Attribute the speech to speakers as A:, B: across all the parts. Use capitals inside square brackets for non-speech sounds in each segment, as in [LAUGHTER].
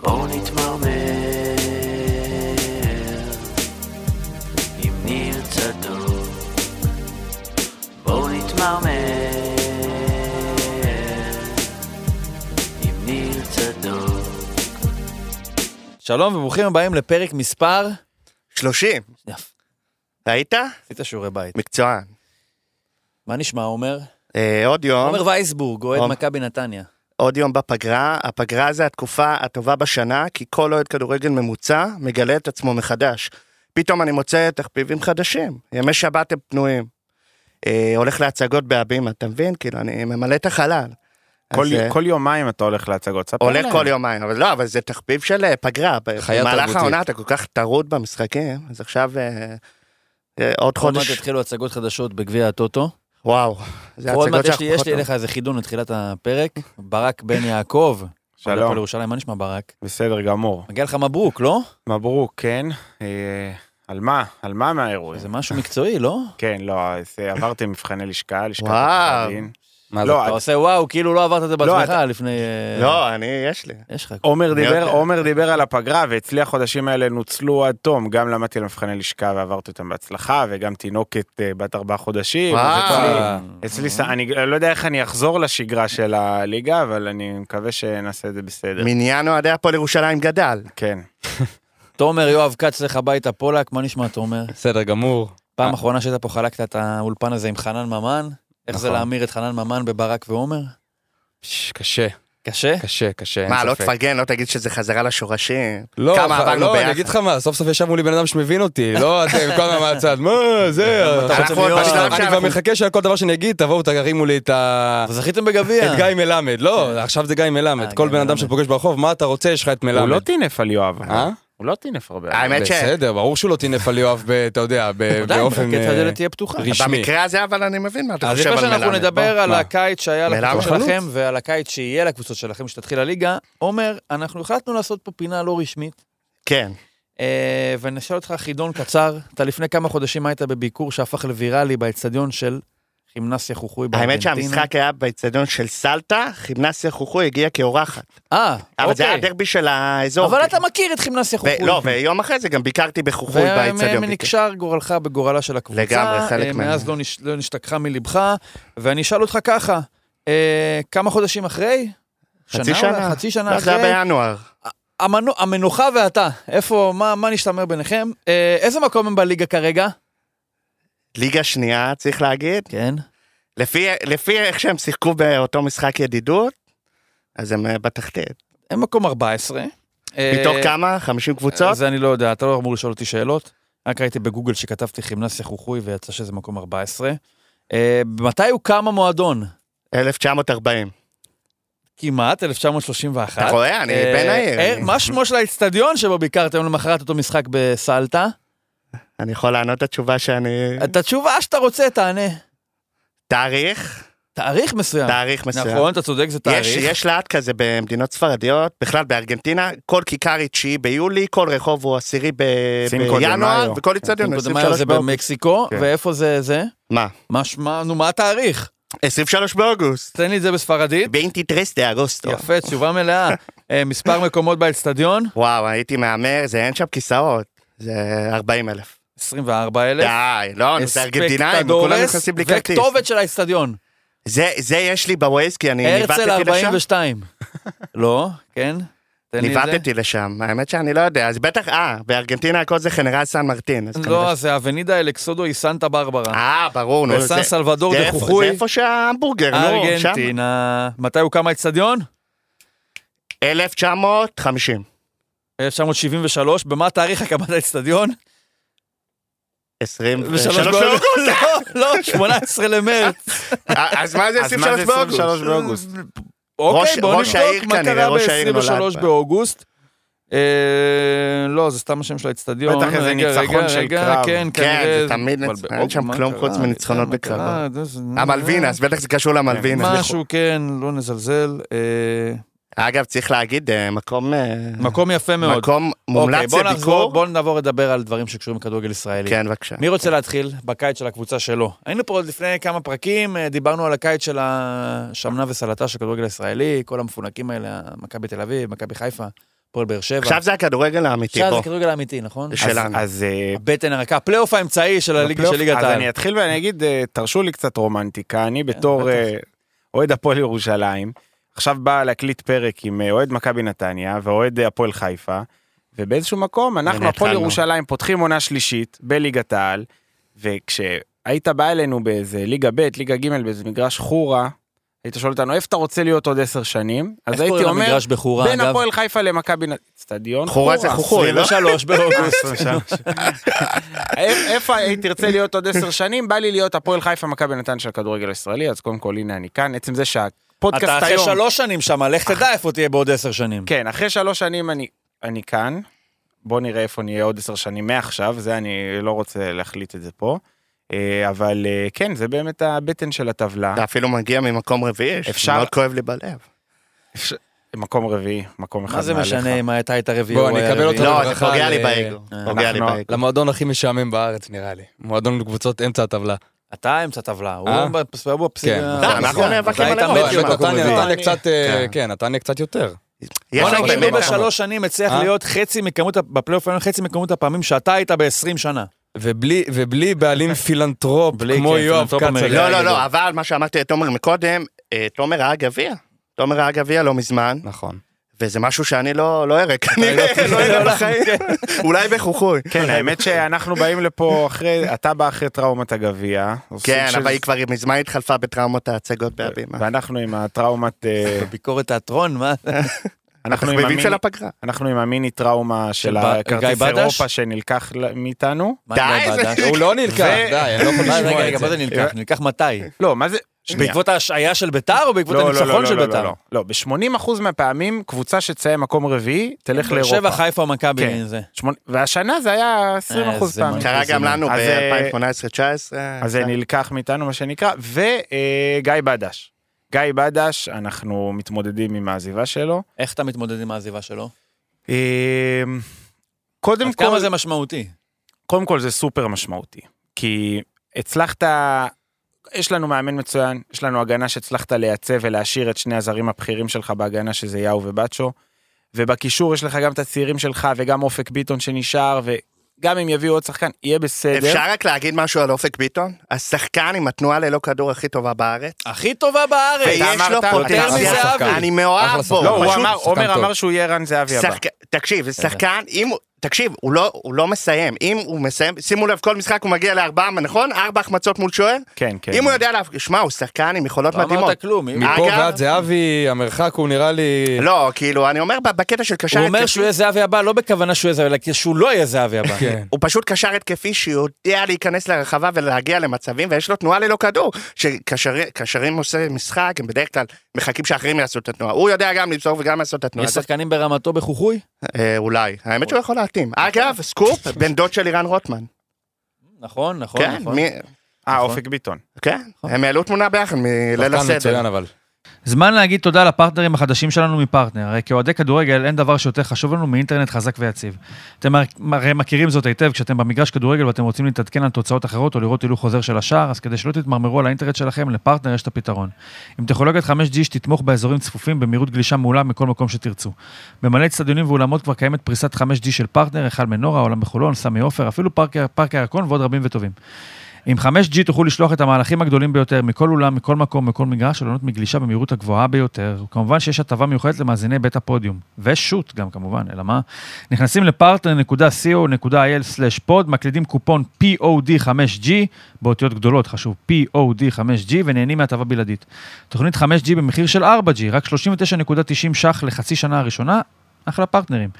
A: בואו נתמרמר עם ניר צדוק בואו נתמרמר עם ניר צדוק
B: שלום וברוכים הבאים לפרק מספר...
C: 30.
B: יפ,
C: ראית?
B: עשית שיעורי בית.
C: מקצוען.
B: מה נשמע, עומר?
C: אה, עוד יום,
B: עומר וייסבורג, אוהד
C: עומר.
B: מכבי נתניה.
C: עוד יום בפגרה. הפגרה זה התקופה הטובה בשנה, כי כל אוהד כדורגל ממוצע מגלה את עצמו מחדש. פתאום אני מוצא תחביבים חדשים. ימי שבת הם פנויים. אה, הולך להצגות בהבימה, אתה מבין? כאילו, אני ממלא את החלל.
D: כל,
C: אז, אה,
D: כל יומיים אתה הולך להצגות, ספר
C: הולך
D: להם.
C: כל יומיים, אבל לא, אבל זה תחביב של אה, פגרה.
B: חיה
C: במהלך
B: תרבותית.
C: העונה אתה כל כך טרוד במשחקים, אז עכשיו אה, אה, עוד
B: עוד מעט
C: חודש,
B: התחילו הצגות חדשות בגביע הטוטו.
C: וואו. זה
B: עוד מעט
C: הצגות
B: יש לי- יש
C: שאנחנו
B: לי אליך איזה חידון לתחילת הפרק. ברק בן יעקב. אוהד הפועל
D: שלום,
B: ירושלים, מה נשמע ברק?
D: בסדר גמור.
B: מגיע לך מברוק, לא?
D: מברוק, כן. אה, על מה? על מה מהאירוע?
B: זה משהו מקצועי, לא?
D: כן, לא, אז, אה, עברתם מבחני לשכה, לשכת
C: וואו.
D: עורכי הדין.
E: מה
D: לא,
E: זה?
B: אתה
D: את-
B: עושה וואו, כאילו לא עברת את זה
D: לא,
B: בעצמך לפני... אה,
C: לא, אני, יש לי.
B: יש לך.
D: עומר דיבר,
C: יודע.
D: עומר דיבר על הפגרה, ואצלי החודשים האלה נוצלו עד תום. גם למדתי על מבחני לשכה ועברתי אותם בהצלחה, וגם תינוקת אה, בת ארבעה חודשים. אז
C: וואו.
B: אה.
D: אצלי- אצלי, ס- אני לא יודע איך אני אחזור לשגרה של הליגה, אבל אני מקווה שנעשה את זה בסדר.
C: מניין אוהדי הפועל ירושלים גדל.
D: כן.
B: תומר יואב כץ, לך הביתה פולק, מה נשמע, תומר?
E: בסדר גמור.
B: פעם אחרונה שהיית פה חלקת את האולפן הזה עם חנן ממן. איך זה
E: נכון.
B: להמיר את חנן ממן בברק ועומר?
E: פש, קשה,
B: קשה?
E: קשה, קשה, אין
C: מה, לא
E: ספק.
C: תפרגן, לא תגיד שזה חזרה לשורשים?
E: לא,
C: כמה
E: ח-
C: עברנו
E: לא, אני
C: ביחד.
E: אגיד לך מה, סוף סוף ישב מולי בן אדם שמבין אותי,
C: [LAUGHS]
E: לא אתם כל הזמן מהצד, מה זה,
C: אנחנו עוד
B: יואב,
C: בשלב
E: אני כבר
C: שאנחנו...
E: מחכה שעל כל דבר שאני אגיד, תבואו תרימו לי את ה...
B: אז זכיתם
C: אה.
B: בגביע.
E: את גיא מלמד, לא, עכשיו זה גיא
B: אה,
E: מלמד, כל
B: גיא
E: בן אדם
B: מלמד.
E: שפוגש ברחוב, מה אתה רוצה, יש לך את
D: הוא לא
E: מלמד.
D: טינף על יואב.
E: אה?
D: הוא לא טינף הרבה.
B: אה,
C: האמת ש...
E: בסדר, ברור שהוא לא טינף על יואב, ב- אתה יודע, ב-
B: עדיין,
E: באופן...
B: רק את
E: אה,
D: לא
B: הדלת לא תהיה פתוחה.
E: רשמי.
C: במקרה הזה, אבל לא? אני מבין מה אתה
B: אז
C: חושב
B: לפני
C: על
B: שאנחנו
C: מלמד.
B: נדבר על
E: מה?
B: הקיץ שהיה
C: מלמד
B: לקבוצות
C: חלוץ.
B: שלכם ועל הקיץ שיהיה לקבוצות שלכם שתתחיל הליגה, עומר, אנחנו החלטנו לעשות פה פינה לא רשמית,
C: כן.
B: אה, ונשאל אותך חידון קצר. אתה לפני כמה חודשים היית בביקור שהפך לוויראלי באצטדיון של חימנסיה חוכוי בארגנטינה.
C: האמת שהמשחק היה באצטדיון של סלטה, חימנסיה חוכו הגיעה כאורחת.
B: אה,
C: אבל זה היה
B: אוקיי.
C: הדרבי של האזור.
B: אבל אתה
C: כאילו.
B: מכיר את חימנסיה
C: ו-
B: חוכוי.
C: לא, ויום אחרי זה גם ביקרתי בחוכוי באצטדיון.
B: ונקשר גורלך בגורלה של הקבוצה.
C: לגמרי, חלק
B: אה,
C: מה-
B: מאז לא נש- לא נשתכחה מלבך, ואני אשאל אותך ככה, אה, כמה חודשים אחרי?
C: חצי
B: אולי?
C: שנה.
B: חצי שנה
C: זה היה
B: אחרי.
C: בינואר.
B: המנו- המנוחה ואתה, איפה, מה מה נשתמר ביניכם? אה, איזה מקום הם בליגה כרגע?
C: ליגה שנייה, צריך להגיד.
B: כן.
C: לפי לפי איך שהם שיחקו באותו משחק ידידות, אז הם אה, בתחתית.
B: הם מקום 14. אה,
C: מתוך כמה? 50 קבוצות?
B: זה אני לא יודע, אתה לא אמור לשאול אותי שאלות. רק ראיתי בגוגל שכתבתי חימנסיה חוכוי ויצא שזה מקום 14. אה, מתי הוקם המועדון?
C: 1940.
B: כמעט, 1931.
C: אתה רואה? אני
B: אה,
C: בן העיר.
B: אה,
C: אני-
B: מה שמו של האיצטדיון שבו ביקרתם למחרת אותו משחק בסלטה?
C: אני יכול לענות את התשובה שאני...
B: את התשובה שאתה רוצה, תענה.
C: תאריך,
B: תאריך מסוים.
C: תאריך מסוים.
B: נכון, אתה צודק, זה
C: יש,
B: תאריך.
C: יש לאט כזה במדינות ספרדיות, בכלל בארגנטינה, כל כיכר היא תשיעי ביולי, כל רחוב הוא עשירי ב...
D: צינקו דה
C: בינואר,
D: מאיו.
C: וכל איצטדיון הוא
B: קודם היה
C: 23
B: זה
C: באוגוסט.
B: במקסיקו,
D: כן.
B: ואיפה זה זה?
C: מה?
B: מה שמה, נו, מה התאריך?
C: 23 באוגוסט.
B: תן לי את זה בספרדית.
C: 23 דה אגוסטו.
B: יפה, תשובה מלאה. אה, מספר מקומות באצטדיון?
C: וואו, הייתי מהמר, זה אין שם כיסאות. זה 40 אלף.
B: 24,000.
C: די, לא, נו, זה ארגנטינאים, כולם
B: אספקטדורס
C: נכנסים בלי כרטיס.
B: וכתובת של האצטדיון.
C: זה, זה יש לי בווייז, כי אני
B: הרצל
C: ניווטתי לשם.
B: 42. לא, כן? תן לי את זה.
C: ניווטתי לשם, האמת שאני לא יודע, אז בטח, אה, בארגנטינה הכל זה חנרל סן מרטין. אז כנראה
B: לא, זה אבנידה אלכסודו היא סנטה ברברה.
C: אה, ברור, נו.
B: וסן
C: זה-
B: סלבדור
C: זה
B: דה
C: איפה-
B: חוכוי.
C: זה איפה לא, שההמבורגר, נו, שם.
B: ארגנטינה. מתי הוקם האצטדיון?
C: 1950.
B: 1973. במה תאריך הקמת
C: [LAUGHS]
B: האצטדיון?
C: 23 באוגוסט. אה,
B: באוגוסט. [LAUGHS] לא, לא, 18
C: [LAUGHS]
B: למרץ.
C: אז מה זה
D: אז מה
C: 23
D: זה
C: באוגוסט?
D: 23 באוגוסט?
B: אוקיי,
C: ראש-
B: בואו
C: ראש העיר
B: נבדוק מה
C: כנראה,
B: קרה
C: ראש העיר נולד
B: ב-23
C: בה.
B: באוגוסט. אה, לא, זה סתם השם של האצטדיון.
D: בטח איזה
B: רגע,
D: ניצחון
B: רגע,
D: של
B: רגע,
D: קרב.
B: כן,
C: כן,
B: כנראה
C: זה תמיד
B: אבל
C: ניצחון, אין
B: באוגוסט,
C: שם
B: מה
C: כלום
B: קרה?
C: חוץ מניצחונות
B: מה קרה?
C: בקרב.
B: זה-
C: המלווינס, אה, בטח זה קשור למלווינס.
B: אה. משהו, כן, לא נזלזל. אה,
C: אגב, צריך להגיד, אה, מקום... אה,
B: מקום יפה מאוד.
C: מקום
B: אוקיי,
C: מומלץ
B: בוא נחזור,
C: לביקור.
B: בואו נעבור לדבר על דברים שקשורים לכדורגל ישראלי.
C: כן, בבקשה.
B: מי רוצה להתחיל בקיץ של הקבוצה שלו? היינו פה עוד לפני כמה פרקים, אה, דיברנו על הקיץ של השמנה וסלטה של הכדורגל הישראלי, כל המפונקים האלה, מכבי תל אביב, מכבי חיפה,
F: הפועל באר שבע.
C: עכשיו זה הכדורגל האמיתי,
F: עכשיו
C: בוא.
F: זה כדורגל האמיתי, נכון?
C: זה
D: אז-
C: שלנו.
D: אז אה,
F: הבטן הרכה, הפלייאוף האמצעי של הליגה של
D: בפלייאוף-
F: ליגת
D: אז
F: העל. כן,
D: אני אתחיל ואני אגיד, אה, תרשו לי קצת רומנטיקה, אני בתור
F: בטח.
D: אה, אוהד הפועל ירושלים, עכשיו בא להקליט פרק עם אה, אוהד מכבי נתניה ואוהד אה, הפועל חיפה, ובאיזשהו מקום אנחנו
C: הנה,
D: הפועל
C: התחלנו.
D: ירושלים פותחים עונה שלישית בליגת העל, וכשהיית בא אלינו באיזה ליגה ב', ליגה ג', באיזה מגרש חורה, היית שואל אותנו איפה אתה רוצה להיות עוד עשר שנים, אז
F: איך
D: הייתי
F: קוראים
D: אומר,
F: למגרש בחורה,
D: בין
F: אגב?
D: הפועל חיפה למכבי נתניה, אצטדיון
C: חורה זה חוכוי, לא?
F: 23 באוגוסט.
D: כן. איפ- איפה הייתי תרצה להיות עוד עשר שנים? בא לי להיות הפועל חיפה מכבי נתן של הכדורגל הישראלי, אז קודם כל הנה אני כאן. עצם זה שהפודקאסט
F: אתה
D: היום...
F: אחרי שלוש שנים שם, לך תדע איפה תהיה בעוד עשר שנים.
D: כן, אחרי שלוש שנים אני, אני כאן. בוא נראה איפה נהיה עוד עשר שנים מעכשיו, זה אני לא רוצה להחליט את זה פה. אה, אבל אה, כן, זה באמת הבטן של הטבלה.
F: אה.
C: אתה אפילו מגיע ממקום רביעי, שזה
D: אפשר-
C: מאוד כואב לי בלב.
D: אפשר- מקום רביעי, מקום אחד
F: מה זה
D: מעליך.
F: משנה אם הייתה את הרביעי
E: בוא,
F: או
E: אני
F: היה
E: אקבל
F: רביעי?
E: אותו.
C: לא,
E: לברכה
C: זה פוגע לי
E: ל-
C: באגו. פוגע לי
D: אנחנו-
C: באגו.
E: למועדון הכי משעמם בארץ נראה לי. מועדון קבוצות אמצע הטבלה.
F: אתה אמצע טבלה, הוא
E: אה?
F: בפס- הוא בפסיק.
E: כן.
C: לא, אנחנו נאבקים
F: אתה
C: על
F: היית
E: לא,
C: הראש.
F: מת להיות
C: אבל
F: מקום
E: נתניה,
F: רביעי.
E: נתניה קצת, אה,
C: לא, כן.
E: כן, נתניה קצת יותר.
C: יש
F: בוא
C: לנו
F: נגיד,
C: באמת
F: הוא
C: כמה-
F: בשלוש שנים הצליח
E: אה?
F: להיות חצי מכמות, ה- בפלייאוף העליון חצי מכמות הפעמים שאתה היית ב-20 שנה.
E: ובלי,
F: [LAUGHS]
E: ובלי בעלים פילנטרופ
F: בלי,
E: כמו
F: כן,
E: יואב
F: פילנטרופ
E: קצר.
F: אמריקאי.
C: לא, לא, לא, אבל מה שאמרתי לתומר מקודם, אה, תומר ראה גביע. תומר ראה גביע לא מזמן,
E: נכון.
C: וזה משהו שאני לא לא אראה כנראה, לא אראה
F: כן.
C: בחיים. אולי בחוכוי.
D: כן, האמת שאנחנו באים לפה אחרי, אתה בא אחרי טראומת הגביע. או סוג
C: כן,
D: של-
C: אבל היא כבר מזמן התחלפה בטראומות ההצגות בהבימה.
D: ואנחנו עם הטראומת... אה,
F: ביקורת תיאטרון, מה?
D: אנחנו עם
C: התחביבים
D: המיני-
C: של הפגרה.
D: אנחנו עם המיני טראומה של
F: ב-
D: הכרטיס
F: גיא בדש?
D: אירופה שנלקח ל- מאיתנו.
F: מה,
C: די,
F: גיא
C: זה-
F: בדש?
E: הוא לא נלקח, די, אני לא יכול
F: מה, רגע,
E: לשמוע
F: רגע,
E: את
F: מה זה
E: זה.
F: נלקח? נלקח מתי?
D: לא, מה זה? שנייה.
F: בעקבות ההשעיה של ביתר או בעקבות
D: לא, לא, לא,
F: הניצחון
D: לא,
F: של
D: לא,
F: ביתר?
D: לא, לא. לא, ב-80% מהפעמים קבוצה שתסיים מקום רביעי תלך
F: באר
D: לאירופה.
F: שבע, חיפה, מכבי,
D: כן.
F: זה.
D: שמונ- והשנה זה היה 20%
F: איזה
D: פעמים.
F: מלך.
C: קרה גם לנו
D: אז, אה,
C: ב-2018-2019.
D: אז זה נלקח מאיתנו מה שנקרא, וגיא בדש. גיא בדש, אנחנו מתמודדים עם העזיבה שלו.
F: איך אתה מתמודד עם העזיבה שלו?
D: אה, קודם
F: עד
D: כל,
F: כמה זה משמעותי?
D: קודם כל זה סופר משמעותי, כי הצלחת, יש לנו מאמן מצוין, יש לנו הגנה שהצלחת לייצב ולהשאיר את שני הזרים הבכירים שלך בהגנה שזה יאו ובצ'ו, ובקישור יש לך גם את הצעירים שלך וגם אופק ביטון שנשאר, וגם אם יביאו עוד שחקן, יהיה בסדר.
C: אפשר רק להגיד משהו על אופק ביטון? השחקן עם התנועה ללא כדור הכי טובה בארץ.
F: הכי טובה בארץ!
C: ויש לו
D: אמרת,
C: פוטנציאל.
F: אתה אחלה שחקן.
C: אני מאוהב בו.
E: אחלה שחקן.
D: לא, הוא
C: פשוט
D: אמר,
E: שחקן
D: עומר
E: טוב.
D: אמר שהוא יהיה רן זהבי הבא.
C: שחק... תקשיב, זה שחקן, אם הוא... תקשיב, הוא לא, הוא לא מסיים. אם הוא מסיים, שימו לב, כל משחק הוא מגיע לארבעה, נכון? ארבע החמצות מול שוער?
D: כן, כן.
C: אם הוא יודע להפ... שמע, הוא שחקן עם יכולות
F: לא
C: מדהימות.
F: אמרת כלום. אם-
C: אה,
E: מפה
C: אגב-
E: ועד זהבי, המרחק הוא נראה לי...
C: לא, כאילו, אני אומר ב- בקטע של קשר
F: הוא אומר
C: התקפי,
F: שהוא יהיה זהבי הבא, לא בכוונה שהוא יהיה זהבי, אלא כי שהוא לא יהיה זהבי הבא.
E: כן.
C: הוא פשוט קשר התקפי שיודע להיכנס לרחבה ולהגיע למצבים, ויש לו תנועה ללא כדור. שקשרים עושה משחק, הם בדרך כלל מחכים שאחרים יעשו את התנועה. הוא יודע גם למסור וגם לעשות את התנועה.
F: יש שחקנים ברמתו בחוחוי?
C: אה, אולי. האמת שהוא יכול להתאים. אגב, סקופ, בן דוד של לירן רוטמן.
F: נכון, נכון,
C: כן,
F: נכון.
C: מי-
D: אה,
F: נכון.
D: אופק ביטון.
C: כן,
D: נכון.
C: הם העלו תמונה ביחד מליל
E: שחקן
C: הסדר.
E: מצוין אבל.
B: זמן להגיד תודה לפרטנרים החדשים שלנו מפרטנר, הרי כאוהדי כדורגל אין דבר שיותר חשוב לנו מאינטרנט חזק ויציב. אתם הרי מכירים זאת היטב כשאתם במגרש כדורגל ואתם רוצים להתעדכן על תוצאות אחרות או לראות הילוך חוזר של השער, אז כדי שלא תתמרמרו על האינטרנט שלכם, לפרטנר יש את הפתרון. עם טכנולוגיית 5G שתתמוך באזורים צפופים במהירות גלישה מעולה מכל מקום שתרצו. במלא אצטדיונים ואולמות כבר קיימת פריסת 5G של פרטנר, היכל מנורה, העולם בחולון, סמי עופר, אפילו פארק- פארק הירקון ועוד רבים וטובים. עם 5G תוכלו לשלוח את המהלכים הגדולים ביותר מכל אולם, מכל מקום, מכל מגרש, ולענות מגלישה במהירות הגבוהה ביותר. כמובן שיש הטבה מיוחדת למאזיני בית הפודיום. ושוט גם כמובן, אלא מה? נכנסים לפרטנר.co.il/פוד, מקלידים קופון POD5G, באותיות גדולות חשוב, POD5G, ונהנים מהטבה בלעדית. תוכנית 5G במחיר של 4G, רק 39.90 ש"ח לחצי שנה הראשונה, אחלה פרטנרים.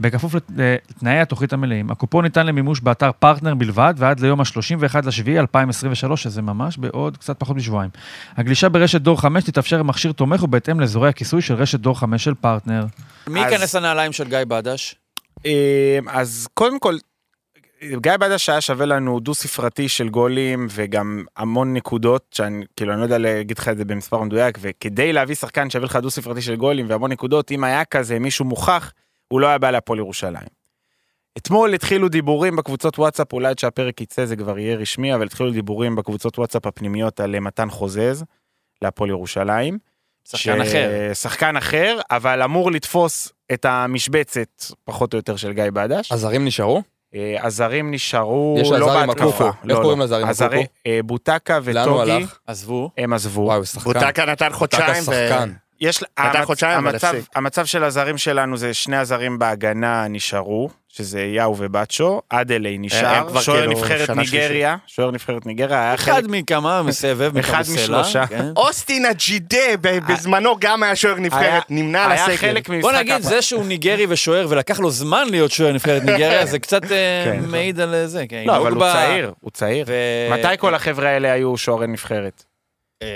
B: בכפוף לת- לתנאי התוכנית המלאים. הקופון ניתן למימוש באתר פרטנר בלבד, ועד ליום ה-31 לשביעי 2023, שזה ממש בעוד קצת פחות משבועיים. הגלישה ברשת דור 5 תתאפשר עם מכשיר תומך ובהתאם לאזורי הכיסוי של רשת דור 5 של פרטנר.
F: מי
D: אז-
F: ייכנס לנעליים של גיא בדש?
D: אה, אז קודם כל, גיא בדש היה שווה לנו דו ספרתי של גולים וגם המון נקודות שאני כאילו אני לא יודע להגיד לך את זה במספר מדויק וכדי להביא שחקן שווה לך דו ספרתי של גולים והמון נקודות אם היה כזה מישהו מוכח הוא לא היה בא להפועל ירושלים. אתמול התחילו דיבורים בקבוצות וואטסאפ אולי עד שהפרק יצא זה כבר יהיה רשמי אבל התחילו דיבורים בקבוצות וואטסאפ הפנימיות על אה, מתן חוזז להפועל ירושלים.
F: שחקן
D: ש-
F: אחר.
D: שחקן אחר, אבל אמור לתפוס את המשבצת, פחות או יותר, של גיא בדש.
E: הזרים נשארו?
D: אה, הזרים נשארו
E: יש
D: לא
E: הזר עם הקוקו.
D: בהתקפה.
E: איך קוראים לזר עם
D: הזרי-
E: הקוקו?
D: אה, בוטקה
E: לאן הוא
D: וטוגי,
E: הלך?
B: עזבו.
D: הם עזבו.
E: וואו, שחקן.
C: בוטקה נתן
E: בוטקה
C: חודשיים. ו-
E: שחקן.
D: יש,
C: נתן
D: המצ-
C: חודשיים, אבל
D: המצב,
C: הפסיק.
D: המצב של הזרים שלנו זה שני הזרים בהגנה נשארו, שזה יאו ובצ'ו, אדלי
C: אה, הם
D: נשאר,
C: כבר
D: שוער
C: כאילו
D: נבחרת
C: שנה
D: ניגריה, שוער נבחרת ניגריה היה
B: אחד
D: חלק,
B: מכמה מסבב,
D: אחד
B: מכמה סלע,
C: לא
D: משלושה.
B: כן.
C: אוסטין אג'ידה ב- בזמנו גם היה שוער
D: אה, היה-
C: נבחרת, נמנה על
D: היה
C: הסגל.
D: חלק ממשחק
B: בוא נגיד,
D: הפ-
B: זה שהוא ניגרי ושוער ולקח לו זמן להיות שוער נבחרת ניגריה, זה קצת אה,
D: כן.
B: מעיד על אה, זה. כן,
D: לא, אבל הוא
B: דוגבה,
D: צעיר, הוא צעיר.
B: ו-
D: מתי כל החבר'ה האלה היו שוערי נבחרת?
B: אה,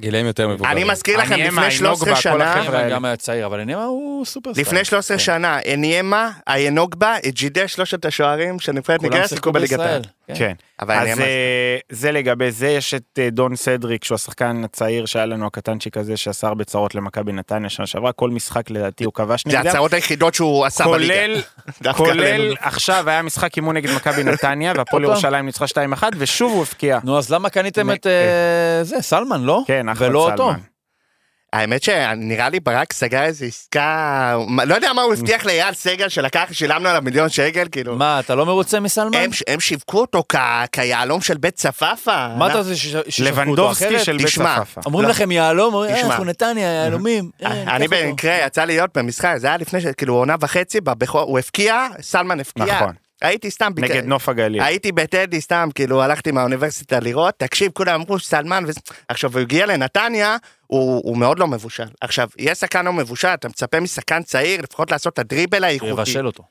E: גילאים יותר מבוגרים.
C: אני מזכיר לכם,
D: אני אמה,
C: לפני 13
D: אינוגבה, כל
C: שנה,
D: החבר'ה.
B: נימה גם היה צעיר, כן, אבל נימה הוא סופרסטאר.
C: לפני 13
E: כן.
C: שנה, אניימה, איינוגבה, אג'ידה, שלושת השוערים של נבחרת
B: כולם
C: ניגריה
B: שיחקו
C: שיחקו בליגת
B: בישראל.
C: העל.
B: כן.
D: כן.
C: אבל
D: אז
C: אניימה...
D: אה, זה לגבי זה, יש את אה, דון סדריק, שהוא השחקן הצעיר שהיה לנו, הקטנצ'יק הזה, שעשה הרבה צרות למכבי נתניה שנה שעברה, כל משחק לדעתי הוא כבש
C: זה
D: נגדם.
C: הצעות היחידות שהוא עשה בליגה.
D: [LAUGHS] כולל,
C: דווקא
D: כולל
C: עלינו.
D: עכשיו היה משחק אימון נגד מכבי נתניה, והפועל ירושלים ניצחה 2-1, ושוב הוא הבקיע.
B: נו, אז למה קניתם
D: נ-
B: את אה, זה, סלמן, לא?
D: כן, אחמד סלמן.
B: ולא אותו.
C: האמת שנראה לי ברק סגר איזו עסקה, מה- לא יודע מה הוא הבטיח לאייל סגל שלקח, שילמנו עליו מיליון שקל, כאילו.
B: מה, אתה לא מרוצה מסלמן?
C: הם- הם שיווקו אותו כ- כיהלום של בית צפאפא.
B: מה אתה רוצה שש- שישחקו אותו
D: לבנדובסקי
B: אחרת?
D: של בית
C: תשמע,
D: צפאפא.
B: אומרים לכם יהלום, אומרים, אה,
C: תשמע.
B: אנחנו נתניה, יהלומים. אה, ניקח
C: אני
B: אותו.
C: במקרה יצא לי להיות במשחק, זה היה לפני, ש- כאילו עונה וחצי, בבכור- הוא הבקיע, סלמן הבקיע.
D: נכון.
C: הייתי סתם, ביקר-
D: נגד נוף הגליל.
C: הייתי בטדי סתם, כאילו הלכתי מהאוניברסיטה לראות, תקשיב, כולם אמרו סלמן, וזה- עכשיו הוא הגיע לנתניה, הוא הוא מאוד לא מבושל. עכשיו, יש שחקן לא מבושל, אתה מצפה משחקן צעיר לפחות לעשות את הדריבל האיכותי.
B: יבשל אותו.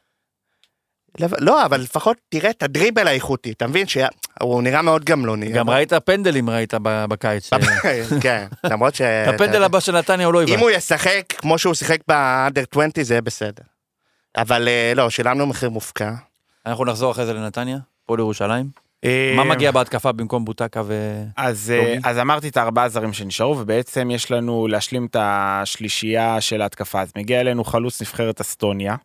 C: לב- לא, אבל לפחות תראה את הדריבל האיכותי, אתה מבין שהוא נראה מאוד גמלוני.
B: גם
C: אבל-
B: ראית פנדלים ראית ב- בקיץ.
C: [LAUGHS] כן, למרות ש...
B: הפנדל הבא של נתניה הוא לא
C: אה, אם
B: יבש.
C: הוא ישחק כמו שהוא שיחק באנדר 20 זה יהיה בסדר. אבל אה, לא, שילמנו מחיר מופקע.
B: אנחנו נחזור אחרי זה לנתניה, פה לירושלים.
D: אה,
B: מה מגיע בהתקפה במקום בוטקה ו...
D: אז, אה,
B: טובי?
D: אז אמרתי את הארבעה זרים שנשארו, ובעצם יש לנו להשלים את השלישייה של ההתקפה. אז מגיע אלינו חלוץ נבחרת אסטוניה,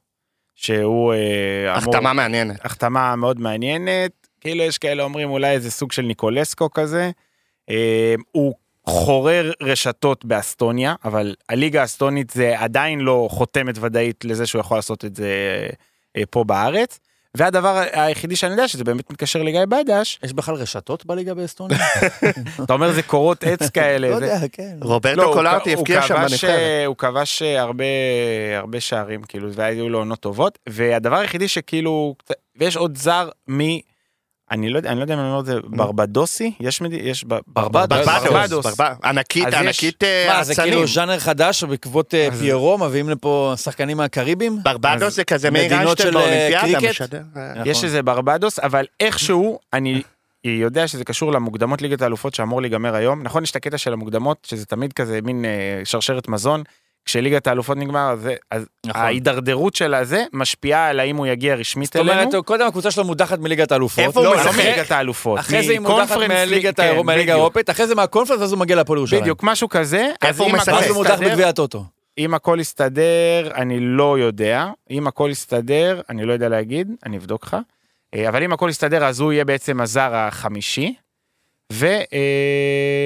D: שהוא אה, אמור...
C: החתמה מעניינת.
D: החתמה מאוד מעניינת, כאילו יש כאלה אומרים אולי איזה סוג של ניקולסקו כזה. אה, הוא חורר רשתות באסטוניה, אבל הליגה האסטונית זה עדיין לא חותמת ודאית לזה שהוא יכול לעשות את זה אה, פה בארץ. והדבר היחידי שאני יודע שזה באמת מתקשר לגיא בדש,
B: יש בכלל רשתות בליגה [LAUGHS] באסטוניה?
D: אתה אומר זה קורות עץ כאלה.
B: [LAUGHS] לא
D: זה-
B: יודע, כן.
C: רוברטו
D: לא, הוא
C: קולארטי
D: כ- הוא
C: הבקיע שם
D: כבש,
C: בנבחרת.
D: אה, הוא כבש אה, הרבה, הרבה שערים, כאילו, והיו לו עונות טובות, והדבר היחידי שכאילו, קצת- ויש עוד זר מ... אני לא יודע, אני לא יודע אם אני אומר את זה, ברבדוסי? יש מדי... יש ב-
B: ברבדוס.
C: ברבדוס,
D: ברבדוס.
C: ברבדוס. ענקית,
D: אז יש-
C: ענקית אה,
B: מה, זה
C: אצנים.
B: כאילו ז'אנר חדש שבעקבות אה, פיירו מביאים לפה שחקנים מהקריבים?
C: ברבדוס זה כזה מאיר
B: מדינות
C: איינשטיין
B: של, אה,
C: באולימפיאדה
B: קריקט?
C: משדר. אה,
B: נכון.
D: נכון. יש איזה ברבדוס, אבל איכשהו, אני יודע שזה קשור למוקדמות ליגת האלופות שאמור להיגמר היום. נכון, יש את הקטע של המוקדמות, שזה תמיד כזה מין אה, שרשרת מזון. כשליגת האלופות נגמר, אז זה- אז
B: נכון.
D: ההידרדרות של הזה משפיעה על האם הוא יגיע רשמית
B: זאת
D: אלינו.
B: אומרת, קודם הקבוצה שלו מודחת מליגת האלופות.
C: איפה הוא
D: לא,
B: לא,
D: לא
C: משחק?
D: מליגת האלופות.
B: אחרי זה היא מודחת
D: מקונפרנס ליג,
B: מליגת
D: כן,
B: האירו- מהליגה
D: בדיוק.
B: האירופית, אחרי זה מהקונפרנס, ואז הוא מגיע להפועל ירושלים.
D: בדיוק, משהו כזה. אז
C: הוא
D: אם
C: משחק?
D: הכל
B: ואז הוא מודח
D: יסתדר-
B: בגביע הטוטו.
D: אם הכל יסתדר, אני לא יודע. אם הכל יסתדר, אני לא יודע להגיד, אני אבדוק לך. אה, אבל אם הכל יסתדר, אז הוא יהיה בעצם הזר החמישי.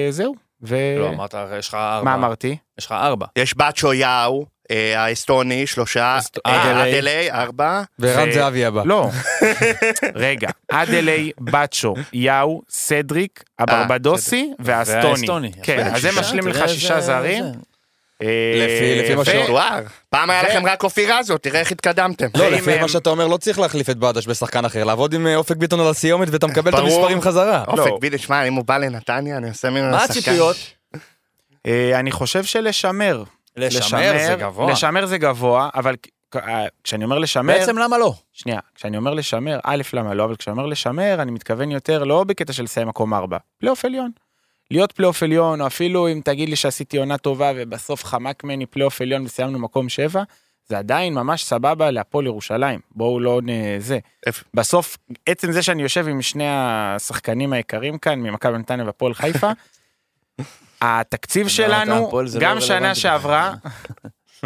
D: וזהו. ו...
B: לא, אמרת, יש לך
D: מה
B: ארבע.
D: אמרתי?
B: יש לך ארבע.
C: יש בצ'ו יאו, אה, האסטוני, שלושה,
D: אסט-
C: אה,
B: אדלי.
C: אדלי, ארבע.
E: ורן
D: ו-
E: זהבי הבא.
D: לא.
B: [LAUGHS]
D: רגע, אדלי, בצ'ו, יאו, סדריק, הברבדוסי והאסטוני. כן,
B: אה, יפה,
D: אז זה
B: שישה,
D: משלים
B: תראה
D: לך
B: איזה-
D: שישה זרים.
B: זה.
D: אה,
E: לפי- לפי מה
D: ו-
E: שהוא-
C: וואו, פעם היה
D: ו-
C: לכם רק אופירה הזאת, תראה איך התקדמתם. אה,
E: לא,
D: ואם
E: לפי
D: הם-
E: מה שאתה אומר, לא צריך להחליף את בדש בשחקן אחר, לעבוד עם אה, אופק ביטון על הסיומת ואתה מקבל את
C: ברור.
E: המספרים חזרה.
C: אופק
D: לא.
C: בידי, שמע, אם הוא בא לנתניה, אני עושה ממנו
B: מה
C: שחקן.
B: הציפיות?
D: אה, אני חושב שלשמר.
B: לשמר זה גבוה.
D: לשמר זה גבוה, אבל כ- כ- אה, כשאני אומר לשמר...
B: בעצם למה לא?
D: שנייה, כשאני אומר לשמר, א', למה לא, אבל כשאני אומר לשמר, אני מתכוון יותר לא בקטע של לסיים מקום ארבע, פלייאוף עליון. להיות פלייאוף עליון, או אפילו אם תגיד לי שעשיתי עונה טובה ובסוף חמק ממני פלייאוף עליון וסיימנו מקום שבע, זה עדיין ממש סבבה להפועל ירושלים. בואו לא נ... זה.
C: איפה?
D: בסוף, עצם זה שאני יושב עם שני השחקנים היקרים כאן, ממכבי נתניה והפועל
B: [LAUGHS]
D: חיפה, התקציב
B: אתה,
D: שלנו,
B: הפועל זה לא
D: גם
B: רלוונטי
D: שנה
B: בכלל. [LAUGHS]
D: שעברה,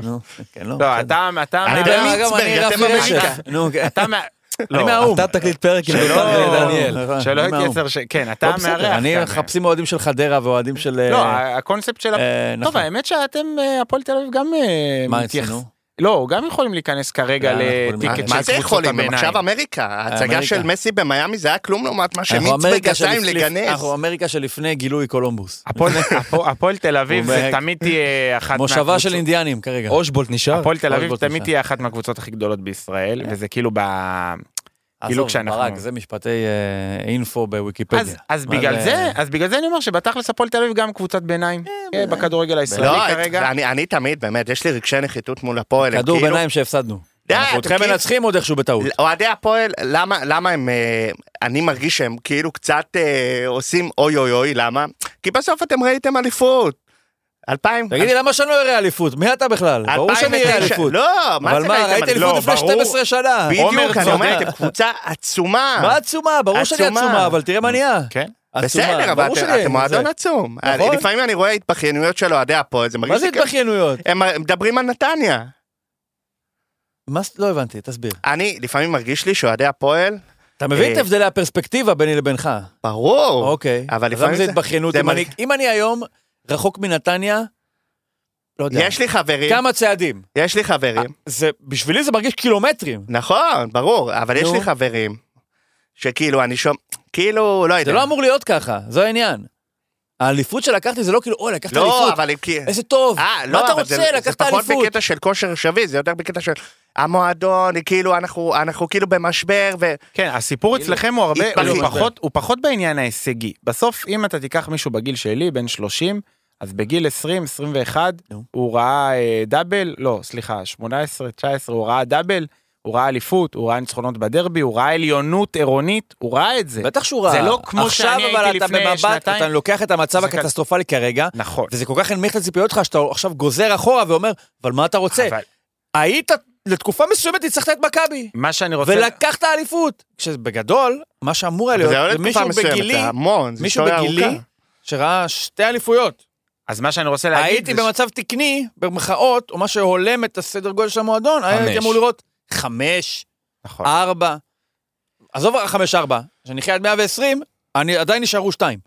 B: נו, כן, לא.
D: לא,
B: בסדר.
D: אתה, אתה,
C: אני
D: אתה-
C: באמת-
B: אגב, אני
C: במיצברג,
B: רפי
C: אתם
B: רשף.
C: אמריקה.
B: נו, כן.
D: אתה מה...
B: אני
D: לא,
B: מהאו"ם.
E: אתה תקריא פרק עם
D: שלא-
E: דותן דניאל.
B: נכון,
D: שלא
B: אני מהאו"ם.
D: יתייצר ש... כן,
B: לא,
D: אתה
B: בסדר,
D: מארח.
B: אני
D: כאן.
B: מחפשים אוהדים של חדרה ואוהדים של...
D: לא,
B: אה,
D: הקונספט של... ה-
B: אה,
D: טוב,
B: נכון.
D: האמת שאתם, אה, הפועל תל אביב גם... אה,
B: מה
D: מתייחס-
B: אצלנו?
D: לא, גם יכולים להיכנס כרגע
B: לא, אנחנו יכולים
D: לטיקט
B: להיכנס.
D: של
C: אה, מה זה
D: קבוצות
C: יכולים? הם
D: הביניים.
C: עכשיו אמריקה. ההצגה
B: אמריקה.
C: של מסי במיאמי זה היה כלום לעומת מה
B: אנחנו
C: שמיץ
B: אמריקה
C: בגתיים
B: שלפ-
C: לגנס.
B: אנחנו אמריקה שלפני גילוי קולומבוס.
D: הפועל- הפועל- הפועל תל אביב זה
B: הוא ב-
D: תמיד תהיה אחת
B: מושבה של
D: מהקבוצות.
B: אינדיאנים כרגע.
E: אושבולט נשאר?
D: הפועל תל אביב
B: אושבולט
D: תמיד
B: נשאר.
D: תהיה אחת מהקבוצות הכי גדולות בישראל,
B: אה.
D: וזה כאילו ב... כאילו
B: עזוב,
D: כשאנחנו-
B: ברק, זה משפטי אה, אינפו בוויקיפדיה. אה,
D: אז, אז
B: מה
D: בגלל זה, אז בגלל זה אני אומר שבתכלס הפועל תל אביב גם קבוצת ביניים, אה, בכדורגל הישראלי
C: לא,
D: כרגע.
C: אני אני תמיד, באמת, יש לי רגשי נחיתות מול הפועל. הם
B: כדור
C: כאילו-
B: ביניים שהפסדנו.
C: די,
B: אנחנו
C: אתה
B: אתכם
C: כאילו-
B: מנצחים עוד איכשהו בטעות.
D: לא,
C: אוהדי הפועל, למה, למה הם, אה, אני מרגיש שהם כאילו קצת אה, עושים אוי אוי אוי, למה? כי בסוף אתם ראיתם אליפות. אלפיים?
B: תגידי, למה שאני לא אראה אליפות? מי אתה בכלל? ברור שאני אראה
C: 2009.
B: אליפות.
C: לא, מה
B: אבל
C: זה
B: מה, ראית אליפות
D: לא,
B: לפני
D: ברור.
B: 12 שנה.
C: בדיוק, אני אומר,
D: צודק.
C: אתם קבוצה עצומה.
B: מה עצומה? ברור שאני
C: עצומה.
B: עצומה, אבל תראה מה נהיה.
D: כן.
B: עצומה,
C: בסדר, אבל
B: ברור
C: אתם-
B: שאני-
C: אתם מועדון
B: זה-
C: עצום. אה,
B: נכון.
C: לפעמים אני רואה התבכיינויות של אוהדי הפועל, זה מרגיש
B: מה זה
C: לי כאילו-
B: התבכיינויות?
C: הם מדברים על נתניה.
B: מה זה- לא הבנתי, תסביר.
C: אני, לפעמים מרגיש לי שאוהדי הפועל,
B: אתה מבין את
C: אה,
B: הבדלי הפרספקטיבה ביני לבינך.
C: ברור.
B: אוקיי.
C: אבל
B: אז
C: לפעמים
B: למה זה
C: זה-
B: התבכיינות?
C: זה
B: אם אני-
C: מרגיש-
B: אם אני היום רחוק מנתניה, לא יודע.
C: יש לי חברים,
B: כמה אה. צעדים.
C: יש לי חברים.
B: זה, בשבילי זה מרגיש קילומטרים.
C: נכון, ברור, אבל יש
B: נו.
C: לי חברים שכאילו אני שומע, כאילו, לא יודע.
B: זה לא אמור להיות ככה, זה העניין. האליפות שלקחתי זה לא כאילו, אוי, לקחת
C: לא,
B: אליפות,
C: אבל הם כאילו...
B: איזה טוב,
C: אה,
B: מה
C: לא,
B: אתה
C: אבל זה-
B: רוצה, לקחת
C: זה
B: אליפות.
C: פחות בקטע של כושר שווה, זה יותר בקטע של המועדון, כאילו, אנחנו אנחנו כאילו במשבר, ו...
D: כן, הסיפור
B: כאילו,
D: אצלכם הוא הרבה,
C: התפרעות.
D: הוא פחות, הוא פחות בעניין ההישגי. בסוף, אם אתה תיקח מישהו בגיל שלי, בן 30, אז בגיל 20, 21,
B: נו.
D: הוא ראה אה, דאבל, לא, סליחה, 18, 19, הוא ראה דאבל, הוא ראה אליפות, הוא ראה ניצחונות בדרבי, הוא ראה עליונות עירונית, הוא ראה את זה.
B: בטח שהוא ראה.
D: זה לא כמו שאני
B: עכשיו אבל
D: הייתי
B: אתה
D: לפני
B: במבט,
D: שנתיים.
B: אתה לוקח את המצב
D: זה כ-
B: הקטסטרופלי כרגע,
D: נכון.
B: וזה כל כך הנמיך את הציפיות שלך, שאתה עכשיו גוזר אחורה ואומר, אבל מה אתה רוצה?
D: אבל
B: היית, לתקופה מסוימת ניצחת את מכבי,
D: מה שאני רוצה...
B: ולקחת אליפות. כשבגדול, מה שאמור היה
C: אבל זה
B: להיות,
C: לא
B: זה
C: לתקופה
B: מישהו
C: מסוימת,
B: בגילי,
C: זה המון, זה
B: מישהו
C: היסטוריה
B: בגילי,
C: ארוכה.
B: שראה שתי אליפויות.
D: אז מה שאני רוצה להגיד...
B: הייתי
D: זה ש-
B: במצב תקני, במחאות, או מה שהולם את הסדר גודל של המועדון, הייתי אמור לראות חמש,
D: נכון.
B: ארבע. עזוב חמש, ארבע, שנחיה עד 120, אני עדיין נשארו שתיים.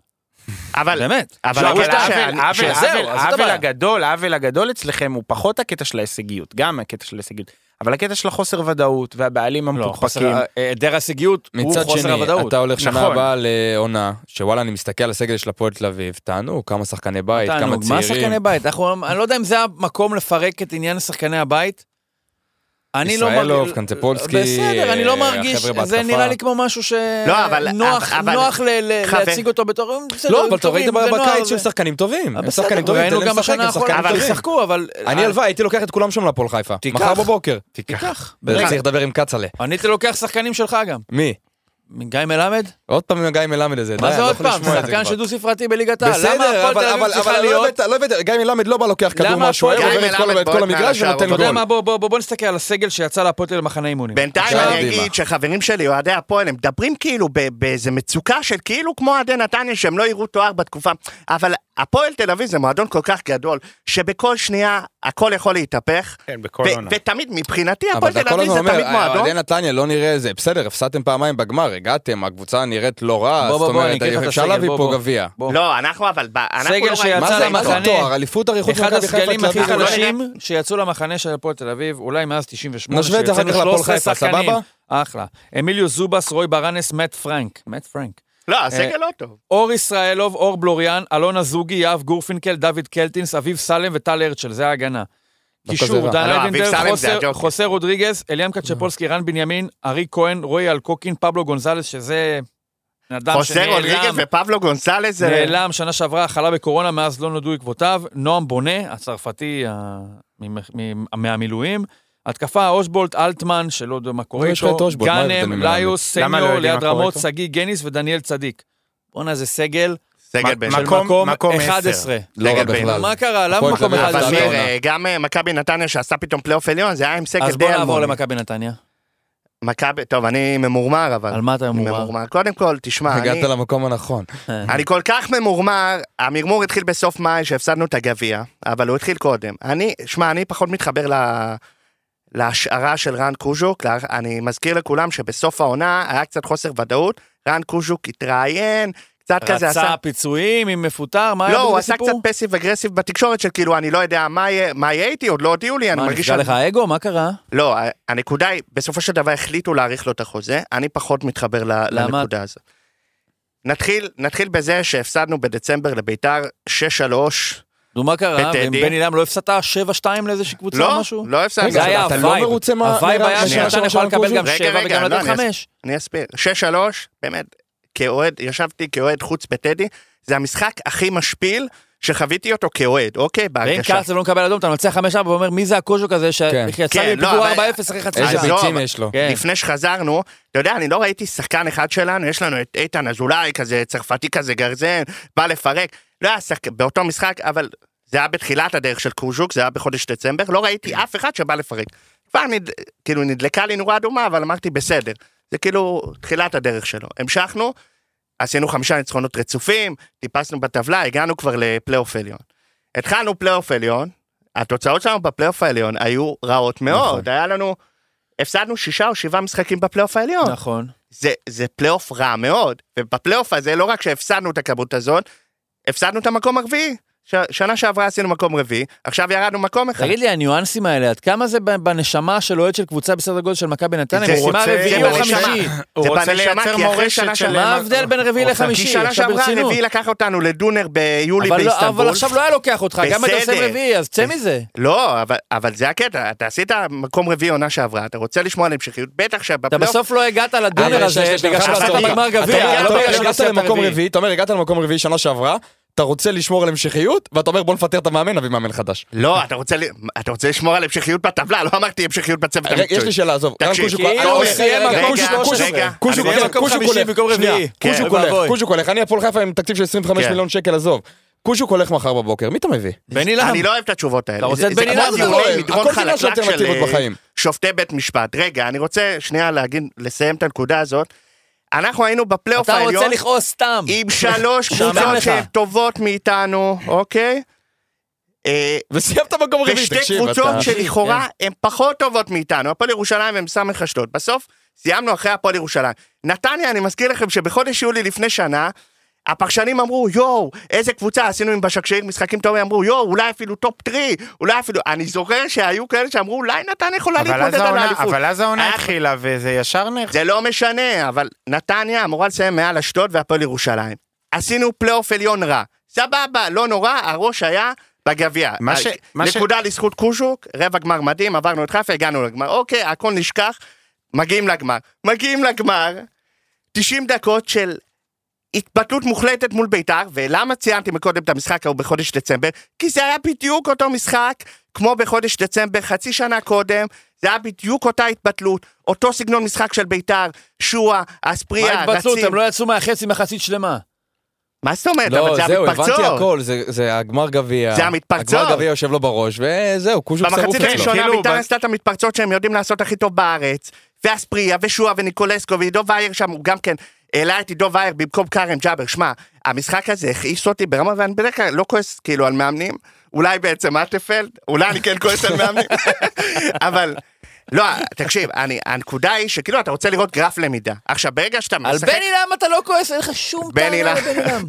C: אבל
B: באמת.
C: אבל
B: נשארו
D: לא, אבל
C: הקטע
B: שתיים.
C: שאני-
D: העוול, העוול,
B: שזהו, אז
D: העוול,
B: זאת
D: העוול
B: הבעיה.
D: הגדול, העוול הגדול אצלכם הוא פחות הקטע של ההישגיות, גם הקטע של ההישגיות, אבל הקטע של החוסר ודאות והבעלים
B: לא, חוסר-
D: המפוקפקים.
B: היעדר ההישגיות הוא
E: אה, מצד
B: חוסר
E: שני,
B: הוודאות.
E: אתה הולך שנה
D: נכון.
E: הבאה לעונה, שוואלה, אני מסתכל על הסגל של הפועל תל אביב, תענו, כמה שחקני בית, כמה
B: תענוג, מה שחקני
E: צעירים.
B: בית? אנחנו- אני לא יודע אם זה המקום לפרק את עניין שחקני הבית. אני לא
E: ישראלוב,
B: מרגיש...
E: קנצפולסקי,
B: בסדר, אני לא
E: אה,
B: מרגיש...
E: החבר'ה
B: זה
E: בהתקפה.
B: נראה לי כמו משהו
C: לא, אבל-
B: שנוח
C: אבל-
B: נוח ל- ל-
C: חבר-
B: להציג אותו בתור... בסדר,
E: לא,
B: הם
E: אבל אתה ראית
B: טובים, זה נוער,
E: בקיץ
B: זה-
E: שהם שחקנים טובים. הם
B: בסדר,
E: שחקנים טובים,
B: ראינו
E: תן להם
B: גם
E: לשחק,
B: בשנה
E: הם
B: האחרונה,
E: שחקנים
B: אבל
E: טובים.
B: שיחקו, אבל...
E: אני הלוואי, הייתי לוקח את כולם שם להפועל חיפה.
B: תיקח.
E: מחר בבוקר.
B: תיקח.
E: רגע,
B: בטח.
E: צריך לדבר עם כצל'ה.
B: אני הייתי לוקח שחקנים שלך גם.
E: מי?
B: גיא מלמד?
E: עוד פעם עם גיא מלמד הזה, די,
B: מה
E: לא, אני
B: זה
E: לא
B: עוד
E: יכול
B: פעם?
E: לשמוע את זה
B: שחקן
E: כבר.
B: שדו ספרתי בליגת העל. למה
E: בסדר,
B: הפועל
E: אבל
B: תל אביב
E: אבל-
B: צריכה
E: אבל לא
B: להיות...
E: הבאת, לא הבאת, גיא מלמד לא בא לוקח כדור
B: למה
E: מה שהוא אוהב,
B: הפועל-
E: עובר
C: גיא
E: את כל-
C: מלמד
E: את כל
C: בעוד
E: המגרש
C: מהשער,
E: ונותן
B: אתה יודע
E: גול.
B: מה? בוא- בוא בוא- בוא נסתכל על הסגל שיצא להפועל תל מחנה אימונים.
C: בינתיים
E: עכשיו-
C: אני
E: קדימה.
C: אגיד שחברים שלי, אוהדי הפועל, הם מדברים כאילו ב- באיזה מצוקה של כאילו כמו אוהדי נתניה, שהם לא יראו תואר בתקופה. אבל הפועל תל אביב זה מועדון כל כך גדול, שבכל שנייה הכל יכול להתהפך.
D: כן, בכל
C: ו-
D: עונה.
C: ותמיד, מבחינתי,
E: אבל
C: הפועל
E: אתה
C: תל
E: כל
C: אביב
E: הזמן
C: זה תמיד
E: אומר, אה,
C: מועדון.
E: אוהדי נתניה לא נראה זה, בסדר, הפסדתם פעמיים בגמר, הגעתם, הקבוצה נראית לא רע,
B: בוא,
E: זאת
B: בוא, בוא, אני
E: אומרת,
B: אקריא לך את
E: אפשר
B: הסגל,
E: להביא
B: בוא,
E: פה
B: בוא.
E: גביע.
B: בוא.
C: לא, אנחנו אבל, ב- אנחנו
B: סגל
C: לא ראינו...
B: שיצא
E: מה זה, מה זה
B: למחנה.
E: תואר, אליפות אריכות
B: אחד
E: מכבי חיפה,
B: הסגלים הכי
E: תלת-לאומית.
B: חלשים שיצאו למחנה של הפועל תל אביב, אולי מאז 98,
E: נשווה את זה אחר כך
B: שיצאנו
E: להפועל
B: 13
E: חיפה,
B: שחקנים.
E: סבבה?
B: אחלה. אמיליו זובס, רוי ברנס, מאט פרנק. מאט פרנק.
C: לא, הסגל לא טוב.
B: אור ישראלוב, אור בלוריאן, אלונה זוגי, יהב גורפינקל, דוד קלטינס, אביב סלם וטל הרצ'ל, זה ההגנה.
E: דווקא זה
B: קישור,
E: רע.
B: דן
C: לא, אביב
B: אייבנדר,
C: סלם זה
B: חוסר-
C: הג'וקר.
B: חוסר רודריגז, אליאם קצ'פולסקי, רן בנימין, ארי כהן, רועי אלקוקין, פבלו גונזלס, שזה... אדם
C: חוסר רודריגז
B: שנעלם.
C: ופבלו גונסלז זה...
B: נעלם שנה שעברה, חלה בקורונה, מאז לא נודעו עקבותיו. נועם בונה, הצרפתי ה- ממ- מ- מהמילואים. התקפה, אושבולט, אלטמן, שלא יודע מה קורה
E: לא, יש לך את
B: איתו.
E: אושבולט, מה ההבדל
B: גאנם,
E: ממנו?
B: ליוס,
D: למה לא
B: סניו,
D: יודעים מה
B: ליד
D: קורה
B: רמות,
D: איתו?
B: שגיא גניס ודניאל צדיק. בואנה, זה סגל
C: סגל
D: מ-
C: בן
D: מקום-
B: של מקום,
D: מקום עשר.
B: 11.
E: לא רע
C: סגל בינוני.
E: בכלל.
B: מה קרה? למה
E: הפועל
B: מקום
E: תל אביב
B: אחד
E: עשתה
C: אבל
B: עשרה?
C: ניר,
E: עונה.
C: אה, גם אה, מכבי נתניה שעשה פתאום פלייאוף עליון, זה היה עם סגל די
B: אז בוא נעבור
C: אלמוני.
B: למכבי נתניה.
C: מכבי, טוב, אני ממורמר אבל.
B: על מה אתה
C: אני
B: ממורמר?
C: קודם כל, תשמע, אני...
E: הגעת למקום הנכון.
C: אני כל כך ממורמר, המרמור התחיל בסוף מאי שהפסדנו את הגביע, אבל הוא התחיל קודם. אני, שמע, אני פחות מתחבר ל... להשערה של רן קוז'וק, לה- אני מזכיר לכולם שבסוף העונה היה קצת חוסר ודאות, רן קוז'וק התראיין, קצת כזה עשה...
B: רצה פיצויים אם מפוטר, מה היה
C: לא, הוא
B: בזה
C: עשה
B: סיפור?
C: קצת פסיב אגרסיב בתקשורת של כאילו, אני לא יודע מה יהיה מה יהיה איתי, עוד לא הודיעו לי, אני
B: מה,
C: מרגיש...
B: נפגע
C: שאני-
B: לך האגו? מה קרה?
C: לא, ה- הנקודה היא, בסופו של דבר החליטו להאריך לו את החוזה, אני פחות מתחבר ל-
B: למה?
C: לנקודה הזאת. נתחיל, נתחיל בזה שהפסדנו בדצמבר לביתר 6-3.
B: נו, מה קרה?
C: בטדי.
B: ואם בני לם לא הפסדת 7-2 לאיזושהי קבוצה או
C: לא,
B: משהו?
C: לא הפסדנו.
B: זה היה
E: אתה לא
B: הווייב.
E: מרוצה מה-
B: הווייב
E: מה-
B: היה
C: מה
B: שנתן
E: שהיה
B: יכול
E: שם
B: לקבל גם
C: קוז'וב?
B: 7
C: רגע, רגע,
B: וגם
C: לא,
B: לתת
C: אני
B: 5.
C: אני אסביר. 6-3, באמת, כאוהד, ישבתי כאוהד חוץ בטדי, זה המשחק הכי משפיל שחוויתי אותו כאוהד, אוקיי?
B: ואם
C: בהרגשה.
B: קרצב לא מקבל אדום, אתה מנצח 5-4 ואומר, מי זה הקוז'וק הזה
E: כן.
B: שיצא לי
C: כן, לא,
B: בפיגור 4-0
C: אבל- לא.
B: אחרי חצי
E: איזה
C: עזוב,
B: שעה?
E: ביצים יש לו.
B: כן.
C: לפני שחזרנו, אתה יודע, אני לא ראיתי שחקן אחד שלנו, יש לנו את איתן אזולאי, כזה צרפתי כזה גרזן, בא לפרק, לא היה שחק... באותו משחק, אבל זה היה בתחילת הדרך של קוז'וק, זה היה בחודש דצמבר, לא ראיתי אף אחד שבא לפרק. כבר נד... כאילו נדלקה לי נורה אדומה, אבל אמרתי בסדר. זה כאילו תחילת הדרך שלו. המשכנו, עשינו חמישה ניצחונות רצופים, טיפסנו בטבלה, הגענו כבר לפלייאוף עליון. התחלנו פלייאוף עליון, התוצאות שלנו בפלייאוף העליון היו רעות מאוד. נכון. היה לנו, הפסדנו שישה או שבעה משחקים בפלייאוף העליון. נכון.
B: נכון.
C: זה, זה פלייאוף רע מאוד, ובפלייאוף הזה לא רק שהפסדנו את הכמות הזאת, הפסדנו את המקום הרביעי. ש... שנה שעברה עשינו מקום רביעי, עכשיו ירדנו מקום אחד.
B: תגיד לי, הניואנסים האלה, עד כמה זה ב- בנשמה של אוהד של קבוצה בסדר גודל של מכבי נתניה?
C: זה
B: משימה
C: רוצה-
B: רביעי
C: זה
B: או
C: בנשמה.
B: חמישי?
D: הוא
C: זה
D: רוצה
C: בנשמה,
D: לייצר
C: כי אחרי שנה
D: מורשת של...
C: שלמה-
B: מה ההבדל בין רביעי
D: רוצה-
B: לחמישי?
C: כי שנה
B: עכשיו
C: שעברה
B: ברצינות.
C: רביעי לקח אותנו לדונר ביולי
B: אבל לא-
C: באיסטנבול.
B: אבל עכשיו לא היה לוקח אותך, גם אתה עושה
C: בסדר.
B: רביעי, אז צא
C: בס-
B: מזה.
C: לא, אבל, אבל זה הקטע, אתה עשית מקום רביעי עונה שעברה, אתה רוצה לשמור על המשכיות, בטח
B: אתה
C: שבפלייאוף...
B: בסוף לא הגעת לדונר
E: אבל
B: הזה
E: יש- יש לך
B: בגלל
E: עכשיו
B: שהפסדת
E: לעצור.
B: בגמר גביע,
E: אתה
B: לא
E: אומר,
B: בגלל
E: הגעת
B: שהפסדת
E: למקום
B: ברביעי.
E: רביעי, אתה אומר, הגעת למקום רביעי שנה שעברה, אתה רוצה לשמור על המשכיות, ואתה אומר, בוא נפטר את המאמן, נביא מאמן חדש.
C: לא, אתה רוצה, ל- אתה רוצה לשמור על המשכיות בטבלה, לא אמרתי המשכיות בצוות
E: רגע,
C: המקצועי.
E: יש לי שאלה, עזוב. רן
C: תקשיב,
E: קוז'וק-
C: כאילו,
E: לא,
C: הוא
E: רגע,
C: סיים
E: רגע,
C: מקום
E: רגע,
C: שלוש,
E: קוז'וק-
C: רגע.
E: קוז'וק
B: אני
E: הולך,
B: מקום
E: קוז'וק
B: חמישי
E: הולך.
B: במקום
E: שנייה,
B: רביעי.
E: קוז'וק
B: כן,
E: הולך,
B: ואבוי.
E: קוז'וק הולך. אני הפועל חיפה עם תקציב של 25
C: כן.
E: מיליון שקל, עזוב. קוז'וק הולך מחר בבוקר, מי אתה מביא?
B: בני לם.
C: אני לא אוהב את התשובות האלה.
B: אתה רוצה
C: זה-
B: את
C: זה
B: בני
C: כמו
B: לם?
C: דיוני
E: לא אוהב.
C: מדרון
E: הכל זה עניין של
C: חלקלק של,
E: אלטרנטיבות
C: אה,
E: בחיים.
C: שופטי בית משפט. רגע, אני רוצה שנייה להגיד, לסיים את הנקודה הזאת. אנחנו היינו בפלייאוף
B: אתה רוצה
C: העליון
B: לכעוס סתם.
C: עם
B: [LAUGHS]
C: שלוש קבוצות
B: לך.
C: שהן טובות מאיתנו, אוקיי? אה,
E: וסיימת מקום רביעי,
C: ושתי
E: תקשיב,
C: קבוצות
D: כן.
E: אתה...
C: שלכאורה הן פחות טובות מאיתנו, הפועל ירושלים וסמך אשדוד. בסוף סיימנו אחרי הפועל ירושלים. נתניה, אני מזכיר לכם שבחודש יולי לפני שנה, הפרשנים אמרו, יואו, איזה קבוצה עשינו עם בשקשיר, משחקים טובים, אמרו, יואו, אולי אפילו טופ טרי, אולי אפילו... אני זוכר שהיו כאלה שאמרו, אולי נתניה יכולה
D: אבל אז
C: להתמודד על
D: העונה-
C: האליפות.
D: אבל אז העונה
C: היה-
D: התחילה וזה ישר נח...
C: זה לא משנה, אבל נתניה אמורה לסיים מעל אשדוד והפועל ירושלים. עשינו פלייאוף עליון רע. סבבה, לא נורא, הראש היה בגביע.
D: מה ש-
C: אה,
D: מה ש-
C: נקודה לזכות קוז'וק, רבע גמר מדהים, עברנו את חיפה, הגענו לגמר. אוקיי, הכל נשכח, מגיעים לגמר. מגיעים לגמר, 90 דקות של התבטלות מוחלטת מול ביתר, ולמה ציינתי מקודם את המשחק ההוא בחודש דצמבר? כי זה היה בדיוק אותו משחק כמו בחודש דצמבר, חצי שנה קודם, זה היה בדיוק אותה התבטלות, אותו סגנון משחק של ביתר, שועה,
B: מה
C: אספריה,
B: התבטלות?
C: רצים.
B: הם לא יצאו מהחצי מחצית שלמה.
C: מה זאת אומרת? אבל
E: לא,
C: זה
E: זהו, הבנתי
C: המתפרצות.
E: הכל, זה- זה הגמר גביע.
C: זה המתפרצות.
E: הגמר גביע יושב לו בראש, וזהו, קוז'וק שרוף
C: במחצית
E: אצלו.
C: הראשונה
D: כאילו,
C: ביתר
D: ב-
C: עשתה את המתפרצות שהם יודעים לעשות הכי טוב בארץ, ואספריה, ושועה, וניקולסקו, ועידו וייר שם, הוא גם כן העלה את עידו וייר במקום כרם ג'אבר. שמע, המשחק הזה הכעיס אותי ברמה, ואני בדרך כלל לא כועס כאילו על מאמנים, אולי בעצם אטפלד, אולי אני כן כועס על מאמנים, [LAUGHS] אבל... לא, תקשיב, אני, הנקודה היא שכאילו אתה רוצה לראות גרף למידה. עכשיו, ברגע שאתה
B: על
C: משחק...
B: בני לם אתה לא כועס, אין לך שום טענה
C: בני לם.
B: לבני לם.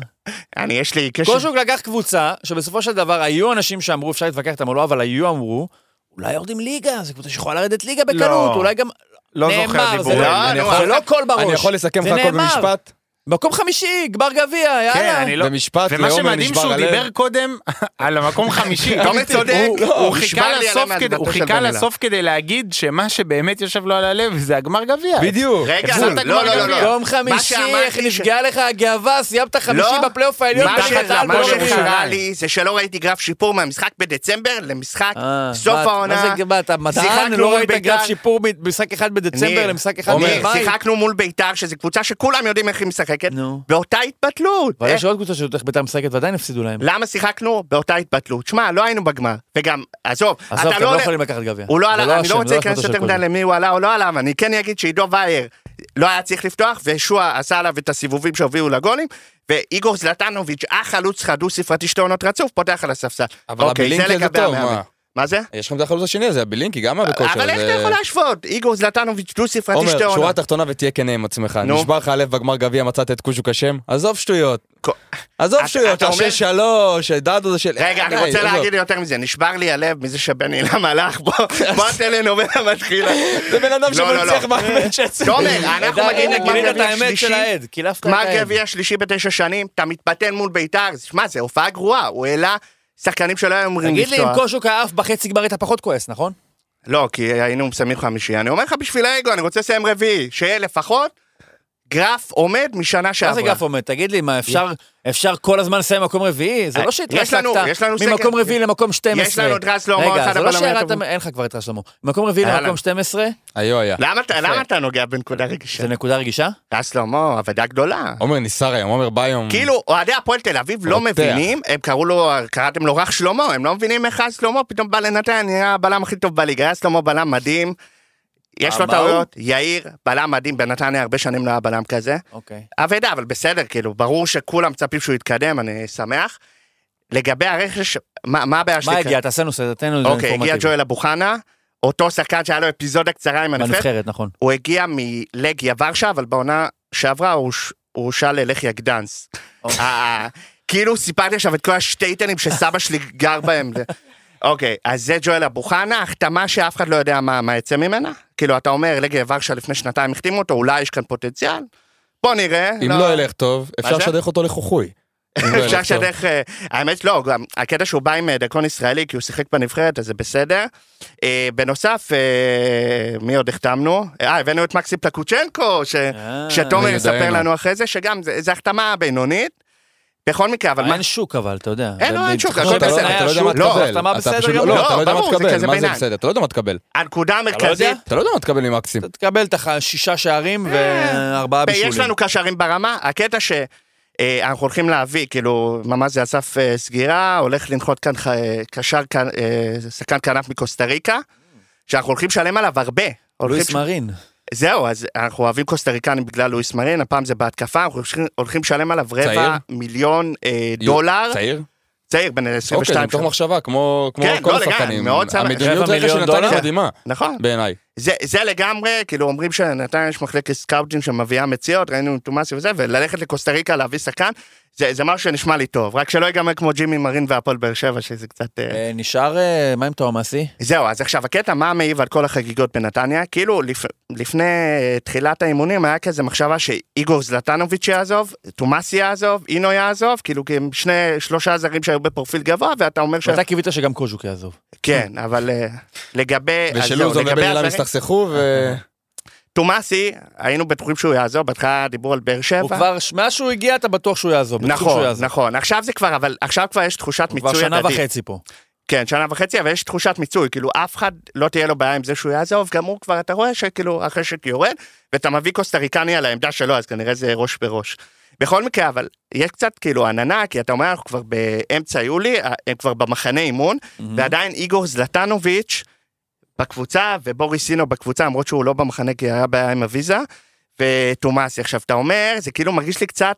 C: אני, יש לי קשר...
B: קוז'וק לקח קבוצה, שבסופו של דבר היו אנשים שאמרו, אפשר להתווכח איתם או לא, אבל היו אמרו, אולי יורדים ליגה, זו קבוצה שיכולה לרדת ליגה בקלות,
D: לא.
B: אולי גם...
D: לא
B: נאמר,
D: זוכר
B: זה
D: דיבורים.
B: לא-
C: אני
B: זה
C: יכול-
B: לא קול בראש.
E: אני יכול לסכם
B: זה
E: לך הכל
B: נאמר.
E: במשפט?
B: מקום חמישי, גמר גביע,
C: כן,
B: יאללה.
D: אני לא-
E: במשפט,
D: ומה
E: לעומר
D: שמדהים
E: נשבר
D: שהוא
E: הלב.
D: דיבר קודם [LAUGHS] על המקום חמישי.
C: תומר צודק,
D: הוא-
C: לא,
D: הוא
C: הוא נשבר
D: חיכה
C: לי עליהם
D: לסוף כדי-
C: מהתבטאות
D: הוא
C: של
D: חיכה
C: בן אדם.
D: לסוף כדי להגיד שמה שבאמת יושב לו על הלב זה הגמר גביע.
E: בדיוק.
C: רגע, לא,
D: הפסדת גמר
C: לא, לא,
D: גביע.
C: לא.
B: יום
C: מה
B: חמישי,
C: שאמרתי
B: איך
C: ש-
B: נפגעה לך הגאווה, סיימת חמישי
C: לא.
B: בפלייאוף העליון,
C: מה
B: תחת
C: ש-
B: על
C: מה
B: בראש
C: שקרה
B: ירושלים.
C: לי זה שלא ראיתי גרף שיפור מהמשחק בדצמבר למשחק
B: אה,
C: סוף
B: מה-
C: העונה.
B: מה זה, מה, אתה מדען,
C: שיחקנו
B: לא
C: מול
B: ראית
C: בית"ר.
B: גרף שיפור ממשחק אחד בדצמבר
C: ניר,
B: למשחק אחד
C: ניר,
B: במאי?
C: שיחקנו מול ביתר, שזו קבוצה שכולם יודעים איך היא משחקת,
B: נו.
C: באותה התבטלות.
B: אבל
C: איך-
B: יש עוד קבוצה שיודעת איך בית"ר משחקת ועדיין הפסידו להם.
C: למה שיחקנו באותה התבטלות? שמע, לא היינו בגמר. וגם, עזוב,
B: עזוב,
C: אתה
B: אתם
C: לא
B: לא
C: עולה-
B: יכולים לקחת גביע.
C: הוא לא
B: זה
C: עלה, אני
B: אשם,
C: לא רוצה
B: אשמתו
C: להיכנס
B: של
C: יותר
B: קוז'וק.
C: מדי למי הוא עלה או לא עלה, אבל אני כן אגיד שעידו וייר לא היה צריך לפתוח, ושועה עשה עליו את הסיבובים שהובילו לגולים, ואיגור זלטנוביץ', החלוץ חדו ספרתי שתי עונות רצוף, פותח על הספסל.
E: אבל
C: אוקיי,
E: הבלינקל זה
C: לגבי
E: טוב,
C: המאמן.
E: מה?
C: מה זה?
E: יש לכם את החלוץ השני הזה, הבילינקי גם היה בכושר.
C: אבל איך
E: זה-
C: אתה יכול להשוות? איגור זלטנוביץ' דו ספרתי שתי
E: עומר, שורה
C: עונות.
E: תחתונה ותהיה כנה עם עצמך.
C: נו.
E: נשבר לך הלב בגמר גביע, מצאת את קוז'וק אשם? עזוב שטויות.
C: כ-
E: עזוב
C: אתה-
E: שטויות,
C: אתה אומר-
E: השש שלוש, דאדו זה של...
C: רגע, אני
E: די,
C: רוצה
E: עזוב.
C: להגיד יותר מזה, נשבר לי הלב מזה שבן [LAUGHS] אילם הלך, בוא, בוא טלנובלה מתחילה.
E: [LAUGHS] זה בן אדם
C: לא, לא,
E: שמנצח
C: לא.
E: במנצ'סטר.
C: תומר, אנחנו מגיעים
B: הנה, גילית
C: לגמר
B: את
C: גביע
B: האמת של
C: שלישי,
B: העד, קילפת את
C: גמר
B: העד.
C: גביע שלישי בתשע שנים, אתה מתפתל מול ביתר, שמע, זו הופעה גרועה, הוא העלה שחקנים שלא היו אמורים
B: תגיד לי, אם
C: לפתוח.
B: קושוק היה עף בחצי גמר היית פחות כועס, נכון?
C: לא, כי היינו שמים חמישייה, אני אומר לך בשביל האגו, אני רוצה לסיים רביעי, שיהיה לפחות גרף עומד משנה שעברה.
B: מה זה גף עומד? תגיד לי, מה, אפשר- אפשר כל הזמן לסיים מקום רביעי? זה
C: אה,
B: לא
C: יש לנו-
B: שהתרסקת
C: יש לנו
B: ממקום
C: סגל.
B: רביעי למקום 12.
C: יש לנו את רז שלמה,
B: רגע,
C: אחד
B: זה לא
C: הבלמים
B: שירדת,
C: הטובים. אה, לא.
B: אין לך כבר את רז שלמה. ממקום רביעי
C: יאללה.
B: למקום 12,
E: היו היה.
C: למה אתה- למה אתה נוגע בנקודה רגישה?
B: זה נקודה רגישה?
C: טס שלמה, עבודה גדולה.
E: עומר ניסר היום, עומר בא היום.
C: כאילו, אוהדי הפועל תל אביב לא
E: רותח.
C: מבינים, הם קראו לו, קראתם לו רך שלמה, הם לא מבינים איך רז שלמה פתאום בא לנתן, נהיה הבלם הכי טוב בליגה, רז שלמה בלם מדהים, יש לו
B: אה, מה, מה הוא?
C: טעויות, יאיר, בלם מדהים, בנתניה הרבה שנים לא היה בלם כזה.
B: אוקיי.
C: אבדה, אבל בסדר, כאילו, ברור שכולם מצפים שהוא יתקדם, אני שמח. לגבי הרכש, מה מה הבעיה שלי?
B: מה
C: כאן?
B: הגיע? תעשה נושא, תן לנו את זה
C: אוקיי, הגיע
B: אינפורמטיבי.
C: ג'ואל אבוחנה, אותו שחקן שהיה לו אפיזודה קצרה עם הנבחרת,
B: בנבחרת, נכון.
C: הוא הגיע מלגיה ורשה, אבל בעונה שעברה הוא ש- הוא הורשע ללחיה גדנס. אה, כאילו סיפרתי עכשיו את כל השטייטנים שסבא שלי גר בהם. זה- אוקיי, אז זה ג'ואל אבוחנה, החתמה שאף אחד לא יודע מה מה יצא ממנה. כאילו, אתה אומר, לגיה ורשה לפני שנתיים החתימו אותו, אולי יש כאן פוטנציאל? בוא נראה.
E: אם לא ילך טוב, אפשר
C: זה?
E: לשדך אותו לחוכוי. אם לא
C: אפשר
E: ילך טוב.
C: שדרך, אה, האמת לא, גם הקטע שהוא בא עם אה, דרכון ישראלי כי הוא שיחק בנבחרת אז זה בסדר. אה, בנוסף, אה, מי עוד החתמנו? אה, הבאנו את מקסי פלקוצ'נקו, ש-
B: אה,
C: שתומר
E: אני
C: יספר
E: יודע,
C: לנו אחרי זה, שגם זה זה החתמה בינונית. בכל מקרה,
E: אה,
C: אבל מה...
B: אין שוק אבל, אתה יודע.
C: אין, לא, אין שוק, הכל
E: אתה לא-
C: בסדר.
E: אתה לא יודע
C: שוק,
E: מה
C: לא,
E: תקבל.
A: החתמה
E: אתה
A: בסדר
E: פשוט-
A: גמור.
E: לא, אתה לא יודע מה
C: ברור, זה
E: תקבל.
C: כזה
E: מה זה
C: ביניים.
E: בסדר? אתה לא יודע מה תקבל.
C: הנקודה המרכזית, אה,
E: אתה לא יודע מה תקבל ממקסים.
A: תקבל את הח- שישה שערים וארבעה בישולים.
C: יש לנו קשרים ברמה, הקטע ש... אה, אנחנו הולכים להביא, כאילו, ממש זה אסף אה, סגירה, הולך לנחות כאן ח- אה, קשר, כאן, אה, שחקן כנף מקוסטה ריקה, שאנחנו הולכים לשלם עליו הרבה. הולכים-
B: לואיס מרין.
C: זהו, אז אנחנו אוהבים קוסטריקנים בגלל לואיס מרין, הפעם זה בהתקפה, אנחנו הולכים- הולכים לשלם עליו
E: צעיר?
C: רבע מיליון אה, דולר.
E: צעיר?
C: צעיר, בן
E: אוקיי, זה
C: 22.
E: מתוך מחשבה, כמו כמו
C: כן,
E: כל
C: לא, לגמרי,
E: השחקנים.
C: מאוד שמח.
E: המדיניות
A: רבע
E: רכש של
A: מיליון
E: נתניה
A: דולר?
C: [LAUGHS]
E: מדהימה,
C: נכון.
E: בעיניי.
C: זה, זה לגמרי, כאילו אומרים שנתניה יש מחלקת סקאוטים שמביאה מציאות, ראינו עם תומאסי וזה, וללכת לקוסטה ריקה להביא שחקן, זה, זה משהו שנשמע לי טוב, רק שלא ייגמר כמו ג'ימי מרין והפועל באר שבע, שזה קצת... אה...
B: אה, נשאר, אה, מה עם תואמסי?
C: זהו, אז עכשיו הקטע, מה מעיב על כל החגיגות בנתניה? כאילו, לפ... לפני אה, תחילת האימונים היה כזה מחשבה שאיגור זלטנוביץ' יעזוב, תומאסי יעזוב, אינו יעזוב, כאילו, כי הם שני, שלושה זרים שהיו בפרופיל גבוה, ואתה אומר ש...
B: אתה קיווית שגם קוז'וק יעזוב.
C: כן, אבל אה, לגבי... אז זהו,
E: ושלוזון
C: לגבי
E: ובן אילם
C: הזרים-
E: הסתכסכו,
C: [LAUGHS]
E: ו...
C: תומאסי, היינו בטוחים שהוא יעזוב, בהתחלה דיברו על באר שבע.
A: הוא כבר, מאז שהוא הגיע אתה בטוח שהוא יעזוב. בטוח שהוא
C: נכון,
A: יעזוב.
C: נכון. עכשיו זה כבר, אבל עכשיו כבר יש תחושת
A: הוא כבר
C: מיצוי
A: שנה
C: הדדית.
A: וחצי פה.
C: כן, שנה וחצי, אבל יש תחושת מיצוי. כאילו, אף אחד לא תהיה לו בעיה עם זה שהוא יעזוב, גם הוא כבר, אתה רואה שכאילו החשק יורד, ואתה מביא קוסטריקני על העמדה שלו, אז כנראה זה ראש בראש. בכל מקרה, אבל יש קצת כאילו עננה, כי אתה אומר, אנחנו כבר באמצע יולי, אה, הם כבר במחנה אימון, Mm-hmm. ועדיין איגור זלטנוביץ' בקבוצה, ובוריס סינו בקבוצה, למרות שהוא לא במחנה כי היה בעיה עם הוויזה, ותומאסי. עכשיו, אתה אומר, זה כאילו מרגיש לי קצת,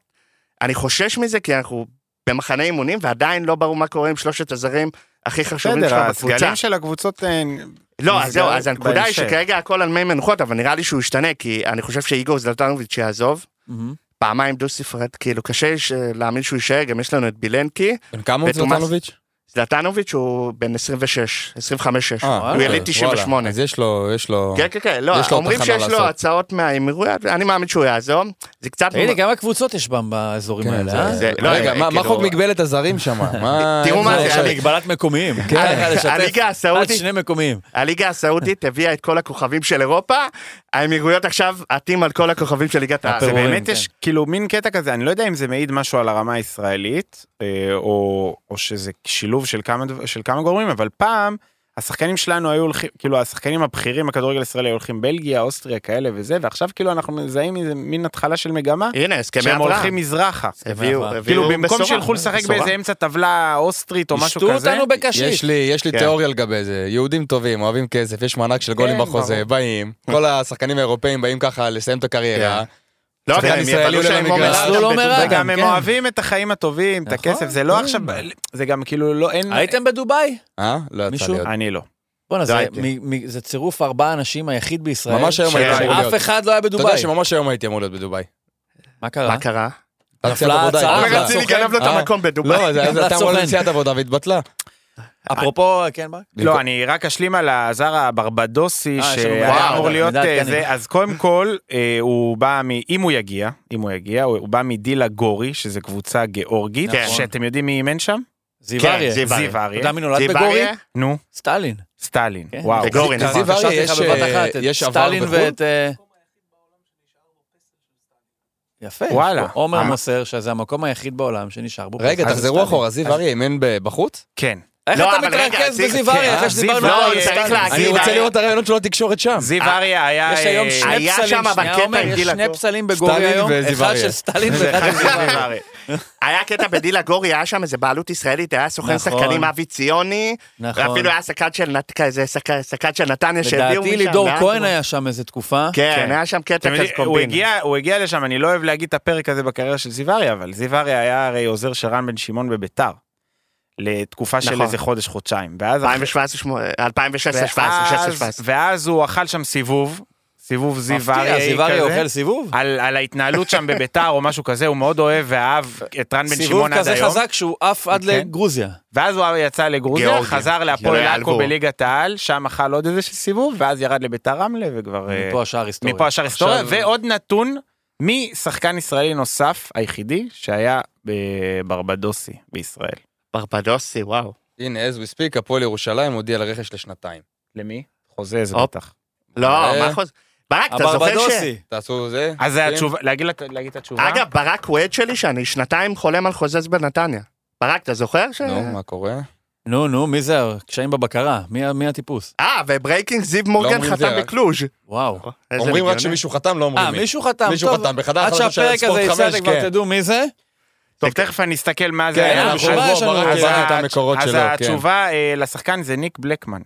C: אני חושש מזה, כי אנחנו במחנה אימונים, ועדיין לא ברור מה קורה עם שלושת הזרים הכי חשובים שלך
D: בסדר,
C: בקבוצה.
D: הסגלים של הקבוצות אה, הן...
C: לא, אז
D: נסגר
C: זהו, אז הנקודה היא
D: בהמשך.
C: שכרגע הכל על מי מנוחות, אבל נראה לי שהוא ישתנה, כי אני חושב שאיגור זלטנוביץ' יעזוב.
D: Mm-hmm.
B: מהמם.
C: פעמיים דו ספרת, כאילו קשה ש- להאמין שהוא יישאר, גם יש לנו את בילנקי.
E: בן כמה הוא
C: ותומאס-
E: זלטנוביץ'?
C: זלטנוביץ' הוא בן 26, 25-6.
E: אה,
C: הוא
E: אוקיי,
C: יליד 98.
E: וואלה. אז יש לו, יש לו...
C: כן, כן, כן,
E: יש לו
C: לא,
E: עוד
C: אומרים
E: תחנה
C: שיש לו
E: לעשות.
C: הצעות מהאמירויות, אני מאמין שהוא יעזוב. זה קצת...
B: תגיד לי, כמה קבוצות יש בם באזורים
E: כן,
B: האלה,
E: זה-
B: אה?
C: זה- לא,
E: רגע,
C: אה,
E: מה- מה
C: כאילו-
E: חוק מגבלת הזרים
C: [LAUGHS]
E: שם? מה...
C: תראו מה
E: איך
C: זה,
E: עכשיו?
C: אני-
B: מגבלת [LAUGHS] מקומיים.
E: כן.
B: הליגה
C: הליגה
B: הסעודית.
C: הסעודית-
B: עד שני מקומיים.
C: הליגה הסעודית הביאה את כל הכוכבים של אירופה, האמירויות עכשיו עטים על כל הכוכבים של ליגת העל.
D: אה, זה
B: הפירורים,
D: באמת
B: כן.
D: יש כאילו מין קטע כזה, אני לא יודע אם זה מעיד משהו על הרמה הישראלית, אה, או או שזה שילוב של כמה דב- של כמה גורמים, אבל פעם השחקנים שלנו היו הולכים, כאילו השחקנים הבכירים בכדורגל הישראלי היו הולכים בלגיה, אוסטריה כאלה וזה, ועכשיו כאילו אנחנו מזהים איזה מין התחלה של מגמה,
C: הנה, הסכמי
D: שהם הולכים
C: אברהם.
D: מזרחה.
C: הביאו,
B: כאילו,
D: כאילו
C: כן, הביאו
D: במקום
C: בשורה.
D: שילכו לשחק
C: בשורה.
D: באיזה אמצע טבלה אוסטרית או משהו
B: שתו
D: כזה,
B: אותנו בקשיש.
E: יש לי, יש לי
C: כן.
E: תיאוריה לגבי זה, יהודים טובים, אוהבים כסף, יש מענק של גולים
D: כן,
E: בחוזה,
D: ברור.
E: באים, כל השחקנים האירופאים באים ככה לסיים את הקריירה,
C: לא רק
E: שחקן
C: הם
E: ישראלי
C: יבלו
E: עולה
C: שהם עומר
E: למגרש.
C: אדם
B: עשו לו
C: בדובאי.
B: מרע.
D: וגם הם
B: כן.
D: אוהבים את החיים הטובים, את
B: נכון,
D: הכסף, זה
C: כן.
D: לא עכשיו, זה גם כאילו לא, אין...
B: הייתם בדובאי?
E: אה? לא יצא
B: מישהו?
E: לי עוד.
D: אני לא.
B: בואנה, זה-
C: הייתי.
B: מ- מ- זה צירוף ארבעה אנשים היחיד בישראל.
E: ממש
C: כן,
E: היום הייתי אמור להיות.
B: שאף אחד לא היה
E: אתה יודע
B: בדובאי.
E: שממש היום הייתי אמור להיות בדובאי.
B: מה קרה?
C: מה קרה?
E: נפלה
B: ההצעה.
E: עבודה,
B: עומר
E: התבטלה.
B: רציני
C: גנב לו את
E: אה.
C: המקום בדובאי.
E: לא, זה
B: גם
E: זה הייתה אמורה
B: לסוכן.
E: לנסיעת עבודה והתבטלה.
B: אפרופו, כן, ברק?
D: לא, אני רק אשלים על הזר הברבדוסי
B: אה, יש לנו
D: שהיה
B: וואו, כן,
D: אמור להיות
B: מידע
D: אה,
B: עדכני.
D: זה, אז קודם כל, אה, הוא בא מ... אם הוא יגיע, אם הוא יגיע, הוא הוא בא מדילה גורי, שזו קבוצה גיאורגית,
C: נכון.
D: שאתם יודעים מי אימן שם?
B: זיו
C: כן,
B: אריה.
C: זיו אריה.
D: זיו
B: אתה
D: אריה.
B: יודע מי נולד
C: זיו
B: בגורי?
C: אריה?
D: נו,
B: סטלין.
D: סטלין,
B: כן.
D: וואו.
C: וגורי,
B: נכון,
E: לזיו אריה
B: חשבתי
E: יש,
B: לך בבת
E: אה,
B: אחת, את
E: יש עבר
B: סטלין
E: בחו"ל?
B: ואת... אה, יפה, יש
D: וואלה.
B: פה עומר
D: אה.
B: מוסר, שזה המקום היחיד בעולם שנשאר בו.
E: רגע,
B: פרס
E: תחזרו
B: לסטלין.
E: אחורה, זיו אריה אימן ב- בחוץ?
D: כן.
B: איך
C: לא,
B: אתה
C: אבל רגע,
B: מתרכז
C: זיו-
B: בזיו אריה
D: אה,
B: אחרי שדיברנו
D: זיו
B: על
D: אריה,
B: סטלין?
C: צריך להגיד,
E: אני רוצה לראות את הרעיונות של התקשורת שם.
D: זיו אריה היה...
B: אה, יש היום
D: אה,
B: שני
C: היה
B: פסלים,
C: שם, אבל
B: שנייה
C: קטע
B: עומר,
C: עם
B: יש
C: גילה
B: שני
C: גור.
B: פסלים בגורי
E: סטלין
B: היום,
E: וזיו
B: אחד
E: אריה.
B: של סטלין ואחד של זיו אריה. [LAUGHS]
C: היה קטע בדילה גורי, היה שם איזה בעלות ישראלית, היה סוכן
B: נכון.
C: שחקנים אבי ציוני,
B: נכון.
C: ואפילו היה סקד של נת- כזה סק- סקד של נתניה שהביאו משם.
B: לדעתי לידור
C: ואז-
B: כהן היה שם איזה תקופה.
C: כן,
D: כן.
C: היה שם קטע
D: אתם
C: כזה
D: יודעים, הוא
C: קומבינה.
D: הגיע, הוא הגיע לשם, אני לא אוהב להגיד את הפרק הזה בקריירה של זיו אריה, אבל זיו אריה היה הרי עוזר של רן בן שמעון בביתר. לתקופה של
C: נכון.
D: איזה חודש, חודשיים. ואז אחרי-
C: 2016, 17,
D: ואז-
C: 17.
D: ואז הוא אכל שם סיבוב, סיבוב זיו
B: מפתיע,
D: אריה
B: אה, זיו אריה
D: כזה,
B: אוכל סיבוב?
D: על על ההתנהלות שם בביתר או משהו כזה, הוא מאוד אוהב ואהב את רן בן
B: סיבוב
D: שמעון עד
B: כזה
D: היום.
B: חזק שהוא עף עד
D: כן.
B: לגרוזיה.
D: ואז הוא יצא לגרוזיה,
C: גיאורגיה.
D: חזר להפועל
C: גיאורגיה,
D: עכו
C: אלבור.
D: בליגת העל, שם אכל עוד איזה סיבוב, ואז ירד לביתר רמלה וכבר... אה,
B: מפה השאר היסטוריה.
D: מפה השאר היסטוריה,
B: עכשיו-
D: ועוד נתון, מי שחקן ישראלי נוסף היחידי שהיה בברבדוסי בישראל?
C: ברבדוסי, וואו.
E: הנה, as we speak, הפועל ירושלים הודיע על רכש לשנתיים.
D: למי? חוזה זה
C: הופ.
D: בטח.
C: לא,
E: אה.
C: מה חוז... ברק, אתה זוכר ש...
B: הברבדוסי.
E: תעשו זה.
D: אז זה
E: כן.
D: התשובה, להגיד לת- להגיד את התשובה?
C: אגב, ברק הוא עד שלי שאני שנתיים חולם על חוזז בנתניה. ברק, אתה זוכר ש...
E: נו, מה קורה?
B: נו, נו, מי זה? קשיים בבקרה. מי ה- מי הטיפוס?
C: אה, וברייקינג זיו
B: לא,
C: מורגן
E: אומרים זה,
C: חתם
E: רק-
C: בקלוז'.
B: וואו.
C: איזה
E: אומרים רק
C: הגיוני.
E: שמישהו חתם, לא אומרים
B: אה,
E: מי.
B: מישהו חתם.
E: מישהו
B: טוב,
E: חתם, בחדר
B: עד
E: החדשות של
B: שהפרק הזה
E: ספורט
B: יצא,
E: חמש,
B: אתם כבר
E: כן.
B: תדעו מי זה.
D: טוב, תכף אני אסתכל מה זה
E: כן,
D: היה.
E: אנחנו
C: לא
B: בשביל מה יש לנו
E: בוא, ברק
B: אז
E: הבאנו
B: ה-
E: את המקורות
D: אז
E: שלו, כן.
D: התשובה אה, לשחקן זה ניק בלקמן.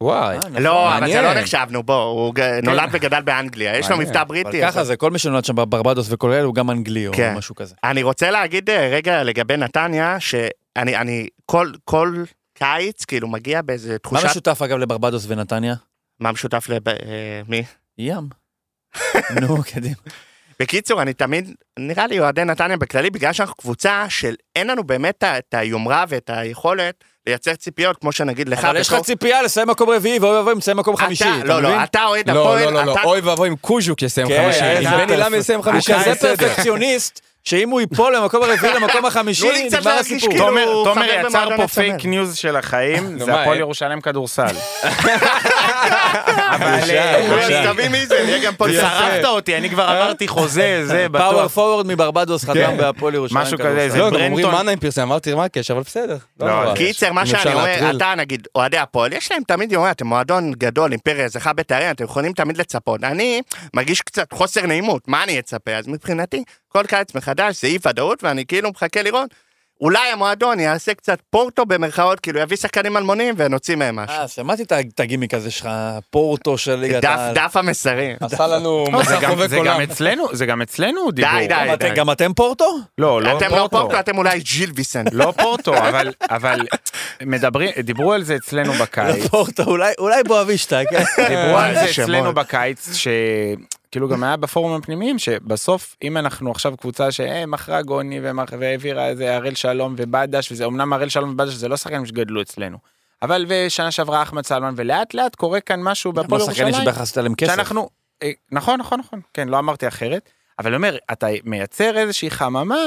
E: וואי.
B: אה,
C: לא, אבל זה
E: מעניין.
C: לא נחשבנו, בוא, הוא ג- נולד וגדל באנגליה, יש לו
E: מעניין.
C: מבטא
B: כן. אבל
C: בריטי.
B: ככה זה, כל מי שנולד שם בברבדוס וכל אלה הוא גם אנגלי או
C: כן.
B: משהו כזה.
C: אני רוצה להגיד אה, רגע לגבי נתניה, שאני אני כל- כל קיץ כאילו מגיע באיזה
B: מה
C: תחושת...
B: משותף אגב לברבדוס ונתניה?
C: מה משותף ל... אה, מי?
B: ים. נו, קדימה.
C: בקיצור, אני תמיד, נראה לי אוהדי נתניה בכללי, בגלל שאנחנו קבוצה של אין לנו באמת ה- את היומרה ואת היכולת לייצר ציפיות, כמו שנגיד לך.
B: אבל יש לך
C: בתור-
B: ציפייה לסיים מקום רביעי ואוי ואבוי אם תסיים מקום חמישי.
C: אתה-
B: אתה
C: לא,
B: מבין?
C: לא, אתה אוהד
E: לא,
C: הפועל,
E: לא, לא, לא,
C: אתה-
E: אוי ואבוי אם קוז'וק יסיים
B: כן,
E: חמישי,
B: איזה
E: אם בני לם יסיים
B: הוא
E: חמישי,
B: כזה
E: אז זה בסדר.
B: פרפקציוניסט, שאם הוא ייפול למקום הרביעי למקום החמישי,
C: תנו לי קצת
B: נגמר
C: להרגיש
B: הסיפור.
C: כאילו-
D: תומר
C: הוא
D: תומר
C: חבר
D: יצר
C: במועדון
D: פה
C: הצמרת.
D: פייק ניוז של החיים,
E: נו,
D: זה
E: מה,
D: הפועל
E: אה?
D: ירושלים
E: [LAUGHS]
D: כדורסל. אבל
C: אבל
D: אה, אני-
C: תבין מי זה, יהיה גם פה
D: שרפת אותי, אני
E: אה?
D: כבר עברתי חוזה,
E: [LAUGHS]
D: זה
B: פאוור
D: בטוח.
B: פורוורד מברבדוס חתם בהפועל ירושלים.
D: משהו כזה,
B: כדורסל.
D: זה
E: לא, גם
D: ברנטון-
E: אומרים מנהיים פרסם, אמרתי מה הקשר, אבל בסדר. לא
D: לא,
E: נורא.
C: קיצר, מה
E: אם
C: שאני
E: אפשר
C: אומר,
E: להטריל.
C: אתה נגיד, אוהדי הפועל, יש להם תמיד יומרה, אתם מועדון גדול, אימפריה, זכה בתארים, אתם יכולים תמיד לצפות. אני מרגיש קצת חוסר נעימות, מה אני אצפה? אז מבחינתי, כל קיץ מחדש זה אי ודאות, ואני כאילו מחכה לראות. אולי המועדון יעשה קצת פורטו במרכאות, כאילו יביא שחקנים אלמונים ונוציא מהם משהו.
B: אה, שמעתי את הגימיק הזה שלך, פורטו של ליגת
C: דף,
B: העל.
C: דף המסרים.
D: אה,
E: עשה לנו
D: זה
E: מסע
D: גם-
E: חובק
D: זה גם
E: עולם.
D: אצלנו, זה גם אצלנו דיבור.
C: די, די.
B: גם אתם- גם אתם פורטו?
D: לא, לא
C: אתם לא
D: פורטו.
C: פורטו, אתם אולי ג'יל ויסן.
D: לא פורטו, אבל- אבל מדברים, דיברו על זה אצלנו בקיץ.
C: אה,
B: לא [LAUGHS] פורטו, אולי- אולי בואבישטה,
C: [LAUGHS]
B: כן.
D: דיברו על אה, זה
C: איזה שמות.
D: אצלנו בקיץ, שכאילו גם היה בפורומים הפנימיים, שבסוף אם אנחנו עכשיו קבוצה שמכרה גוני ומח- והעבירה איזה הראל שלום ובדש, וזה אמנם הראל שלום ובדש זה לא שחקנים שגדלו אצלנו, אבל ושנה שעברה אחמד סלמן, ולאט לאט קורה כאן משהו
B: כמו
D: בהפועל
B: שחקנים
D: ירושלים,
B: שבכלל עשית עליהם כסף.
D: שאנחנו, אה, נכון נכון נכון, כן לא אמרתי אחרת, אבל אני אומר, אתה מייצר איזושהי חממה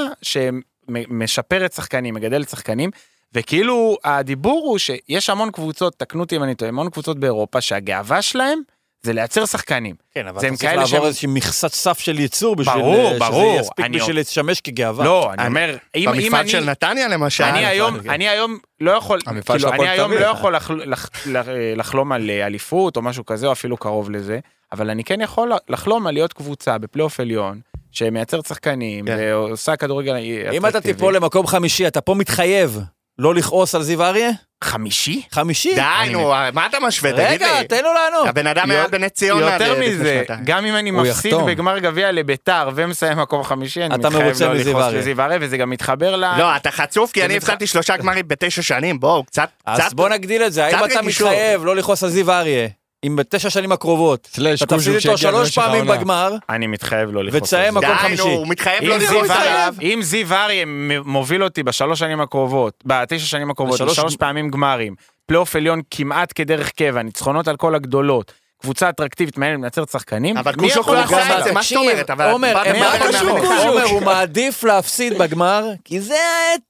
D: שמשפרת שחקנים, מגדלת שחקנים, וכאילו הדיבור הוא שיש המון קבוצות, תקנו אותי אם אני טועה, המון קבוצות באירופה שהגאווה שלהם זה לייצר שחקנים.
B: כן, אבל
D: זה
B: אתה
D: הם
B: צריך
D: כאלה שהם-
B: לעבור איזושהי מכסת סף של ייצור בשביל
D: ברור,
B: אה, שזה
D: ברור.
B: יספיק
D: אני-
B: בשביל לשמש כגאווה.
D: לא, אני אומר, אם אם
C: במפעל
D: אני...
C: של נתניה למשל.
D: אני היום,
B: כן.
D: אני היום לא יכול,
E: המפעל של
D: כאילו, אני
E: הפועל
D: היום
E: תל
D: לא
E: אביב.
D: יכול לחל- לח- לח- לחלום על אה, אליפות או משהו כזה, או אפילו קרוב לזה, אבל אני כן יכול לחלום על להיות קבוצה בפלייאוף עליון, שמייצרת שחקנים,
C: כן.
D: ועושה כדורגל אה, אטרקטיבי.
B: אם אתה תיפול למקום חמישי, אתה פה מתחייב לא לכעוס על זיו אריה?
D: חמישי?
B: חמישי.
C: די, נו, אה, מה אתה משווה? תגיד
B: רגע,
C: לי.
B: תן לו לענות.
C: הבן אדם היה
D: יותר-
C: בנס ציונה עד
D: יותר
C: לפני
D: מזה,
C: שנתיים.
D: גם אם אני
E: הוא
D: מפסיד
E: יחתום.
D: בגמר גביע לביתר ומסיים מקום חמישי, אני
B: אתה
D: מתחייב
B: מרוצה
D: לא
B: מזיו
D: לכעוס
B: הרי.
D: לזיו הרי, וזה גם מתחבר ל...
C: לא, אתה חצוף, כי אני
B: מתח-
C: הפסדתי שלושה גמרים בתשע שנים, בואו, קצת,
B: אז
C: קצת,
B: בוא נגדיל את זה, האם
C: קצת
B: אתה
C: רגישות.
B: מתחייב לא לכעוס על זיו אריה, אם בתשע שנים הקרובות,
E: סלאש,
B: אתה תפסיד
E: קוז'וק
B: איתו
E: שהגיע
B: שלוש
E: במשך
B: פעמים
E: העונה.
B: בגמר,
D: אני מתחייב לא לכעוס.
B: ותסיים
D: על זה.
B: מקום
C: די, נו,
B: חמישי.
C: הוא מתחייב
D: אם
C: לא
D: זיו
C: לראות
B: אריה-
C: עליו.
B: עליו.
D: אריה- אם זיו אריה מ- מוביל אותי בשלוש שנים הקרובות, בתשע שנים הקרובות,
B: בשלוש-
D: בשלוש פעמים גמרים, פלייאוף עליון כמעט כדרך קבע, ניצחונות על כל הגדולות, קבוצה אטרקטיבית, מעניין לנצרת שחקנים,
C: אבל
D: מי
C: קוז'וק
D: יכול
C: הוא
B: הוא
C: עשה
B: גם-
C: את זה, מה זאת
B: תקשיב,
C: אומרת? אבל
B: עומר,
C: דיברתם
B: מה
D: על
B: קשור
D: המאמן.
B: קוז'וק? עומר,
D: קוז'וק.
B: הוא מעדיף להפסיד בגמר, כי זה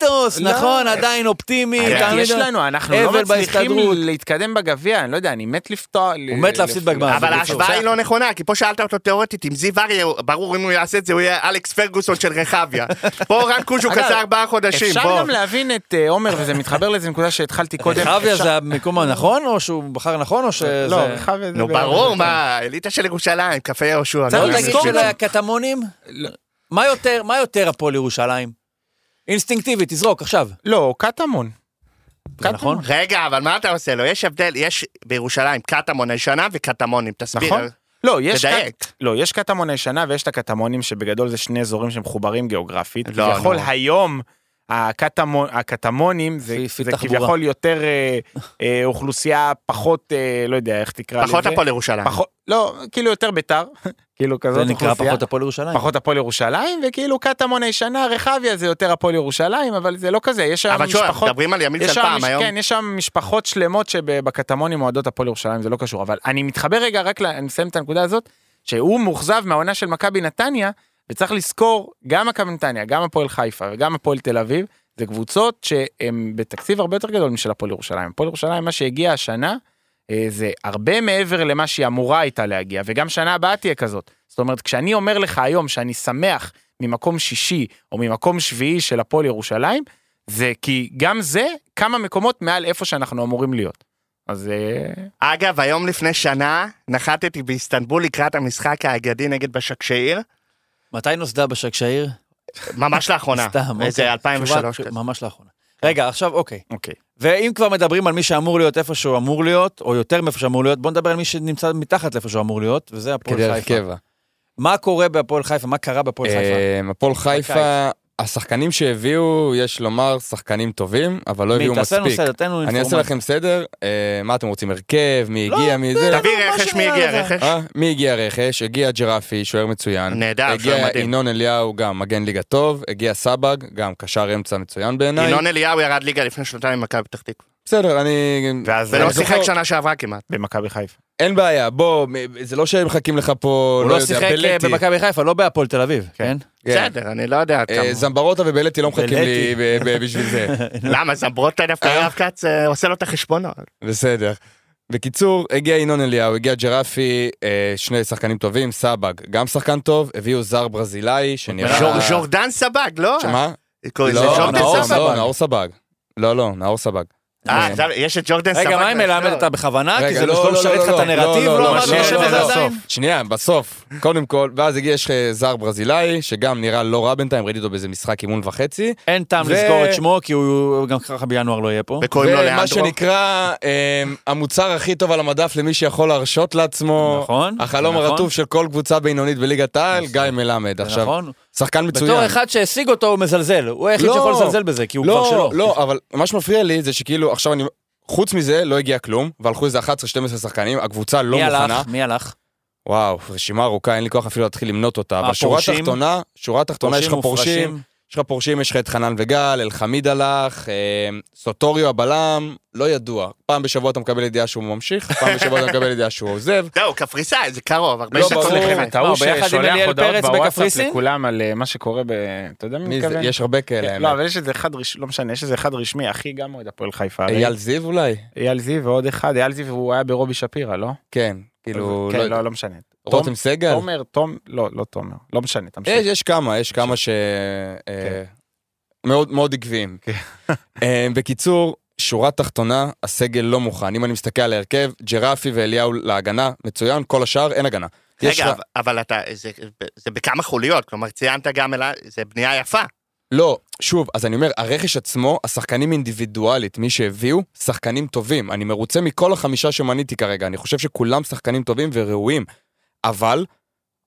B: האתוס, נכון, עדיין אופטימי,
D: אבל
C: כן.
B: תמיד-
D: כן. יש לנו, אנחנו לא
B: אבל
D: מצליחים
B: בהסתדרות.
D: להתקדם בגביע, אני לא יודע, אני מת לפתוח...
B: הוא מת להפסיד בגמר.
C: אבל
B: זה
C: ההשוואה
B: בסדר.
C: היא לא נכונה, כי פה שאלת אותו תיאורטית, אם זיו אריה, ברור אם הוא יעשה את זה, הוא יהיה אלכס פרגוסון של
D: [LAUGHS]
C: רחביה. פה רן קוז'וק
D: אגב,
C: עשה ארבעה חודשים,
D: אפשר
C: בוא.
D: גם להבין את אה, עומר, וזה מתחבר לאיזה נקודה שהתחלתי
B: אה,
D: קודם.
B: רחביה
D: אפשר-
B: זה המיקום הנכון, או שהוא בחר נכון, או שזה...
D: לא, רחביה זה...
C: נו, ברור, מה, אליטה של ירושלים, קפה יהושע.
B: צריך
C: לא יודע,
B: לזכור
C: מישהו-
B: לקטמונים, מה יותר, מה יותר הפועל ירושלים? אינסטינקטיבי, תזרוק עכשיו.
D: לא, קטמון.
B: זה נכון?
C: רגע, אבל מה אתה עושה לו? יש הבדל, יש בירושלים קטמון הישנה וקטמונים, תסביר.
D: נכון. לא, יש
C: תדייק.
D: קט- לא, יש קטמון הישנה ויש את הקטמונים שבגדול זה שני אזורים שמחוברים גיאוגרפית.
C: לא,
D: כביכול
C: נו.
D: היום הקטמון, הקטמונים זה,
B: לפי- לפי
D: זה
B: תחבורה.
D: כביכול יותר אה, אה, אוכלוסייה פחות, אה, לא יודע איך תקרא לזה.
C: פחות הפועל ירושלים.
D: פחות, לא, כאילו יותר ביתר. [LAUGHS] כאילו כזאת
B: זה נקרא
D: אוכלוסייה.
B: פחות הפועל ירושלים.
D: פחות הפועל ירושלים, וכאילו קטמון הישנה, רחביה זה יותר הפועל ירושלים, אבל זה לא כזה, יש שם
C: אבל שוב,
D: משפחות...
C: מדברים על ימין
D: יש
C: של
D: שם,
C: פעם
D: מש...
C: היום.
D: כן, יש שם משפחות שלמות שבקטמונים אוהדות הפועל ירושלים, זה לא קשור. אבל אני מתחבר רגע, רק ל... אני מסיים את הנקודה הזאת, שהוא מאוכזב מהעונה של מכבי נתניה, וצריך לזכור, גם מכבי נתניה, גם הפועל חיפה וגם הפועל תל אביב, זה קבוצות שהן בתקציב הרבה יותר גדול משל הפועל ירושלים. הפועל ירושלים, מה שהגיע השנה, אה, זה הרבה מעבר למה שהיא אמורה הייתה להגיע, וגם שנה הבאה תהיה כזאת. זאת אומרת, כשאני אומר לך היום שאני שמח ממקום שישי או ממקום שביעי של הפועל ירושלים, זה כי גם זה כמה מקומות מעל איפה שאנחנו אמורים להיות. אז אה,
C: אגב, היום לפני שנה נחתתי באיסטנבול לקראת המשחק האגדי נגד בשקשאיר,
B: מתי נוסדה בשקשאיר?
C: ממש לאחרונה.
B: [LAUGHS] סתם, אוקיי.
C: איזה 2003
B: תשובה-
C: כזה.
B: ממש לאחרונה. רגע, עכשיו אוקיי.
D: אוקיי.
B: ואם כבר מדברים על מי שאמור להיות איפה שהוא אמור להיות, או יותר מאיפה שאמור להיות, בוא נדבר על מי שנמצא מתחת לאיפה שהוא אמור להיות, וזה הפועל
E: כדרך
B: חיפה.
E: קבע.
B: מה קורה בהפועל חיפה? מה קרה בהפועל חיפה?
E: אה, הפועל חיפה,
B: בקיץ.
E: השחקנים שהביאו, יש לומר, שחקנים טובים, אבל לא הביאו
B: מי, תעשה לנו
E: מספיק.
B: סדר, תן לנו
E: אני אעשה
B: אינפורמציה.
E: לכם סדר, אה, מה אתם רוצים, הרכב, מי
B: לא,
E: הגיע, מי זה.
C: תביא
B: מה
C: רכש, מי
B: שנראה
C: הגיע
B: לך.
C: רכש?
E: אה, מי הגיע רכש? הגיע ג'רפי, שוער מצוין.
C: נהדר, שוער
E: הגיע
C: מדהים.
E: ינון אליהו, גם מגן ליגה טוב. הגיע סבג, גם קשר אמצע מצוין בעיניי.
C: ינון אליהו ירד ליגה לפני שנתיים במכבי פתח תקווה.
E: בסדר, אני...
D: ואז
B: לא
C: ולא
E: אני זוכר-
C: שיחק שנה שעברה כמעט.
D: במכבי חיפה.
E: אין בעיה, בוא, זה לא שהם מחכים לך פה,
B: הוא
E: לא
B: לא
E: יודע,
B: שיחק אה,
E: בלטי.
B: במכבי חיפה, לא בהפועל תל אביב, כן?
E: כן.
C: בסדר, אני לא יודע
E: אה,
C: כמה.
E: זמברוטה ובלטי לא מחכים לי
B: בלטי.
E: ב- ב- בשביל
B: [LAUGHS]
E: זה.
C: למה, זמברוטה דווקא
E: אה?
C: יואב כץ אה, עושה לו את החשבונות.
E: בסדר. בקיצור, הגיע ינון אליהו, הגיע ג'רפי, אה, שני שחקנים טובים, סבג, גם שחקן טוב, הביאו זר ברזילאי, שנראה... אה,
C: ז'ור- ז'ורדן סבג, לא?
E: שמה?
C: קוראים לזה
E: אה, לא,
C: ז'ורדן
E: נאור,
C: סבג.
E: לא, נאור סבג. לא, לא, נאור סבג.
C: אה,
E: אה,
C: עכשיו יש את ג'ורדן סבג.
B: רגע, מה עם מלמד
C: באשדוד.
B: אתה בכוונה? כי
E: לא. רגע,
B: זה
E: לא,
B: לא
E: לא,
B: משרת
E: לא,
B: לך
E: לא,
B: את הנרטיב?
E: לא,
B: לא
E: לא,
B: אמרת
E: לא,
B: שיש
E: לא,
B: את זה
E: לא,
B: עדיין?
E: שנייה, בסוף. קודם כל, ואז הגיע, יש אה, זר ברזילאי, שגם נראה לא רע בינתיים, ראיתי אותו באיזה משחק אימון וחצי.
B: אין טעם
E: ו-
B: לזכור את שמו, כי הוא גם ככה בינואר לא יהיה פה.
C: וקוראים לו
E: ומה
C: לאנדרו.
E: שנקרא, אה, המוצר הכי טוב על המדף למי שיכול להרשות לעצמו.
B: נכון,
E: החלום
B: נכון.
E: הרטוב של כל קבוצה בינונית בליגת העל, גיא מלמד.
B: זה
E: עכשיו,
B: נכון?
E: שחקן מצוין.
B: בתור אחד שהשיג אותו הוא מזלזל, הוא היחיד
E: לא.
B: שיכול לזלזל בזה, כי הוא כבר
E: לא,
B: שלו.
E: לא, אבל מה שמפריע לי זה שכאילו, עכשיו אני... חוץ מזה, לא הגיע כלום, והלכו איזה 11-12 שחקנים, הקבוצה לא
B: מי
E: מוכנה.
B: הלך? מי הלך?
E: וואו, רשימה ארוכה, אין לי כוח אפילו להתחיל למנות אותה.
B: מה,
E: אבל שורה
B: פורשים?
E: תחתונה, שורה תחתונה, יש לך פורשים,
B: מופרשים?
E: יש לך פורשים, יש לך את חנן וגל, אלחמיד הלך, אה, סוטוריו הבלם, לא ידוע. פעם בשבוע אתה מקבל ידיעה שהוא ממשיך, פעם בשבוע אתה מקבל ידיעה שהוא
D: [LAUGHS]
E: עוזב.
C: זהו, קפריסאי, זה קרוב, הרבה
E: לא,
C: שנים
E: ברור.
C: לפני.
D: את ההוא
B: מה, ביחד עם
D: ששולח
B: אליאל
D: הודעות
B: פרץ
D: בוואטסאפ
B: בקפריסין?
D: לכולם על אה, מה שקורה ב... אתה יודע מי
E: מי זה?
D: מתכוון?
E: יש הרבה כאלה.
D: כן, לא,
E: האמת.
D: אבל יש איזה אחד רשמי, לא משנה, יש איזה אחד רשמי, אחי גם אוהד הפועל חיפה. הרי.
E: אייל זיו אולי?
D: אייל זיו ועוד אחד, אייל זיו הוא היה ברובי שפירא, לא?
E: כן, כאילו...
D: כן,
E: לא-
D: לא, לא משנה.
E: רותם אה, סגל?
D: תומר, תום, לא, לא תומר, לא משנה,
E: יש,
D: תמשיך.
E: יש כמה, יש כמה ש...
D: כן.
E: אה, מאוד מאוד עקביים. אה, בקיצור, שורה תחתונה, הסגל לא מוכן. אם אני מסתכל על ההרכב, ג'רפי ואליהו להגנה, מצוין, כל השאר אין הגנה. יש
C: רגע,
E: לה-
C: אבל- אבל אתה, זה- זה בכמה חוליות, כלומר ציינת גם, אלה- זה בנייה יפה.
E: לא, שוב, אז אני אומר, הרכש עצמו, השחקנים אינדיבידואלית, מי שהביאו, שחקנים טובים. אני מרוצה מכל החמישה שמניתי כרגע, אני חושב שכולם שחקנים טובים וראויים, אבל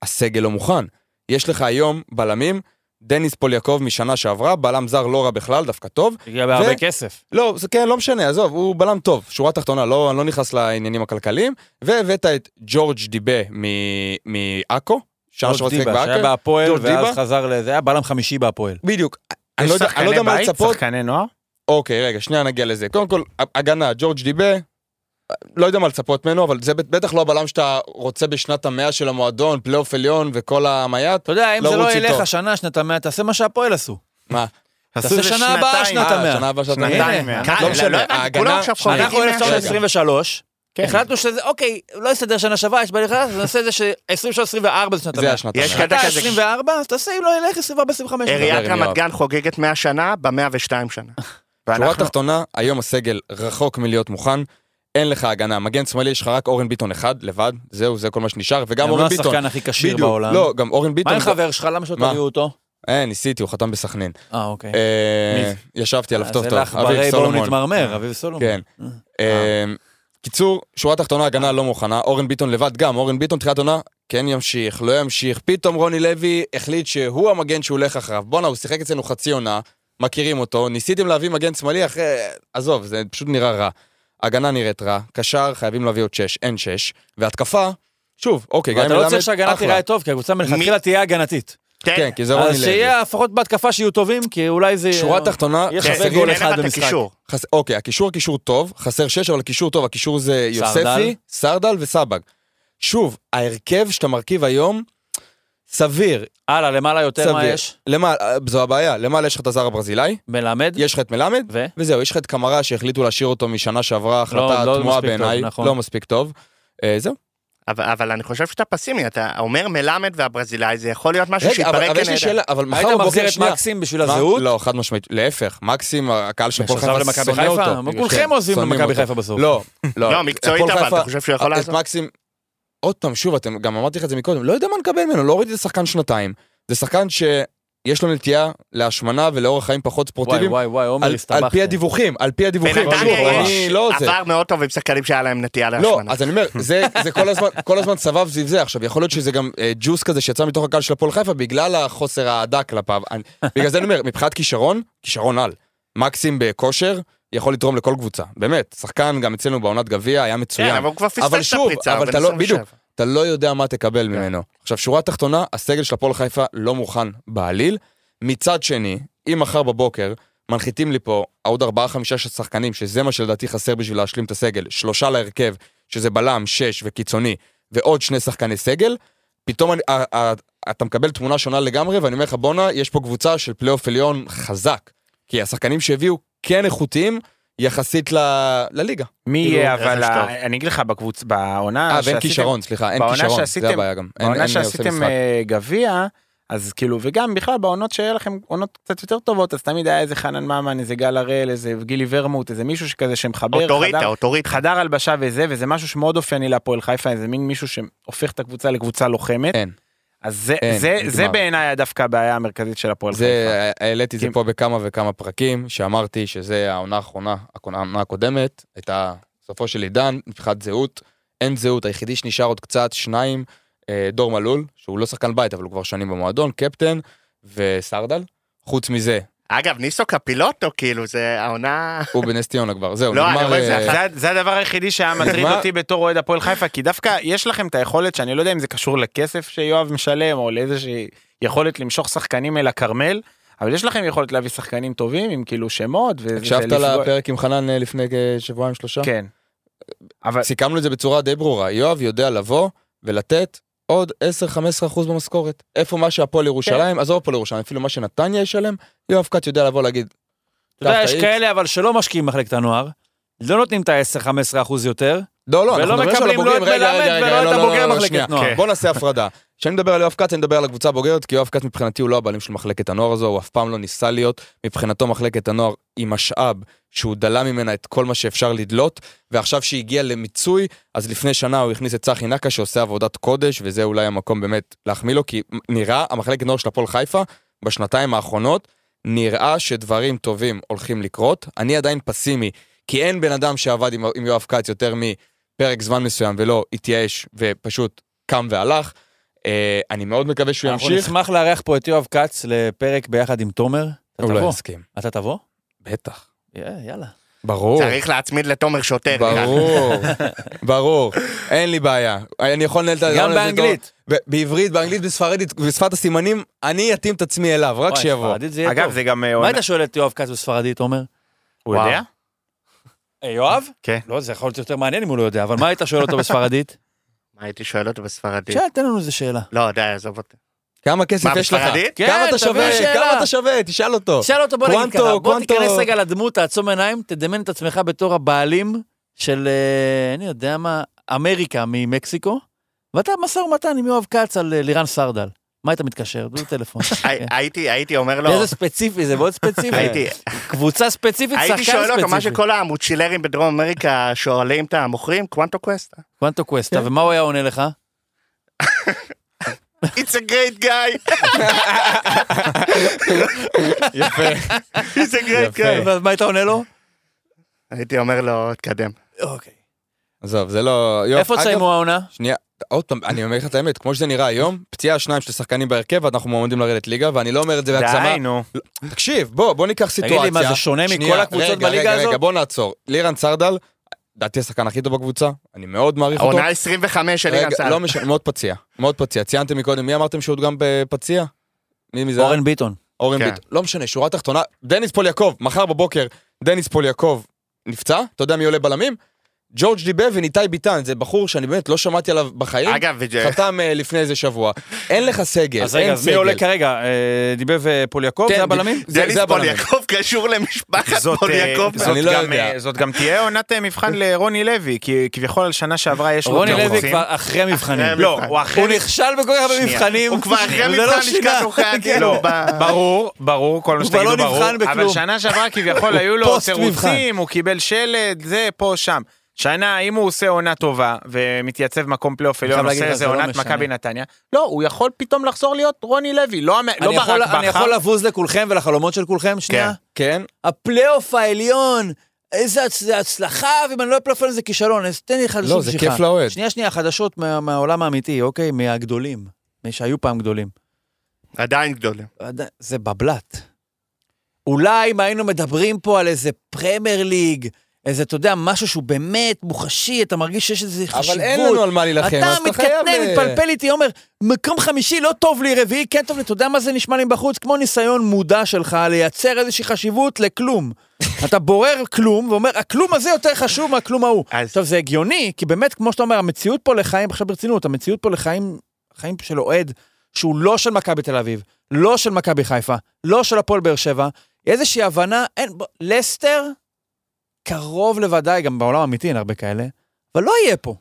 E: הסגל לא מוכן. יש לך היום בלמים, דניס פוליאקוב משנה שעברה, בלם זר לא רע בכלל, דווקא טוב.
A: הגיע בהרבה כסף.
E: לא, זה כן, לא משנה, עזוב, הוא בלם טוב, שורה תחתונה, לא, אני לא נכנס לעניינים הכלכליים. והבאת את ג'ורג' דיבה מ- מעכו, שנה שעברה שיחק
B: דיבה, שהיה
E: בעכו.
B: בהפועל,
E: ג'ורג'
B: ואז
E: דיבה?
B: חזר לזה, היה בלם חמישי בהפועל.
E: בדיוק. אני לא יודע- אני לא יודע מה לצפות,
D: שחקני נוער?
E: אוקיי, רגע, שנייה נגיע לזה. קודם כל, הגנה, ג'ורג' דיבה, לא יודע מה לצפות ממנו, אבל זה בטח לא הבלם שאתה רוצה בשנת המאה של המועדון, פלייאוף עליון וכל המייט.
B: אתה יודע, אם
E: לא
B: זה לא
E: רוץ
B: ילך
E: איתו.
B: השנה, שנת המאה, תעשה מה שהפועל עשו.
E: מה?
B: תעשה שנה הבאה, שנת
E: אה,
B: המאה.
E: שנה הבאה אה, שאתה...
D: שנתיים.
E: הנה,
D: מה?
E: לא משנה,
C: הבנתי,
E: ההגנה-
C: כולם עכשיו חוגגים.
E: אנחנו-
B: כן. אנחנו 1923,
D: כן.
B: החלטנו שזה, אוקיי, לא יסתדר שנה שווה, יש בעיה לך, אז נעשה את זה ש-23-24 זה שנת
E: זה
B: המאה.
E: השנת
C: יש
E: המאה.
C: קטע
B: אתה
C: כזה,
B: 24, אז תעשה, אם לא ילך, 24-25.
E: מדבר
C: עיריית
E: עם
C: רמת
E: יואב.
C: גן חוגגת 100 שנה, ב-102 שנה.
E: שורה
D: ואנחנו-
E: תחתונה, היום הסגל רחוק מלהיות מוכן. אין לך הגנה, מגן שמאלי יש לך רק אורן ביטון אחד, לבד, זהו, זה כל מה שנשאר, וגם
B: גם לא
E: אורן ביטון,
B: השחקן הכי כשיר
E: בדיוק,
B: בעולם.
E: לא, גם אורן
B: מה
E: ביטון,
B: עם חבר שלך? למה שלא
E: מה?
B: תביאו אותו?
E: אה, ניסיתי, הוא חתם בסכנין.
B: אה, אוקיי.
E: אה, ישבתי עליו
B: אז
E: טוב
B: זה
E: טוב,
B: לך ברי,
E: אביב
B: בואו
E: סולומון.
B: נתמרמר, אביב סולומון.
E: כן.
B: אה.
E: אמ, קיצור, שורה תחתונה, הגנה לא מוכנה, אורן ביטון לבד גם, אורן ביטון תחילת עונה, כן ימשיך, לא ימשיך, פתאום רוני לוי החליט שהוא המגן שהוא הולך אחריו. בואנה, הוא שיחק אצלנו חצי עונה, מכירים אותו, ניסיתם להביא מגן שמאלי אחרי... עזוב, זה פשוט נראה רע. הגנה נראית רע, קשר, חייבים להביא עוד שש, אין שש, והתקפה, שוב, אוקיי, גם אם
B: ואתה לא
E: מלמד,
B: צריך שההגנה
E: אחלה.
B: תיראה טוב, כי הקבוצה מלכתחילה תהיה הגנתית.
E: כן, כי זה רוני
B: אז
E: לוי.
B: שיהיה לפחות בהתקפה שיהיו טובים, כי אולי זה...
E: שורה תחתונה,
B: יהיה
E: חסר
B: חסר
E: גול
B: גול
E: אחד.
B: אחד
C: אין לך את
B: במשחק.
C: הקישור.
E: חס... אוקיי, הקישור קישור טוב, חסר שש, אבל הקישור טוב, הקישור זה
B: סרדל.
E: יוספי, סרדל וסבג. שוב, ההרכב שאתה מרכיב היום, סביר,
B: הלאה, למעלה יותר מה
E: סביר.
B: יש?
E: למעלה, זו הבעיה, למעלה יש לך את הזר הברזילאי,
B: מלמד?
E: יש לך את מלמד,
B: ו?
E: וזהו, יש לך את קמרה שהחליטו להשאיר אותו משנה שעברה, החלטה
B: לא
E: תמוהה
B: מספיק טוב,
E: בעיניי,
B: נכון.
E: לא מספיק טוב. אה, זהו.
C: אבל, אבל אני חושב שאתה פסימי, אתה אומר מלמד והברזילאי, זה יכול להיות משהו
E: רגע, אבל
C: שיתברק
E: אבל יש לי
C: כנהדר.
E: שאלה, אבל
B: היית מחזיר
E: מחר בבוקר
B: את
E: שנייה.
B: מקסים בשביל
E: מה?
B: הזהות?
E: לא, חד משמעית, להפך, מקסים, הקהל של הפועל
B: שעזב
E: חיפה
B: למכבי
E: שונא
B: חיפה?
E: אותו. כן,
B: אבל כולכם עוזבים
E: שונאים
B: למכבי
E: אותו.
B: חיפה בסוף.
E: לא, לא.
C: לא, מקצועית
E: הפועל
C: אבל,
E: חיפה-
C: אתה חושב שהוא יכול
E: את
C: לעזור?
E: מקסים, עוד פעם, שוב, אתם, גם אמרתי לך את זה מקודם, לא יודע מה נקבל ממנו, לא ראיתי את השחקן שנתיים. זה שחקן שיש לו נטייה להשמנה ולאורח חיים פחות
B: וואי,
E: ספורטיביים.
B: וואי, וואי, עומר
E: לא על, על
B: הסתבכת.
E: פי הדיווחים, על פי הדיווחים.
C: בנתניה
E: שוב, אני
C: יש
E: לא זה.
C: עבר מאוד טוב עם שחקנים שהיה להם נטייה
E: לא,
C: להשמנה.
E: אז אני אומר, זה, זה כל הזמן, כל הזמן סבב סביב זה. עכשיו, יכול להיות שזה גם אה, ג'וס כזה שיצא מתוך הקהל של הפועל חיפה בגלל החוסר האהדה כלפיו. אני, בגלל זה אני אומר, מבחינת כישרון, כישרון על. מקסים בכושר, יכול לתרום לכל קבוצה. באמת, שחקן גם אצלנו בעונת גביע היה מצוין.
C: כן, אבל הוא כבר פספס
E: אבל
C: את
E: שוב,
C: הפריצה,
E: אבל
C: בן
E: אתה לא,
C: 27.
E: בדיוק, אתה לא יודע מה
D: כן.
E: תקבל ממנו. עכשיו, שורה תחתונה, הסגל של הפועל חיפה לא מוכן בעליל. מצד שני, אם מחר בבוקר מנחיתים לי פה עוד ארבעה, חמישה ש- שחקנים, שזה מה שלדעתי חסר בשביל להשלים את הסגל, שלושה להרכב, שזה בלם, שש וקיצוני, ועוד שני שחקני סגל, פתאום אני, ה, ה, אתה מקבל תמונה שונה לגמרי, ואני אומר לך, בואנה, יש פה קבוצה של פלייאוף עליון חזק. כי השחקנים שהביאו כן איכותיים, יחסית ל, לליגה.
D: מי
C: כאילו,
D: יהיה, אבל
C: רכש
D: ה-
C: טוב.
D: אני אגיד לך, בקבוצ- בעונה
E: אה, ואין
D: שעשיתם-
E: כישרון, סליחה, אין
D: בעונה
E: כישרון,
D: שעשיתם-
E: זה הבעיה גם. אין-
D: בעונה
E: אין עושה
D: שעשיתם
E: משחק.
D: אה, גביע, אז כאילו, וגם בכלל בעונות שהיה לכם עונות קצת יותר טובות, אז תמיד היה איזה חנן ממן, איזה גל הראל, איזה גילי ורמוט, איזה מישהו שכזה שמחבר,
C: אוטוריטה,
D: חדר-
C: אוטוריטה.
D: חדר הלבשה וזה, וזה משהו שמאוד אופייני להפועל חיפה, איזה מין מישהו שהופך את הקבוצה לקבוצה לוחמת.
E: אין.
D: אז זה,
E: אין,
D: זה,
E: נגמר.
D: זה בעיניי דווקא הבעיה המרכזית של הפועל חיפה.
E: זה, העליתי את זה
D: כי-
E: פה בכמה וכמה פרקים, שאמרתי שזה העונה האחרונה, העונה הקודמת, הייתה סופו של עידן, מבחינת זהות, אין זהות, היחידי שנשאר עוד קצת, שניים, אה, דור מלול, שהוא לא שחקן בית, אבל הוא כבר שנים במועדון, קפטן וסרדל. חוץ מזה,
C: אגב, ניסו קפילוטו, כאילו, זה העונה...
E: הוא בנס ציונה כבר, זהו,
C: לא, אני
E: נגמר...
C: רואה את זה
E: אה,
C: אחת.
D: זה, זה הדבר היחידי
E: [LAUGHS]
D: שהיה מטריד
E: מה?
D: אותי בתור אוהד הפועל חיפה, כי דווקא יש לכם את היכולת, שאני לא יודע אם זה קשור לכסף שיואב משלם, או לאיזושהי יכולת למשוך שחקנים אל הכרמל, אבל יש לכם יכולת להביא שחקנים טובים עם כאילו שמות. וזה-
E: הקשבת
D: ולפגוע-
E: לפרק עם חנן אה, לפני כשבועיים שלושה?
D: כן. אבל
E: סיכמנו את זה בצורה די ברורה, יואב יודע לבוא ולתת עוד 10-15% במשכורת. איפה מה שהפועל
B: כן.
E: ירושלים, עזוב הפועל ירושלים, אפילו מה שנתניה ישלם, יואב כץ יודע לבוא להגיד.
B: אתה יודע,
E: "קח את
B: יש
E: ה-X".
B: כאלה אבל שלא משקיעים במחלקת הנוער, לא נותנים את ה-10-15 אחוז יותר,
E: לא, לא,
B: ולא
E: אנחנו מדברים עכשיו על
B: מקבלים לא את
E: הבוגרים, רגע,
B: מלמד
E: רגע, רגע,
B: ולא
E: לא,
B: את
E: לא, לא,
B: הבוגר
E: לא, שנייה.
B: מחלקת נוער.
E: בוא נעשה הפרדה. כשאני מדבר על יואב כץ, אני מדבר על הקבוצה הבוגרת, כי יואב כץ מבחינתי הוא לא הבעלים של מחלקת הנוער הזו, הוא אף פעם לא ניסה להיות. מבחינתו מחלקת הנוער היא משאב שהוא דלה ממנה את כל מה שאפשר לדלות, ועכשיו שהיא הגיעה למיצוי, אז לפני שנה הוא הכניס את צחי נקה שעושה עבודת קודש, וזה אולי המקום באמת להחמיא לו, כי נראה המחלקת נוער של הפועל חיפה בשנתיים האחרונות נראה שדברים טובים הולכים לקרות. אני עדיין פסימי, כי אין בן אדם שעבד עם, עם יואב כץ יותר מפרק זמן מסוים ולא התייאש ופשוט קם והלך. אה, אני מאוד מקווה שהוא
B: אנחנו
E: ימשיך.
B: נשמח לארח פה את יואב כץ לפרק ביחד עם תומר. אתה
E: הוא לא
B: תבוא?
E: יסכים.
B: אתה תבוא?
E: בטח.
B: יא- יאללה.
E: ברור.
C: צריך להצמיד לתומר שוטר.
E: ברור, ברור, אין לי בעיה. אני יכול לנהל את
B: גם
E: הזה טוב.
B: באנגלית.
E: ב- בעברית, באנגלית, בספרדית, בשפת הסימנים, אני אתאים את עצמי אליו, רק
B: וואי,
E: שיבוא.
B: ספרדית זה יהיה
D: אגב,
B: טוב.
D: זה גם... אה,
B: מה
D: עונה-
B: היית שואל את יואב כץ בספרדית, עומר?
D: הוא יודע?
B: אה, יואב?
D: כן.
B: לא, זה יכול להיות יותר מעניין אם הוא לא יודע, אבל מה היית שואל אותו
D: [LAUGHS]
B: בספרדית?
C: מה הייתי שואל אותו בספרדית?
B: שאל, תן לנו איזה שאלה.
C: לא, די, עזוב אותי.
E: כמה כסף
C: מה,
E: יש לך?
C: בספרדית?
B: כן,
E: כמה אתה
B: תביא
E: שווה?
B: שאלה.
E: כמה אתה שווה? תשאל
B: [LAUGHS]
E: אותו.
B: שאל אותו, בוא נגיד
E: קוונטו,
B: ככה, בוא
E: קוונטו.
B: תיכנס רגע לדמות, תעצום עיניים, תדמיין את עצמך בתור הבעלים של, אה, אני יודע מה, אמריקה ממקסיקו, ואתה במשא ומתן עם יואב כץ על אה, לירן סרדל. מה היית מתקשר? דו [LAUGHS] טלפון. כן.
C: הי- הייתי, הייתי אומר לו,
B: אה, איזה ספציפי, זה מאוד ספציפי.
C: הייתי,
B: קבוצה ספציפית, שחקן
C: הייתי
B: ספציפי.
C: שואל אותו מה שכל המוצ'ילרים בדרום אמריקה שואלים את המוכרים, קוונטו קווסטה.
B: קוונטו קווסטה,
E: כן.
B: ומה הוא היה עונה לך?
C: It's a great guy, [LAUGHS]
E: יפה.
C: it's a great
E: יפה.
C: guy.
B: ואז מה היית עונה לו?
C: הייתי אומר לו, תקדם.
B: אוקיי.
E: עזוב, זה לא... יואב,
B: איפה
E: אגב,
B: תסיימו העונה?
E: שנייה, עוד פעם, אני אומר לך את האמת, כמו שזה נראה היום, פציעה שניים של שחקנים בהרכב, אנחנו מועמדים לרדת ליגה, ואני לא אומר את זה בהגזמה.
D: די,
E: [LAUGHS]
D: נו.
E: תקשיב, בוא, בוא ניקח
B: לי,
E: סיטואציה.
B: מה, זה שונה מכל
E: שנייה,
B: הקבוצות
E: רגע,
B: בליגה
E: רגע, רגע,
B: הזאת?
E: בוא נעצור. לירן סרדל, לדעתי השחקן הכי טוב בקבוצה, אני מאוד מעריך אותו.
C: העונה 25 של
E: רגע,
C: אילן סעד.
E: לא משנה, מאוד פציע. מאוד פציע. ציינתם מקודם, מי אמרתם שהוא גם פציע? מי מזה?
B: אורן ביטון.
E: אורן
C: כן.
E: ביט. לא משנה, שורה תחתונה. דניס פול יעקב, מחר בבוקר דניס פול יעקב נפצע, אתה יודע מי עולה בלמים? ג'ורג' דיבה וניתאי ביטן, זה בחור שאני באמת לא שמעתי עליו בחיים.
C: אגב, וזה-
E: חתם אה, לפני איזה שבוע. אין לך סגל,
B: אז רגע,
E: אין
B: אז מי
E: סגל.
B: עולה כרגע? אה, דיבב ופוליאקוב?
E: כן,
B: זה הבלמים?
E: זה-
C: דניס
E: זה הבלמים.
C: פוליאקוב קשור למשפחת
D: זאת, אה,
C: פוליאקוב.
D: זאת
E: אני לא
D: גם,
E: יודע.
D: אה, זאת גם תהיה עונת אה, מבחן לרוני לוי, כי כביכול על שנה שעברה יש לו...
B: רוני
D: גם
B: לוי
D: רוצים.
B: כבר אוקיי, אחרי מבחנים.
C: המבחן.
D: לא, הוא אחרי...
B: הוא נכשל בכל כך הרבה
C: שנייה.
B: מבחנים.
C: הוא כבר אחרי
B: זה לא
C: מבחן
B: שינה. כן.
C: לשכת עורכי הדין.
B: [LAUGHS]
D: לא,
C: ב-
D: ברור, ברור, כל מה
B: הוא כבר
D: שתגידו
B: לא
D: ברור,
B: נבחן
D: אבל
B: בכלום.
D: שנה שעברה כביכול
B: הוא
D: היו לו
B: פוסט מבחן.
D: תירוצים, הוא קיבל שלד, זה, פה, שם. שנה, אם הוא עושה עונה טובה ומתייצב מקום פלייאוף
B: חייב
D: עליון,
B: להגיד
D: עושה
B: לך,
D: איזה
B: זה לא
D: עונת
B: משנה.
D: מכבי נתניה, לא, הוא יכול פתאום לחזור להיות רוני לוי, לא המ- לא
B: אני יכול-
D: ברק
B: אני יכול
D: בכר.
B: לבוז לכולכם ולחלומות של כולכם? שנייה.
E: כן?
B: הפלייאוף העליון, איזה הצ- זה הצלחה, ואם אני לא בפלייאוף העליון זה כישלון, אז תן לי חדשות
E: לא, זה
B: בשיחה.
E: כיף לאוהד.
B: שנייה, שנייה, חדשות מה- מהעולם האמיתי, אוקיי? מהגדולים. מי שהיו פעם גדולים.
C: עדיין גדולים.
B: עדיין- זה בבלת. אולי אם היינו מדברים פה על איזה פרמייר ליג, איזה, אתה יודע, משהו שהוא באמת מוחשי, אתה מרגיש שיש איזה חשיבות.
E: אבל אין לנו על מה להילחם,
B: אתה
E: אז אתה חייב...
B: מתקטנן,
E: אה,
B: מתפלפל איתי, אומר, מקום חמישי לא טוב לי, רביעי כן טוב לי, אתה יודע מה זה נשמע לי בחוץ? כמו ניסיון מודע שלך לייצר איזושהי חשיבות לכלום.
E: [LAUGHS]
B: אתה בורר כלום ואומר, הכלום הזה יותר חשוב מהכלום ההוא.
C: אז-
B: עכשיו, זה הגיוני, כי באמת, כמו שאתה אומר, המציאות פה לחיים, עכשיו ברצינות, המציאות פה לחיים, חיים של אוהד, שהוא לא של מכבי תל אביב, לא של מכבי חיפה, לא של הפועל באר שבע, איזושהי הבנה, אין, בוא, לסטר, קרוב לוודאי, גם בעולם האמיתי אין הרבה כאלה, אבל לא יהיה פה.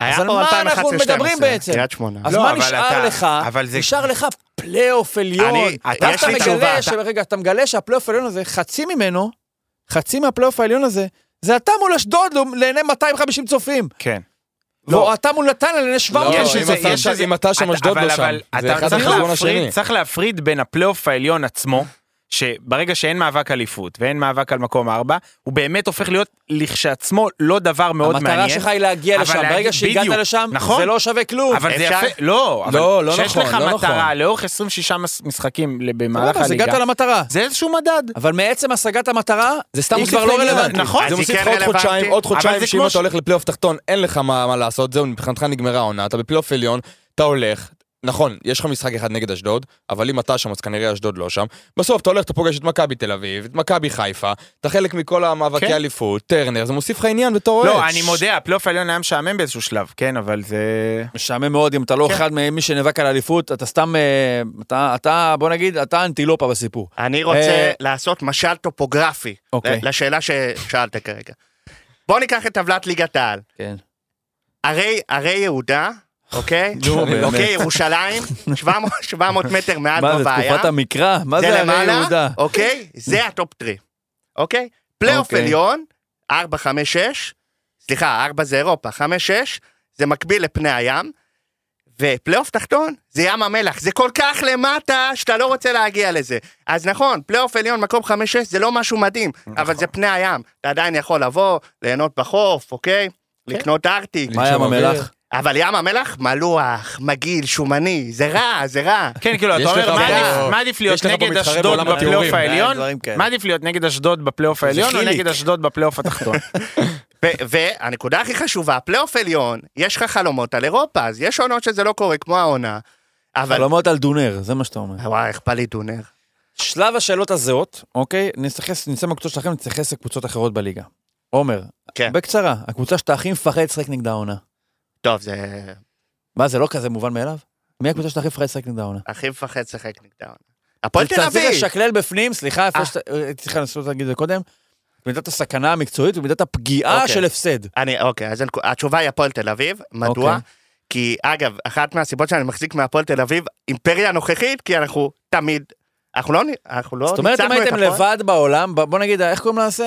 C: היה
B: אז על
C: פה
B: מה
C: 2011,
B: אנחנו מדברים
C: 12,
B: בעצם?
C: קריית שמונה.
B: אז
D: לא,
B: מה
D: אבל
B: נשאר
D: אתה-
B: לך?
D: אבל זה-
B: נשאר לך פלייאוף עליון.
C: אני-
B: ואז
C: יש לי
B: אתה
C: תשובה.
B: מגלה, ש... רגע, אתה מגלה שהפלייאוף העליון הזה, חצי ממנו, חצי מהפלייאוף העליון הזה, זה אתה מול אשדוד לעיני 250 צופים.
D: כן.
B: לא, אתה מול נתניה לעיני
E: לא,
B: 700
E: אם
B: צופים.
D: שזה-
E: אתה-
D: יש שזה-
E: אם אתה שם,
D: אתה-
E: אשדוד
D: אבל-
E: לא שם.
D: אבל
E: זה
D: אתה
E: אחד
D: צריך
E: על חשבון
D: להפריד-
E: השני.
D: צריך להפריד בין הפלייאוף העליון עצמו, שברגע שאין מאבק אליפות ואין מאבק על מקום ארבע, הוא באמת הופך להיות לכשעצמו לא דבר מאוד מעניין.
B: המטרה שלך היא להגיע
D: אבל
B: לשם. ברגע
D: להגיד-
B: שהגעת
D: בדיוק,
B: לשם,
D: נכון.
B: זה לא שווה כלום.
D: אבל זה
C: אפשר-
D: יפה, לא, אבל
E: לא, לא
D: שיש
E: נכון,
D: לך
E: לא נכון.
D: מטרה לאורך 26 מס- משחקים ל- במהלך
B: סבבה, אז הגעת
D: הליגה,
B: למטרה.
D: זה איזשהו מדד.
B: אבל מעצם השגת המטרה,
E: זה סתם
B: היא
E: מוסיף
B: כבר לא
E: לעניין.
B: רלוונטית.
D: נכון.
E: זה
C: אז היא
E: מוסיף
C: כן
E: לך עוד
C: רלוונטית,
E: חודשיים, עוד
D: אבל
E: חודשיים,
D: זה
E: שאם
D: כמו
E: אתה
D: ש-
E: הולך לפלייאוף תחתון, אין לך מה מה לעשות, זהו, מבחינתך נגמרה העונה, אתה בפלייאוף עליון, אתה הולך, נכון, יש לך משחק אחד נגד אשדוד, אבל אם אתה שם, אז כנראה אשדוד לא שם. בסוף אתה הולך, אתה פוגש את מכבי תל אביב, את מכבי חיפה, אתה חלק מכל המאבקי
D: כן.
E: אליפות, טרנר, זה מוסיף לך עניין בתור אוהד.
D: לא, אני מודה, הפלייאוף העליון היה משעמם באיזשהו שלב, כן, אבל זה...
B: משעמם מאוד, אם אתה לא אחד ממי שנאבק על האליפות, אתה סתם, אה, אתה- אתה, בוא נגיד, אתה אנטילופה בסיפור.
C: אני רוצה
B: אה,
C: לעשות משל טופוגרפי
B: אוקיי.
C: ל- לשאלה ששאלת כרגע. בוא ניקח את טבלת ליגת העל.
B: כן.
C: ערי ערי יהודה, אוקיי?
B: נו, באמת.
C: אוקיי, ירושלים, 700 700 מטר מעל
B: מה זה,
C: בבעיה.
B: תקופת המקרא? מה זה הרי יהודה?
C: אוקיי? זה הטופ טרי, אוקיי? פלייאוף
B: אוקיי.
C: עליון, 4, 5, 6, סליחה, 4 זה אירופה, 5, 6, זה מקביל לפני הים, ופלייאוף תחתון זה ים המלח, זה כל כך למטה שאתה לא רוצה להגיע לזה. אז נכון, פלייאוף עליון, מקום 5-6, זה לא משהו מדהים,
B: נכון.
C: אבל זה פני הים. אתה עדיין יכול לבוא, ליהנות בחוף, אוקיי?
B: כן.
C: לקנות ארטיק.
B: מה ים המלח?
C: אבל ים המלח מלוח, מגעיל, שומני, זה רע, זה רע.
D: כן, כאילו,
E: יש
D: אתה
E: לך
D: אומר, מה
E: פה-
D: עדיף- מה עדיף להיות
E: יש לך פה
D: נגד
E: מתחרה
D: אשדוד
E: בעולם
D: בפלייאוף
E: התיאורים.
D: העליון?
B: כן, דברים כאלה.
D: מה עדיף להיות נגד אשדוד בפלייאוף העליון או
C: חיליק.
D: נגד אשדוד בפלייאוף התחתון?
C: ו- והנקודה הכי חשובה, הפלייאוף עליון, יש לך חלומות על אירופה, אז יש עונות שזה לא קורה, כמו העונה. אבל...
B: חלומות על דונר, זה מה שאתה אומר.
C: וואי, איך בא לי דונר.
B: שלב השאלות הזהות, אוקיי? נתייחס, נצא מהקבוצות שלכם, נתייחס לקבוצות אחרות בליגה. עומר,
C: כן.
B: בקצרה, הקבוצה שאתה הכי מפחד לשחק נגדה העונה.
C: טוב, זה
B: מה, זה לא כזה מובן מאליו? מי הקבוצה שאתה הכי מפחד לשחק נגדה העונה?
C: הכי מפחד לשחק נגדם. הפועל תל
B: צריך
C: אביב!
B: לשקלל בפנים, סליחה, איפה
C: אה.
B: שאתה... אה, צריכה לנסות להגיד את זה קודם. מידת הסכנה המקצועית ומידת הפגיעה
C: אוקיי.
B: של הפסד.
C: אני, אוקיי, אז הנק- התשובה היא הפועל תל אביב. מדוע?
B: אוקיי.
C: כי, אגב, אחת מהסיבות שאני מחזיק מהפועל תל אביב, אימפריה הנוכחית, כי אנחנו תמיד... אנחנו לא ניצחנו את הפועל.
B: זאת אומרת, אם הייתם לבד בעולם, ב- בוא נגיד, איך קוראים לזה?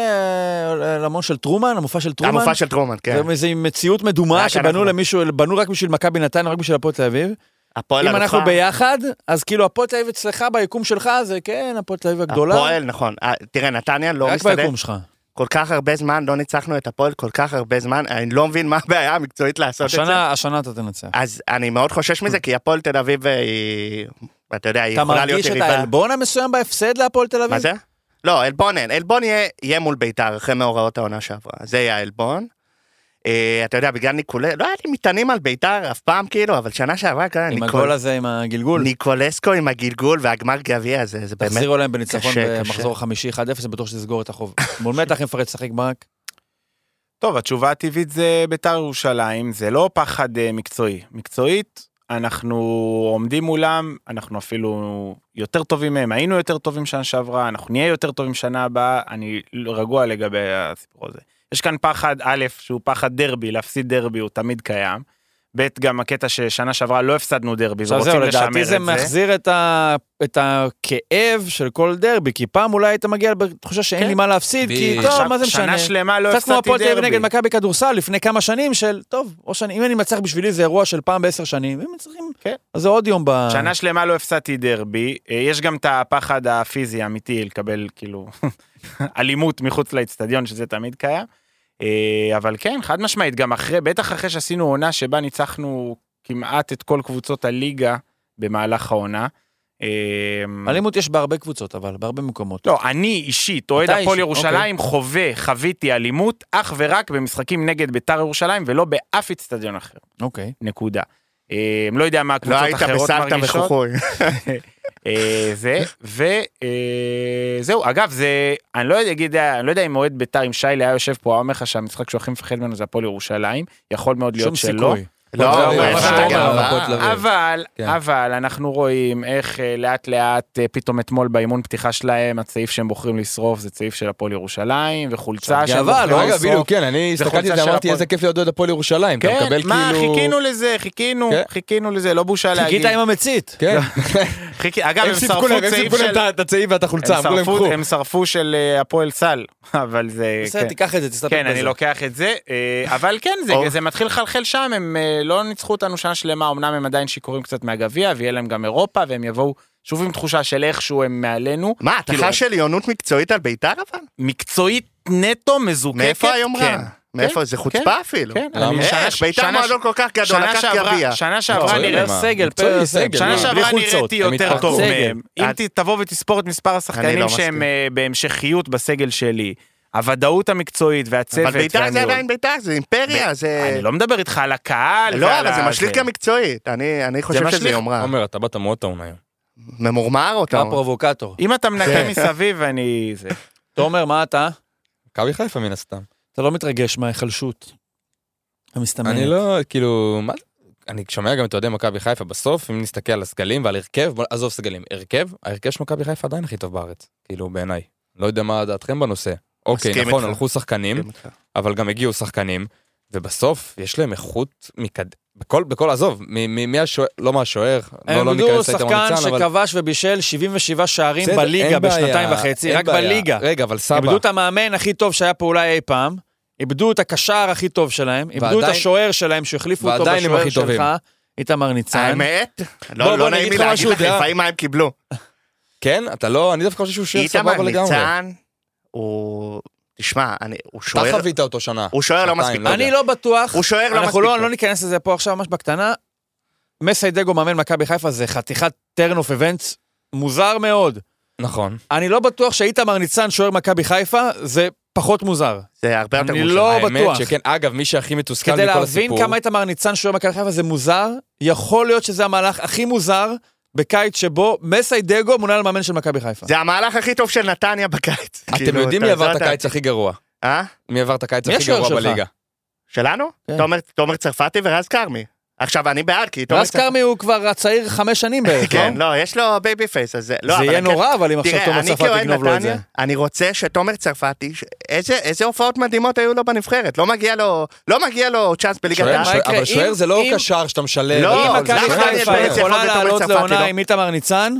B: אה, למון של טרומן? המופע של טרומן?
C: המופע של טרומן, כן.
B: זה איזו מציאות מדומה
C: רק
B: שבנו
C: אנחנו.
B: למישהו, בנו רק בשביל מכבי נתניה, רק בשביל הפועל תל אביב.
C: הפועל
B: אם אנחנו
C: אלופה.
B: ביחד, אז כאילו הפועל תל אביב אצלך, ביקום שלך, זה כן, הפועל תל אביב הגדולה,
C: הפועל, נכון. אה, תראה, נתניה לא
B: רק
C: מסתדר.
B: ביקום שלך.
C: כל כך הרבה זמן, לא ניצחנו את הפועל כל כך הרבה זמן, אני לא מבין מה הבעיה המקצועית לעשות את זה.
B: השנה, השנה אתה תנצח.
C: אז אני מאוד חושש מזה, כי הפועל תל אביב אה, היא... אתה יודע, היא
B: אתה
C: יכולה להיות
B: מרגיש את
C: יריבה.
B: העלבון המסוים בהפסד להפועל תל אביב?
C: מה זה? לא, עלבון אין. עלבון יהיה, יהיה מול ביתר אחרי מאורעות העונה שעברה. זה יהיה העלבון. אה, אתה יודע, בגלל ניקולי... לא היה לי מטענים על ביתר אף פעם, כאילו, אבל שנה שעברה כאן,
B: עם
C: ניקול...
B: הגול הזה, עם הגלגול.
C: ניקולסקו עם הגלגול והגמר גביע הזה, זה באמת... לא
B: תחזירו להם בניצחון
C: קשה, קשה.
B: במחזור חמישי 1-0, אני בטוח שתסגור את החוב. [LAUGHS] מול מי אתה הכי מפרץ לשחק ברק?
D: [LAUGHS] טוב, התשובה הטבעית זה ביתר ירושלים, זה לא פחד אה, מקצועי. מקצועית, אנחנו עומדים מולם, אנחנו אפילו יותר טובים מהם, היינו יותר טובים שנה שעברה, אנחנו נהיה יותר טובים שנה הבאה, אני לא- רגוע לגבי הסיפור הזה. יש כאן פחד, א', שהוא פחד דרבי, להפסיד דרבי הוא תמיד קיים. ב', גם הקטע ששנה שעברה לא הפסדנו דרבי,
B: עכשיו
D: ורוצים
B: זהו,
D: לשמר את
B: לדעתי זה
D: זה.
B: מחזיר את ה- את הכאב של כל דרבי, כי פעם אולי היית מגיע בתחושה שאין
D: כן.
B: לי מה להפסיד, כי
E: בדיוק.
B: טוב,
D: עכשיו,
B: מה זה משנה?
D: שנה שלמה לא
B: קצת כמו
D: הפסדתי
B: הפועל תל אביב
D: דרבי.
B: נגד מכבי כדורסל לפני כמה שנים של, טוב, או שאני, אם אני מצליח בשבילי זה אירוע של פעם בעשר שנים, אם מצליחים,
D: כן.
B: אז זה עוד יום ב...
D: שנה שלמה לא הפסדתי דרבי, אה, יש גם את הפחד הפיזי האמיתי לקבל כאילו [LAUGHS] אלימות מחוץ לאצטדיון, שזה תמיד קיים. אה, אבל כן, חד משמעית, גם אחרי, בטח אחרי שעשינו עונה שבה ניצחנו כמעט את כל קבוצות הליגה במהלך העונה. אה,
B: אלימות יש בהרבה קבוצות, אבל בהרבה מקומות.
D: לא, אני אישית, אוהד
B: אתה
D: הפועל
B: אישית,
D: ירושלים, חווה, חוויתי אלימות אך ורק במשחקים נגד ביתר ירושלים ולא באף אצטדיון אחר.
B: אוקיי.
D: נקודה. אה, לא יודע מה
C: לא
D: הקבוצות
C: היית
D: אחרות מרגישות.
C: בסבתא וחוכוי.
D: אה, זה, וזהו, אגב, זה, אני לא יודע- אגיד, אני לא יודע אם אוהד ביתר, אם שיילי היה יושב פה, היה אומר לך שהמשחק שהוא הכי מפחד ממנו זה הפועל ירושלים, יכול מאוד להיות
B: שום
D: שלא.
B: סיכוי.
C: לא,
E: אבל-
C: אבל- אבל-
E: אבל- אבל-
C: אבל-
E: אבל-
D: אבל,
E: כן.
D: אבל אנחנו רואים איך אה, לאט לאט אה, פתאום אתמול באימון פתיחה שלהם, הצעיף שהם בוחרים לשרוף זה צעיף של הפועל ירושלים, וחולצה שהם
B: גאווה,
D: בוחרים
B: לא?
E: רגע, בדיוק,
D: לשרוף.
E: כן, אני
D: זה
E: הסתכלתי
D: חולצה
E: על זה,
D: של
E: אמרתי
D: הפועל.
E: איזה כיף להיות אוהד הפועל ירושלים. אתה
D: כן,
E: מקבל
D: מה,
E: כאילו...
D: חיכינו לזה, חיכינו,
E: כן.
D: חיכינו לזה, לא בושה להגיד.
B: חיכית עם המצית.
D: [LAUGHS]
E: כן,
D: חיכי- אגב,
E: הם
D: הם
E: סיפקו
D: שרפו
E: להם הם
D: צעיף
E: סיפקו להם
D: של...
E: את- את הצעיף ואת החולצה,
D: הם
E: אמרו להם
D: שרפו,
E: קחו.
D: הם שרפו של אה, הפועל סל, [LAUGHS] אבל זה...
B: בסדר,
D: כן.
B: תיקח את זה, תסתפק בזה.
D: כן, אני לוקח את זה, אה, אבל כן, זה-
C: אור.
D: זה מתחיל לחלחל שם, הם אה, לא ניצחו אותנו שנה שלמה, אמנם הם עדיין שיכורים קצת מהגביע, ויהיה להם גם אירופה, והם יבואו שוב עם תחושה של איכשהו הם מעלינו.
C: מה, אתה
D: כאילו,
C: חש עליונות מקצועית על ביתר אבל?
D: מקצועית נטו מזוקקת.
C: מאיפה היום רע?
D: כן.
C: מאיפה?
D: כן,
C: זה
D: כן,
C: חוצפה אפילו.
D: כן,
E: למה?
D: אני- שנה-
C: איך, ביתר
D: שנה-
C: מועדון כל כך גדול,
D: שנה
C: לקח
D: שעברה-
C: גביע.
D: שנה שעברה
E: לא,
D: נראה
E: מה?
B: סגל,
E: מקצועי,
B: פר-
E: סגל,
D: שנה
E: מה?
B: בלי
D: שעברה
B: חולצות,
D: נראיתי
E: הם
D: יותר
E: התחרטו.
D: טוב
B: סגל.
D: מהם. אם
C: את-
D: ת- תבוא ותספור את מספר השחקנים
C: לא
D: שהם
C: מסכים.
D: אה, בהמשכיות בסגל שלי, הוודאות המקצועית והצוות.
C: אבל ביתר זה
D: והניהול.
C: עדיין ביתר, זה אימפריה, זה...
D: לא- אני לא מדבר איתך על הקהל.
C: לא,
D: ועל
C: אבל זה
D: ה-
C: משליך גם מקצועית. אני אני חושב שזה
D: משליך.
C: יומרה.
E: עומר, אתה באת מאוד טעון היום.
C: ממורמר
B: אתה
C: אותה.
B: פרובוקטור.
D: אם אתה מנקה
C: כן.
D: מסביב, אני... זה.
B: תומר, מה אתה?
E: מכבי חיפה מן הסתם.
B: אתה לא מתרגש מההיחלשות המסתמנת.
E: אני לא, כאילו, מה זה? אני שומע גם את אוהדי מכבי חיפה בסוף, אם נסתכל על הסגלים ועל הרכב, בוא עזוב סגלים, הרכב, ההרכב של מכבי חיפה עדיין הכי טוב בארץ, כאילו בעיניי. לא יודע מה דעתכם בנושא. אוקיי,
C: מסכים
E: נכון,
C: איתך.
E: הלכו שחקנים,
C: כן.
E: אבל גם הגיעו שחקנים, ובסוף יש להם איכות מקד... בכל, בכל עזוב, מ- מ- מהשוער, לא מהשוער, לא,
B: הם
E: לא
B: עמדו
E: ניכנס ליתרון
B: שחקן
E: ניצן, אבל...
B: שכבש ובישל 77 שערים
E: בסדר,
B: בליגה
E: אין בעיה,
B: בשנתיים וחצי,
E: אין
B: רק
E: בעיה.
B: בליגה.
E: רגע, אבל סבא.
B: איבדו את המאמן הכי טוב שהיה פה אולי אי פעם, איבדו את הקשר הכי טוב שלהם, איבדו את
E: ועדיין-
B: השוער שלהם שהחליפו אותו
E: ועדיין הם
B: בשוער
E: הכי טובים.
B: שלך, איתמר ניצן.
C: האמת?
E: בוא,
C: לא,
E: בוא,
C: לא
E: אני
C: נעים
E: אגיד
C: לי
E: לך
C: להגיד
E: משהו,
C: לך
E: דעה.
C: לפעמים מה הם קיבלו.
E: כן, אתה לא, אני דווקא חושב שהוא שיר
C: איתמר
E: סבבה לגמרי.
C: ניצן, הוא... תשמע, אני- הוא
E: אתה
C: שוער...
E: חווית אותו שנה.
C: הוא שוער לא
E: שנתיים,
C: מספיק.
E: יודע.
B: אני לא בטוח,
C: הוא שוער לא מספיק.
B: אנחנו לא
C: טוב.
B: לא ניכנס לזה פה עכשיו ממש בקטנה. מסיידגו מאמן מכבי חיפה זה חתיכת turn of events מוזר מאוד.
E: נכון.
B: אני לא בטוח שאיתמר ניצן שוער מכבי חיפה זה פחות מוזר.
C: זה הרבה יותר
B: אני
C: מוזר.
B: לא
E: האמת
B: בטוח.
E: שכן, אגב, מי שהכי מתוסכל
B: כדי
E: מכל
B: להבין
E: הסיפור,
B: כמה איתמר ניצן שוער מכבי חיפה זה מוזר, יכול להיות שזה המהלך הכי מוזר בקיץ שבו מסיידגו מונה למאמן של מכבי חיפה.
C: זה המהלך הכי טוב של נתניה בקיץ.
E: אתם
C: כאילו,
E: יודעים
C: אתה-
E: מי עבר את
C: זאת-
E: הקיץ הכי גרוע.
C: אה?
E: מי עבר את הקיץ
B: מי
E: הכי
B: השוער
E: גרוע
B: שלך?
E: בליגה.
C: שלנו?
B: כן.
C: תומר- תומר צרפתי ורז כרמי. עכשיו, אני בעד, כי תומר
B: רז כרמי הוא כבר הצעיר חמש שנים בערך,
C: כן,
B: לא?
C: לא, יש לו בייבי פייס, אז זה... לא,
B: זה
C: אבל
B: יהיה
C: הקטע-
B: נורא, אבל אם עכשיו
C: תראה,
B: תומר
C: אני
B: צרפתי
C: כאוהד
B: יגנוב לו את זה.
C: נתניה, אני רוצה שתומר צרפתי, ש- איזה- איזה הופעות מדהימות היו לו בנבחרת. לא מגיע לו- לא מגיע לו צ'אנס בליגת
E: שוער-
C: העל.
B: מה
E: שוער-
B: יקרה?
E: אבל שוער
B: אם-
E: זה לא
B: אם-
E: קשר שאתה משלב.
C: לא,
B: אם
C: אבל
B: מכבי
C: למה נתניה
B: חיפה
C: בעצם
B: יכולה
C: לא בתומר
B: לעלות
C: צרפתי,
B: לעונה
C: לא?
B: עם איתמר ניצן,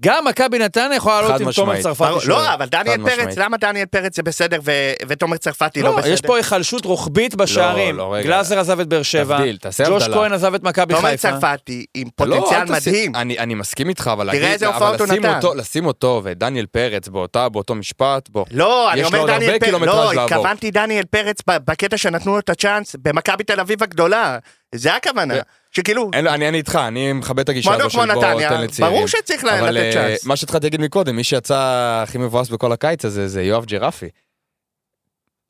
B: גם מכבי נתניה יכולה לעלות
E: חד
B: עם תומר
E: משמעית.
B: צרפתי. שוער.
C: לא, אבל דניאל
E: משמעית.
C: פרץ, למה דניאל פרץ זה בסדר ו- ותומר צרפתי לא
B: לא, יש
C: בסדר?
B: פה היחלשות רוחבית בשערים.
E: לא, רגע.
B: גלאזר עזב את באר שבע,
E: תבדיל, תעשה
B: ג'וש
E: הבדלה.
B: כהן עזב את מכבי
C: תומר
B: חיפה.
C: צרפתי עם
E: לא,
C: פוטנציאל
E: אל תשים-
C: מדהים.
E: אני אני מסכים איתך, אבל
C: תראה
E: להגיד-
C: איזה
E: אבל
C: הופעות הוא
E: לשים
C: נתן.
E: אותו- לשים אותו ודניאל פרץ באותה- באותו משפט, בוא.
C: לא, אני
E: יש לו
C: אומר
E: עוד הרבה
C: דניאל פרץ,
E: קילומטראז'
C: לא,
E: לעבור.
C: התכוונתי דניאל פרץ ב- בקטע שנתנו לו את הצ'אנס במכבי תל אביב הגדולה. זה הכוונה.
E: ו-
C: שכאילו,
E: אין לו- אני אני איתך, אני מכבד את הגישה
C: מועדון
E: הזו של
C: כמו
E: בוא
C: נתניה,
E: תן לצעירים.
C: ברור שצריך
B: לא,
C: לה-
E: אבל
C: לתת
E: אה,
C: צ'אנס.
E: מה שהתחלתי להגיד מקודם, מי שיצא הכי מבואס בכל הקיץ הזה זה יואב ג'רפי.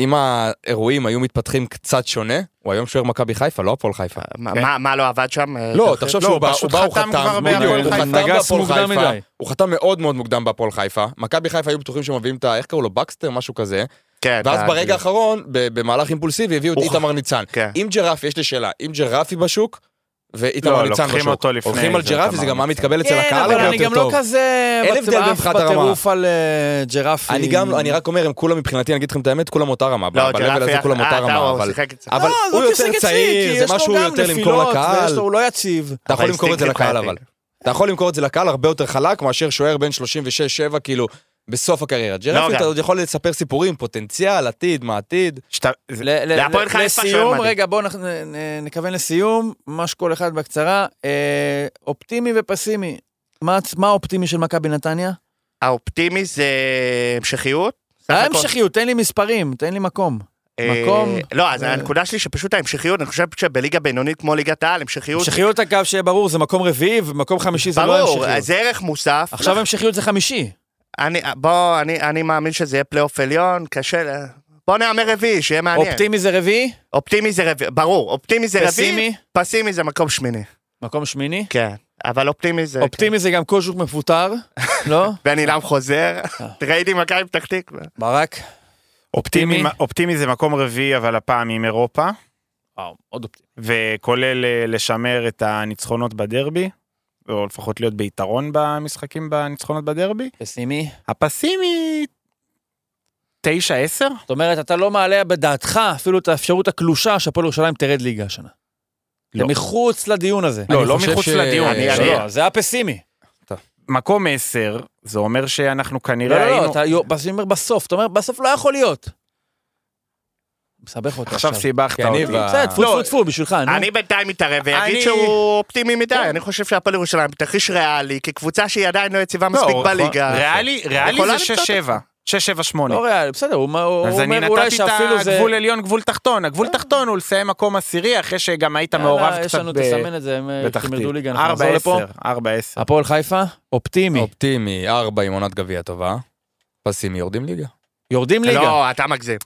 E: אם האירועים היו מתפתחים קצת שונה, הוא היום שוער מכבי חיפה, לא הפועל חיפה.
C: מה- מה- מה לא עבד שם?
E: לא,
D: אה,
E: תחשוב
D: לא,
E: שהוא
D: הוא
E: בא, הוא
D: פשוט
E: בא, הוא
D: חתם כבר
E: חתם,
D: בהפועל
E: בדיוק, הוא
D: חיפה.
E: חתם כן,
A: נגס
E: בהפועל
A: מוקדם
E: חיפה,
A: מדי.
E: הוא חתם מאוד מאוד מוקדם בהפועל חיפה, מכבי חיפה היו בטוחים שמביאים את ה... איך קראו לו? בקסטר, משהו כזה,
C: כן,
E: ואז
C: אתה-
E: ברגע האחרון, ב- במהלך אימפולסיבי, הביאו את
C: הוא ח-
E: איתמר ניצן.
C: כן.
E: עם ג'רפי, יש לי שאלה, אם ג'רפי בשוק, ואיתמר
D: לא,
E: ניצן בשוק.
D: לוקחים אותו לפני
E: הולכים על
D: זה,
E: ג'רפי,
D: איתמר
E: זה גם מה
D: ניצן.
E: מתקבל אצל
B: כן,
E: הקהל
B: אבל
E: הרבה
B: אני גם
E: יותר
B: לא
E: טוב.
B: כזה
E: אין הבדל
B: בצבא
E: בין מבחינת הרמה.
B: בטירוף על אה, ג'רפי.
E: אני גם, לא- אני רק אומר, הם כולם מבחינתי, אני אגיד לכם את האמת, כולם אותה רמה.
C: לא,
E: ב- ב-level הזה
C: ג'רפי,
E: כולם
C: אה,
E: אותה
C: אתה,
E: רמה,
C: הוא
E: אבל...
C: שיחק אצלך.
E: אבל
B: לא,
E: הוא
B: זאת
E: יותר
B: תסגת
E: צעיר,
B: סיטי, יש
E: זה
B: לו
E: משהו
B: גם
E: יותר למכור
B: נפילות, ויש
E: לקהל.
B: לו- הוא לא יציב.
E: אתה יכול
C: אבל
E: למכור את זה
C: אינסטינקט
E: לקהל
C: בעייתי.
E: אבל. אתה יכול למכור את זה לקהל הרבה יותר חלק מאשר שוער בן 36-7 כאילו בסוף הקריירה. ג'רפי
C: לא, גם.
E: אתה עוד יכול לספר סיפורים, פוטנציאל, עתיד, מה עתיד.
D: שאתה- זה-
B: ל- ל-
C: להפועל
B: ל-
C: חיפה שוער
B: לסיום,
C: מדהים.
B: רגע, בואו נכ- נ- נ- נכוון לסיום, ממש כל אחד בקצרה. אה, אופטימי ופסימי. מה הצ- מה האופטימי של מכבי נתניה?
C: האופטימי זה המשכיות. סך
B: היה
C: הכל.
B: אה, המשכיות, תן לי מספרים, תן לי מקום.
C: אה,
B: מקום.
C: לא, אז
B: אה.
C: הנקודה שלי שפשוט ההמשכיות, אני חושב שבליגה בינונית כמו ליגת העל, המשכיות...
B: המשכיות, אגב, שיהיה ברור, זה מקום רביעי, ומקום חמישי זה לא
C: ברור,
B: המשכיות.
C: זה ערך מוסף.
B: עכשיו המשכיות זה חמישי.
C: אני, בוא, אני, אני מאמין שזה יהיה פלייאוף עליון, קשה ל... בוא נהמר רביעי, שיהיה מעניין. אופטימי,
B: אופטימי זה רביעי,
C: אופטימי זה רביעי, ברור, אופטימי זה רביעי,
B: פסימי,
C: פסימי זה מקום שמיני.
B: מקום שמיני.
C: כן, אבל אופטימי זה...
B: אופטימי זה גם קוז'וק [LAUGHS] מפוטר, לא?
C: כן. בן עילם חוזר, ראיתי מכבי פתח תקווה.
B: ברק.
D: אופטימי,
B: טימי.
D: אופטימי זה מקום רביעי, אבל הפעם עם אירופה,
B: וואו, עוד אופטימי.
D: וכולל אה, לשמר את הניצחונות בדרבי, או לפחות להיות ביתרון במשחקים בניצחונות בדרבי.
B: פסימי.
D: הפסימי... תשע עשר?
B: זאת אומרת, אתה לא מעלה בדעתך אפילו את האפשרות הקלושה שהפועל ירושלים תרד ליגה השנה. זה מחוץ לדיון הזה.
E: אני
D: לא, לא
E: חושב
D: מחוץ
E: ש-
D: לדיון.
C: אני-
E: לא,
C: אני-
E: לא.
B: לא, זה הפסימי.
D: מקום עשר, זה אומר שאנחנו
B: לא,
D: כנראה
B: לא,
D: היינו...
B: לא, אתה יו- אני אומר בסוף, אתה אומר, בסוף לא יכול להיות. מסבך אותי עכשיו.
D: עכשיו סיבכת
E: כי אני
D: אותי.
E: ו-
B: בסדר, טפו
D: לא.
B: טפו טפו בשבילך, נו.
C: אני בינתיים מתערב ויגיד
D: אני-
C: שהוא אופטימי מדי,
B: כן.
C: אני חושב שהפועל ירושלים בתרחיש ריאלי, כקבוצה שהיא עדיין לא יציבה מספיק
D: לא,
C: בליגה.
B: נכון.
D: ריאלי, ריאלי
C: יכולה
D: זה
C: למצוא
D: שש שבע. שש שבע שמונה.
B: לא ריאלי, בסדר, הוא מה- הוא
D: אז אני
B: אומר אולי
D: נתתי
B: שאפילו
D: את
B: זה... אה.
D: הגבול עליון, גבול תחתון. הגבול תחתון הוא לסיים מקום עשירי, אחרי שגם היית
B: יאללה,
D: מעורב
B: יש
D: קצת
B: לנו,
D: ב-
B: תסמן את זה, הם
D: בתחתית.
B: ירדו ליגה, אנחנו
D: ארבע
B: נחזור לפה.
D: עשר, ארבע עשר.
B: הפועל חיפה, אופטימי.
E: אופטימי, ארבע עם עונת גביע טובה. פסימי, יורדים ליגה.
B: יורדים ליגה.
D: נכון.
C: לא, אתה מגזים.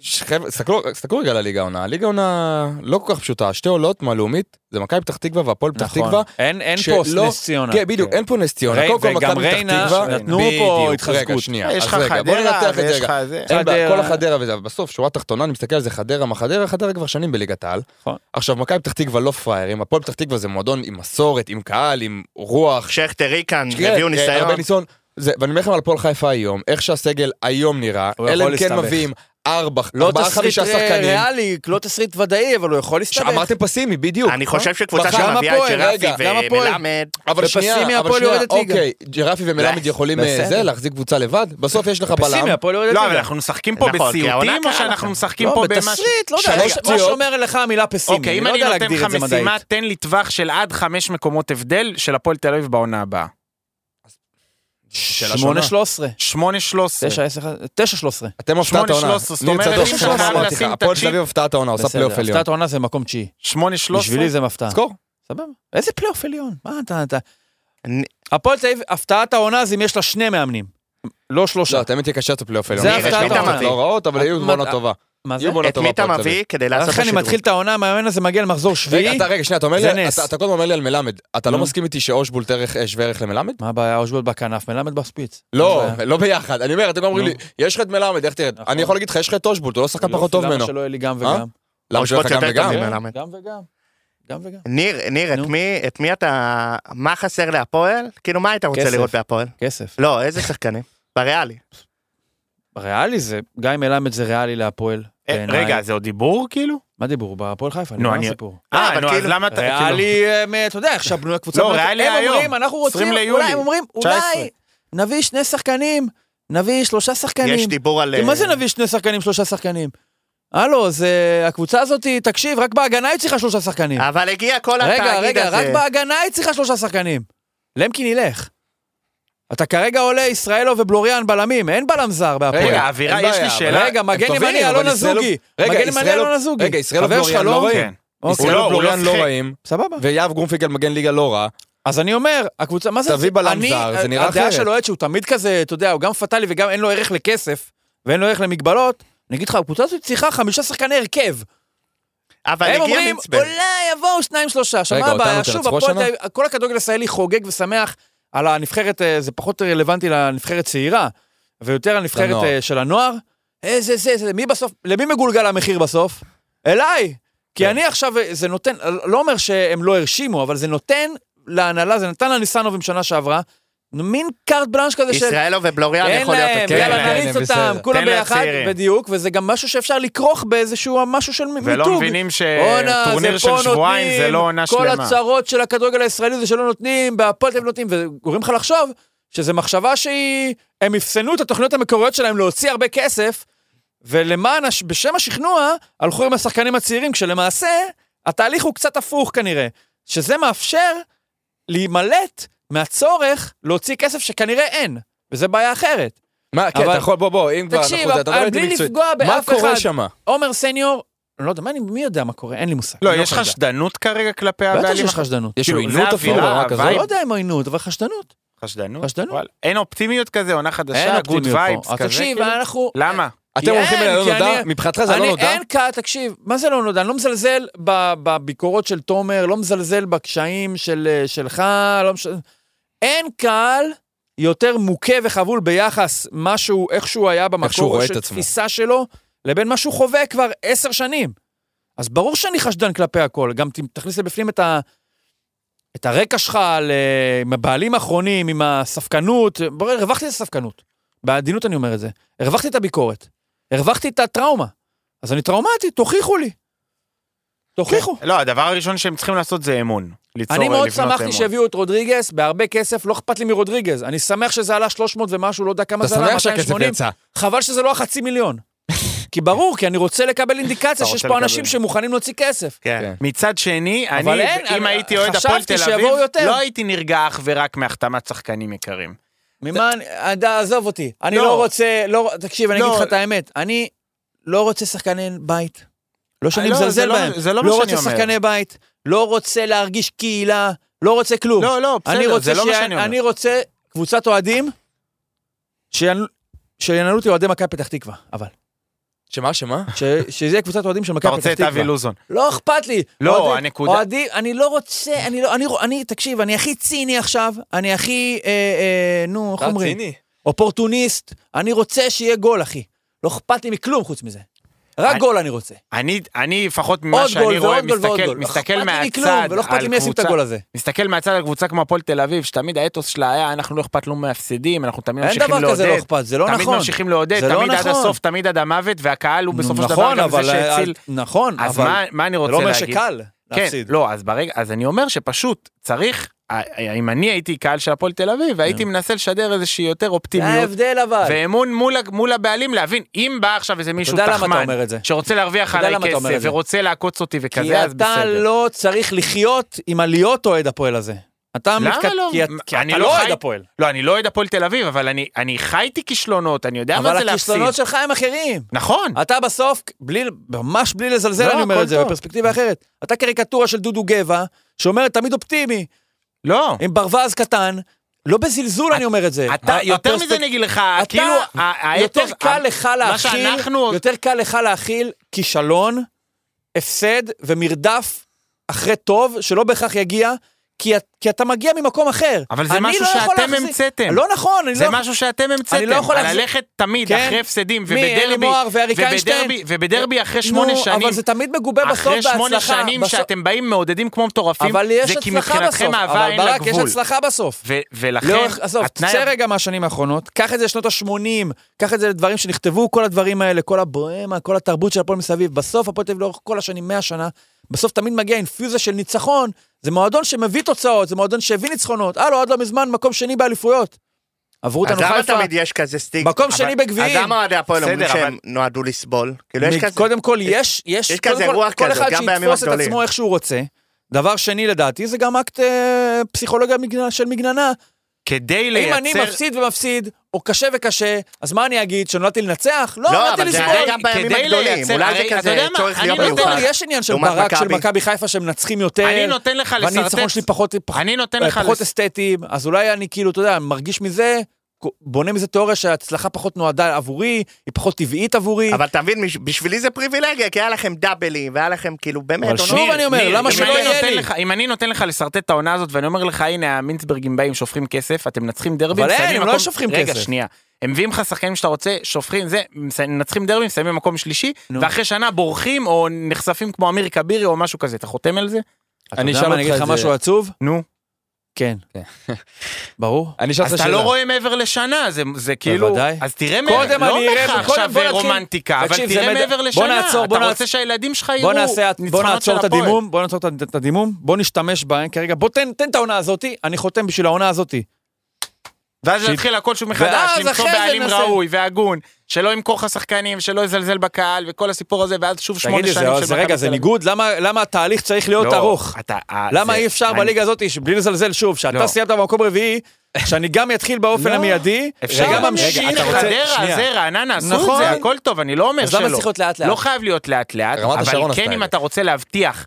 E: ש- חבר'ה, תסתכלו- תסתכלו רגע על הליגה העונה. הליגה העונה לא כל כך פשוטה. שתי עולות מהלאומית, זה מכבי פתח תקווה והפועל פתח
B: נכון.
E: תקווה.
B: אין אין
E: שלא-
B: פה נס ציונה.
E: כן, בדיוק, אין פה נס ציונה.
B: רי-
E: קודם כל
B: וגם
E: מכבי פתח
B: ריינה,
E: תקווה.
B: נתנו פה
E: בדיוק. רגע,
B: התחזקות.
E: שנייה.
D: יש
E: אז
D: לך
E: רגע, בוא
D: חדרה,
E: ננתח את זה
D: ויש
E: רגע.
D: לך זה.
E: אין בעיה,
B: חדרה.
E: כל החדרה וזה, אבל בסוף, שורה תחתונה, אני מסתכל על זה חדרה, מה חדרה, חדרה כבר שנים בליגת העל.
B: נכון.
E: עכשיו, מכבי פתח תקווה לא פראיירים, הפועל פתח תקווה זה מועדון עם מסורת, עם קהל, עם רוח.
C: שכטר ריקן,
E: כן,
C: הביאו
E: אה,
C: ניסיון.
E: הרבה ניסיון. זה- ואני אומר לכם על הפועל חיפה היום, איך שהסגל היום נראה,
B: הוא
E: אלה
B: יכול
E: הם כן
B: להסתבך.
E: מביאים ארבע,
B: לא
E: ארבעה,
B: תסריט
E: חמישה
B: אה,
E: שחקנים.
B: ריאלי, לא תסריט ודאי, אבל הוא יכול להסתבך.
E: אמרתם פסימי, בדיוק.
C: אני חושב שקבוצה
E: גם
C: שמביאה את
E: הפועל,
C: ג'רפי
E: רגע,
B: נכון? גם הפועל.
C: ומלמד,
E: אבל
B: ופסימי,
E: שנייה, אבל
B: הפועל
E: שנייה,
B: יורדת ליגה.
E: אוקיי, ג'רפי ומלמד
C: בסדר.
E: יכולים אה, זה, להחזיק קבוצה לבד, בסוף יש לך בלם.
B: פסימי, הפועל יורדת
D: לא,
B: ליגה.
D: אבל אנחנו משחקים פה
C: נכון, כי העונה
D: בסיוטים, או
C: קרה
D: שאנחנו
C: לכם.
D: משחקים
B: לא,
D: פה במה...
B: בתסריט, לא יודע,
E: שלוש
B: רגע, מה
E: פציעות.
B: שאומר לך המילה
D: אוקיי,
B: פסימי,
D: אם
B: לא
D: אני
B: יודע
D: נותן
B: להגדיר את
D: לך
B: זה מדעית.
D: משימה, תן לי טווח של עד חמש מקומות הבדל של הפועל תל אביב בעונה הבאה.
B: 8 13
D: 8 13
B: 9 10 9 13
E: אתם הפתעת
D: שמונה,
E: העונה.
D: שלוש עשרה, זאת
E: ניר
D: אומרת,
E: צדוק,
D: אם
E: כמו
D: אתה
E: שאמרתי לך,
D: לשים את
E: הפועל תל
D: הצ'יפ-
E: אביב הפתעת העונה, עושה
B: בסדר,
E: פלייאוף עליון. לא
B: הפתעת עונה זה מקום תשיעי.
D: 8 13
B: בשבילי זה מפתעה.
E: תזכור.
B: סבבה. איזה פלייאוף עליון? מה אתה... אתה...
C: אני-
B: הפועל תל אביב, הפתעת העונה זה אם יש לה שני מאמנים. לא שלושה.
E: לא, את האמת היא קשה את הפלייאוף עליון.
B: זה
E: יש
B: הפתעת
E: קבוצות
B: העונה.
E: לא רעות, אבל היו
B: מה-
E: בעונה טובה.
B: מה זה?
E: יהיו בעונה
C: את
E: טובה
C: מי אתה
E: הפועל תל אביב.
C: מביא כדי לעשות את
B: לכן אני
C: השדרוג?
B: מתחיל את העונה, המאמן הזה מגיע למחזור
E: רגע,
B: שביעי.
E: אתה, רגע, שנייה, אתה אומר
B: זה
E: לי,
B: נס.
E: אתה, אתה קודם אומר לי על מלמד, אתה לא
B: נו.
E: מסכים איתי שאושבולט ערך- אה, שווה ערך למלמד?
B: מה הבעיה? אושבולט בכנף, מלמד בשפיץ.
E: לא,
B: מה הבעיה?
E: לא ביחד. אני אומר, אתם אומרים
B: נו.
E: לי, יש לך את מלמד, איך תראה?
B: נכון.
E: אני יכול להגיד לך, יש לך את אושבולט, הוא לא שחקן פחות טוב ממנו.
B: למה שלא יהיה לי גם
E: אה?
B: וגם?
E: למה שלא לך
C: אושבולט
E: גם
C: יותר
E: וגם?
C: טוב.
B: כן,
C: מלמד.
B: גם וגם. גם וגם.
C: ניר, ניר, את
B: נו.
C: מי, את מי אתה, מה חסר להפועל? כאילו, מה היית רוצה
B: כסף.
C: לראות בהפועל?
B: כסף.
C: לא, איזה שחקנים? בריאלי.
B: ריאלי זה, גיא מלמד זה ריאלי להפועל.
D: אה,
B: בעיניי.
D: רגע, זה עוד דיבור כאילו?
B: מה דיבור? בהפועל חיפה,
D: נו,
B: נגמר
D: אני-
B: הסיפור.
C: אה,
D: אה,
C: אבל
D: נו, אז
C: כאילו-
D: למה אתה... כאילו-
B: ריאלי, אמ, אתה יודע, איך שבנו הקבוצה.
D: לא,
B: אומרת,
D: ריאלי
B: הם
D: היום.
B: אומרים, אנחנו
D: 20
B: רוצים,
D: ליולי.
B: אולי, הם אומרים,
D: 19.
B: אולי נביא שני שחקנים, נביא שלושה
C: יש
B: שחקנים.
C: דיבור על... אה,
B: מה זה נביא שני שחקנים, שלושה שחקנים? הלו, זה... הקבוצה הזאת, היא- תקשיב, רק בהגנה היא צריכה שלושה שחקנים.
C: אבל הגיע כל התאגיד הזה.
B: רגע, רגע, רק בהגנה היא צריכה שלושה שחקנים. למקין ילך. אתה כרגע עולה ישראלו ובלוריאן בלמים, אין בלם זר בהפועל.
D: רגע, אווירה,
E: אין
D: יש לי
E: בעיה, אבל-
D: שאלה.
B: רגע,
E: הם
B: מגן
E: טובים,
B: ימני,
E: אבל
B: אלון
E: ישראלוב-
B: אזוגי.
E: רגע,
B: מגן ימני,
E: ישראלוב-
B: אלון אזוגי.
E: רגע, ישראלוב
B: חבר שלך,
E: בלוריאן
B: לא?
E: לא רעים.
D: כן.
B: אוקיי,
D: הוא לא-
E: ישראלוב בלוריאן לא
D: שיחק.
E: רעים,
B: סבבה.
E: ויהב גרונפינגל מגן ליגה לא רע.
B: אז אני אומר, הקבוצה, מה זה...
E: תביא בלם
B: אני- אה,
E: זר, זה נראה
B: הדעה
E: אחרת.
B: של אוהד שהוא תמיד כזה, אתה יודע, הוא גם פטאלי וגם אין לו ערך לכסף, ואין לו ערך למגבלות, אני אגיד לך, הקבוצה הזאת צריכה חמישה שחקני הרכב.
C: אבל
B: הם
C: הגיע
B: אומרים,
C: מינצברג.
B: אולי יבואו שניים שלושה. עכשיו,
E: רגע,
B: מה
E: אותנו
B: הבעיה?
E: תנצחו
B: שוב, הפועל
E: השנה?
B: תל אביב- כל הכדורגל הישראלי חוגג ושמח על הנבחרת, אה, זה פחות רלוונטי לנבחרת צעירה, ויותר לנבחרת
E: לנוער.
B: אה, של הנוער. איזה, זה, זה, מי בסוף, למי מגולגל המחיר בסוף? אליי.
E: כן.
B: כי אני עכשיו, אה, זה נותן, לא אומר שהם לא הרשימו, אבל זה נותן להנהלה, זה נתן לניסנובים שנה שעברה, מין קארט בלאנש כזה של...
C: ישראלו ובלוריאן
B: אין
C: יכול להיות...
B: להם,
C: אותו.
E: כן,
B: יאללה
E: כן,
B: נריץ אותם,
E: הם בסדר.
B: כולם
D: תן להם
B: ביחד,
D: צעירים.
B: בדיוק, וזה גם משהו שאפשר לכרוך באיזשהו משהו של מיתוג.
D: ולא מבינים
B: בואנה, זה פה
D: שטורניר של שבועיים
B: נותנים,
D: זה לא עונה שלמה.
B: כל הצרות של הכדורגל הישראלי זה שלא נותנים, בהפועל תל אביב נותנים, וגורם לך לחשוב שזו מחשבה שהיא... הם אפסנו את התוכניות המקוריות שלהם להוציא הרבה כסף, ולמען, הש- בשם השכנוע, הלכו עם השחקנים הצעירים, כשלמעשה, התהליך הוא קצת הפוך כנראה, שזה מאפשר להימלט מהצורך להוציא כסף שכנראה אין, וזו בעיה אחרת.
E: מה, כן,
B: אבל-
E: אתה יכול, בוא, בוא, אם כבר אנחנו...
B: תקשיב,
E: אתה מדבר
B: אבל
E: איתי
B: בלי
E: מקצועית.
B: לפגוע באף
E: מה קורה
B: אחד.
E: שמה?
B: עומר סניור, אני לא יודע, מה אני, מי יודע מה קורה? אין לי מושג.
D: לא,
B: אני
D: יש
B: יכול לדעת.
D: חשדנות כרגע כלפי
B: בטח
D: הבעלים?
B: שיש חשדנות.
E: יש לו
D: כאילו, זה
E: עינות אפילו,
D: אווירה,
E: ברמה כזאת?
B: אני
D: וייב.
B: לא יודע אם עוינות, אבל חשדנות.
D: חשדנות?
B: חשדנות.
D: וואלה. אין אופטימיות כזה, עונה
B: אין
D: חדשה, גוד
B: אופטימיות
D: וייבס
B: פה. אז
D: כזה?
B: תקשיב,
D: כאילו?
B: אנחנו...
D: למה?
E: אתם הולכים
B: אין,
E: אל הלא
B: כי
E: נודע?
B: אני-
E: מבחינתך כן. זה
B: אני-
E: לא נודע?
B: אין קהל, תקשיב, מה זה לא נודע? אני לא מזלזל ב- בביקורות של תומר, לא מזלזל בקשיים של, אה, שלך, לא משנה. אין קהל יותר מוכה וחבול ביחס משהו, איך שהוא היה
E: שהוא
B: במקור
E: רואה
B: של
E: את עצמו.
B: תפיסה שלו, לבין מה שהוא חווה כבר עשר שנים. אז ברור שאני חשדן כלפי הכל, גם ת- תכניס לבפנים את ה... את הרקע שלך על, אה, עם הבעלים האחרונים, עם הספקנות, ברור, הרווחתי את הספקנות. בעדינות אני אומר את זה. הרווחתי את הביקורת. הרווחתי את הטראומה. אז אני טראומטי, תוכיחו לי. תוכיחו.
E: כן.
D: לא, הדבר הראשון שהם צריכים לעשות זה אמון. ליצור, אה,
B: אני מאוד
D: לבנות
B: שמחתי
D: אמון.
B: שהביאו את רודריגז, בהרבה כסף, לא אכפת לי מרודריגז. אני שמח שזה עלה 300 ומשהו, לא יודע כמה
E: אתה
B: זה עלה,
E: שמח שהכסף
B: 280.
E: יצא.
B: חבל שזה לא החצי מיליון. כי ברור, כי אני רוצה לקבל אינדיקציה שיש
D: רוצה
B: פה
D: לקבל.
B: אנשים שמוכנים להוציא כסף.
C: כן.
D: מצד שני, אני,
B: אבל אין,
D: אם
B: אני-
D: הייתי אוהד
B: חשבתי
D: הפועל תל אביב,
B: שיבואו יותר.
D: לא הייתי נרגע אך ורק מהחתמת שחקנים יקרים.
B: ממה, אני- אה, עזוב אותי. אני
D: לא.
B: לא רוצה, לא, תקשיב, אני
D: לא.
B: אגיד לך את האמת. אני לא רוצה שחקני בית. לא שאני
D: לא, זה
B: מזלזל
D: לא-
B: בהם.
D: זה לא מה שאני
B: לא רוצה
D: אומר.
B: שחקני בית, לא רוצה להרגיש קהילה, לא רוצה כלום.
D: לא, לא,
B: אני
D: בסדר,
B: רוצה,
D: זה לא מה שאני אומר.
B: אני רוצה קבוצת אוהדים שינ- שינהלו אותי אוהדי מכבי פתח תקווה, אבל.
E: שמה, שמה?
B: ש- שזה יהיה קבוצת אוהדים של
D: אתה
B: מכבי פתח
D: רוצה את
B: תקווה.
D: אבי לוזון.
B: לא אכפת לי.
D: לא,
B: אוהדים-
D: הנקודה-
B: אוהדים, אני לא רוצה, אני לא, אני, רוא- אני, תקשיב, אני הכי ציני עכשיו, אני הכי, אה, אה, נו, איך
E: אתה
B: אומרים?
E: ציני.
B: אופורטוניסט, אני רוצה שיהיה גול, אחי. לא אכפת לי מכלום חוץ מזה. רק
D: אני-
B: גול אני רוצה.
D: אני, אני לפחות ממה
B: עוד
D: שאני
B: גול
D: רואה,
B: ועוד גול ועוד
D: מסתכל,
B: גול.
D: מסתכל
B: אכפת לי מכלום,
D: מהצד
B: ולא אכפת לי מי ישים את הגול הזה.
D: מסתכל מהצד על קבוצה כמו הפועל תל אביב, שתמיד האתוס שלה היה, אנחנו לא אכפת לנו מהפסדים, אנחנו תמיד
B: אין
D: ממשיכים לעודד.
B: דבר כזה לא אכפת, זה לא נכון.
D: תמיד ממשיכים לעודד,
B: זה לא
D: תמיד עד
B: נכון.
D: הסוף, תמיד עד המוות, והקהל הוא בסופו של דבר
B: נכון,
D: גם זה
B: אבל,
D: שהציל.
B: אה, נכון,
D: אז
B: אבל
D: מה- מה אני
B: זה
D: רוצה
B: לא אומר
D: להגיד?
B: שקל להפסיד.
D: כן, לא, אז ברגע, אז אני אומר שפשוט צריך, אה, אם אני הייתי קהל של הפועל תל אביב, והייתי מנסה לשדר איזושהי יותר
B: כן. זה
D: אופטימיות.
B: ההבדל אבל.
D: ואמון מול, ה- מול הבעלים להבין אם בא עכשיו איזה מישהו
B: יודע למה אתה
D: תחמן
B: אומר את זה?
D: שרוצה להרוויח
B: אתה יודע
D: עליי
B: למה אתה אומר
D: כסף
B: את זה?
D: ורוצה לעקוץ אותי וכזה
B: כי
D: אז
B: אתה
D: בסדר.
B: לא צריך לחיות עם הלהיות אוהד הפועל הזה. אתה
D: למה
B: מתקט-
D: לא?
B: כי את-
D: מה,
B: כי
D: אני
B: אתה
D: לא
B: לא אוהד
D: חי-
B: הפועל.
D: לא אני לא אוהד הפועל תל אביב אבל אני אני חייתי כישלונות אני יודע מה זה
B: אבל
D: להפסיד.
B: הכישלונות אה, שלך הם אחרים.
D: נכון
B: אתה בסוף, בלי, ממש בלי לזלזל,
D: לא,
B: אני אומר
D: הכל
B: את זה,
D: טוב.
B: בפרספקטיבה אחרת. אתה קריקטורה של דודו גבע, שאומר תמיד אופטימי,
D: לא.
B: עם ברווז קטן, לא בזלזול אני אומר את זה.
D: אתה
B: ה-
D: יותר
B: אה, הפרספק-
D: מזה אני אגיד לך
B: אתה- לא-
D: כאילו ה- האתוס-
B: יותר קל לך להכיל,
D: שאנחנו-
B: יותר קל לך להכיל כישלון, הפסד ומרדף אחרי טוב, שלא בהכרח יגיע, כי, את- כי אתה מגיע ממקום אחר.
D: אבל זה
B: אני
D: משהו
B: לא יכול
D: שאתם
B: להחזיק-
D: המצאתם.
B: לא נכון, אני לא...
D: זה משהו שאתם
B: אני לא
D: המצאתם,
B: יכול להחזיק-
D: ללכת תמיד
B: כן.
D: אחרי הפסדים
B: מי, אלי
D: ובדרבי,
B: מוהר ואריק איינשטיין?
D: ובדרבי, ובדרבי אחרי שמונה
B: נו,
D: שנים,
B: אבל זה תמיד מגובה בסוף
D: אחרי
B: בהצלחה.
D: שמונה שנים
B: בסוף-
D: שאתם באים מעודדים כמו מטורפים,
B: אבל יש
D: זה כי
B: הצלחה
D: מבחינתכם
B: בסוף,
D: אהבה
B: אבל
D: אין לה
B: ברק, יש
D: גבול.
B: הצלחה בסוף.
D: ו- ולכן,
B: לאורך, לא, עזוב,
D: התנאי-
B: תצא רגע מהשנים האחרונות, קח את זה לשנות ה-80, קח את זה לדברים שנכתבו, כל הדברים האלה, כל הבוהמה, כל התרבות של הפועל מסביב. בסוף הפועל תל אביב לאורך כל השנים, 100 שנה, בסוף תמיד מגיע אינפיוזיה של ניצחון. זה מועדון שמביא תוצאות, זה מועדון שהביא ניצחונות. הלו, עד לא מזמן, מקום שני באליפויות. עברו
C: אז
B: אותנו
C: למה
B: חיפה,
C: תמיד יש כזה סטיגמה?
B: מקום שני
C: אז
B: בגביעים.
C: למה אוהדי הפועל אומרים
D: בסדר,
C: שהם נועדו לסבול? כאילו יש
B: מ-
C: כזה...
B: קודם כל, יש, יש,
C: יש
B: קודם
C: כזה
B: כל,
C: רוח
B: כל
C: כזאת,
B: אחד
C: גם בימים
B: שיתפוס את
C: הגדולים.
B: עצמו איך שהוא רוצה. דבר שני, לדעתי, זה גם אקט אה, פסיכולוגיה מגנ- של מגננה.
D: כדי
B: אם אני
D: לייצר...
B: מפסיד ומפסיד, או קשה וקשה, אז מה אני אגיד, שנולדתי לנצח? לא,
C: לא,
B: נולדתי
C: אבל זה
B: לסבול.
C: היה גם בימים
D: כדי
C: הגדולים,
D: לייצר-
C: אולי
D: הרי
C: זה
D: אתה
C: כזה
D: יודע מה,
C: צורך
D: אני
C: להיות
D: נותן-
B: קודם כל,
C: מיוחד.
B: יש עניין של
C: לעומת
B: ברק, של
C: מכבי.
B: מכבי חיפה, שהם מנצחים יותר.
D: אני נותן לך
B: אה, ואני הניצחון
D: לשרטט-
B: שלי פחות, פח-
D: אני נותן
B: אה,
D: לך
B: פחות
D: לס-
B: אסתטיים, אז אולי אני כאילו, אתה יודע, מרגיש מזה, בונה מזה תיאוריה שההצלחה פחות נועדה עבורי, היא פחות טבעית עבורי.
C: אבל תבין, מש- בשבילי זה פריבילגיה, כי היה לכם דאבלים, והיה לכם כאילו באמת...
B: אבל
C: עונות-
B: שוב אני אומר,
D: ניר,
B: למה
D: אם
B: שלא
D: אני
B: יהיה
D: נותן
B: לי?
D: לך- אם אני נותן לך לשרטט את העונה הזאת, ואני אומר לך, הנה, המינצברגים באים, שופכים כסף, אתם מנצחים דרבים,
B: אבל אין,
D: מסיימים
B: הם לא
D: מקום-
B: שופכים
D: רגע,
B: כסף.
D: שנייה. הם מביאים לך שחקנים שאתה רוצה, שופכים, זה, מס- מנצחים דרבים, מסיימים מקום שלישי, ואחרי שנה בורחים או נחשפים כמו אמיר כבירי או משהו כזה. אתה חותם על זה?
E: אני
B: אתה יודע
E: אשאל
B: מה, אני
E: אותך
B: אגיד לך
E: את זה.
B: משהו עצוב?
D: נו.
B: כן. [LAUGHS] ברור.
E: אני אשאל
D: אז
E: אותך
D: אתה לא
E: שאלה.
D: רואה מעבר לשנה, זה- זה כאילו...
B: בוודאי.
D: אז תראה
B: קודם
D: מעבר, לא
B: אני
D: אומר
B: אראה-
D: לך
B: קודם
D: עכשיו
B: בוא נתחיל-
D: רומנטיקה, אבל
B: תקשיב, זה
D: תראה
B: מדע-
D: מעבר
B: בוא
D: לשנה.
B: נעצור, בוא
D: אתה
B: נעצור.
D: רוצה שהילדים שלך יראו
B: בוא נעשה, בוא
D: ניצחונות של
B: נעצור את
D: הפועל.
B: הדימום, בוא נעצור את הד- את הדימום, בוא נשתמש בהם כרגע, בוא תן תן את העונה הזאתי, אני חותם בשביל העונה הזאתי.
D: ואז
B: שהיא-
D: נתחיל הכל שוב מחדש,
B: ואז
D: למצוא
B: אחרי זה
D: בעלים
B: ננסה.
D: ראוי והגון, שלא ימכור לך שחקנים, שלא יזלזל בקהל, וכל הסיפור הזה, ואז שוב
B: תגיד
D: שמונה
B: לי,
D: שנים של
B: זה- זה רגע, זה ניגוד? למה למה התהליך צריך
D: לא,
B: להיות ארוך? למה אי אפשר בליגה הזאת, שבלי לזלזל שוב,
D: לא.
B: שאתה סיימת במקום רביעי, שאני גם אתחיל באופן המיידי,
D: אפשר
B: וגם
D: גם
B: אמשיך,
D: להמשיך,
B: אתה רוצה-
D: חדרה,
B: שנייה.
D: זה רעננה, עשו את
B: נכון.
D: זה, הכל טוב, אני לא אומר
B: אז למה
D: שלא.
B: צריך להיות לאט לאט?
D: לא חייב להיות לאט לאט,
E: רמת השרון
D: אבל
E: עשתה
D: כן
E: את
D: אם
E: זה.
D: אתה רוצה להבטיח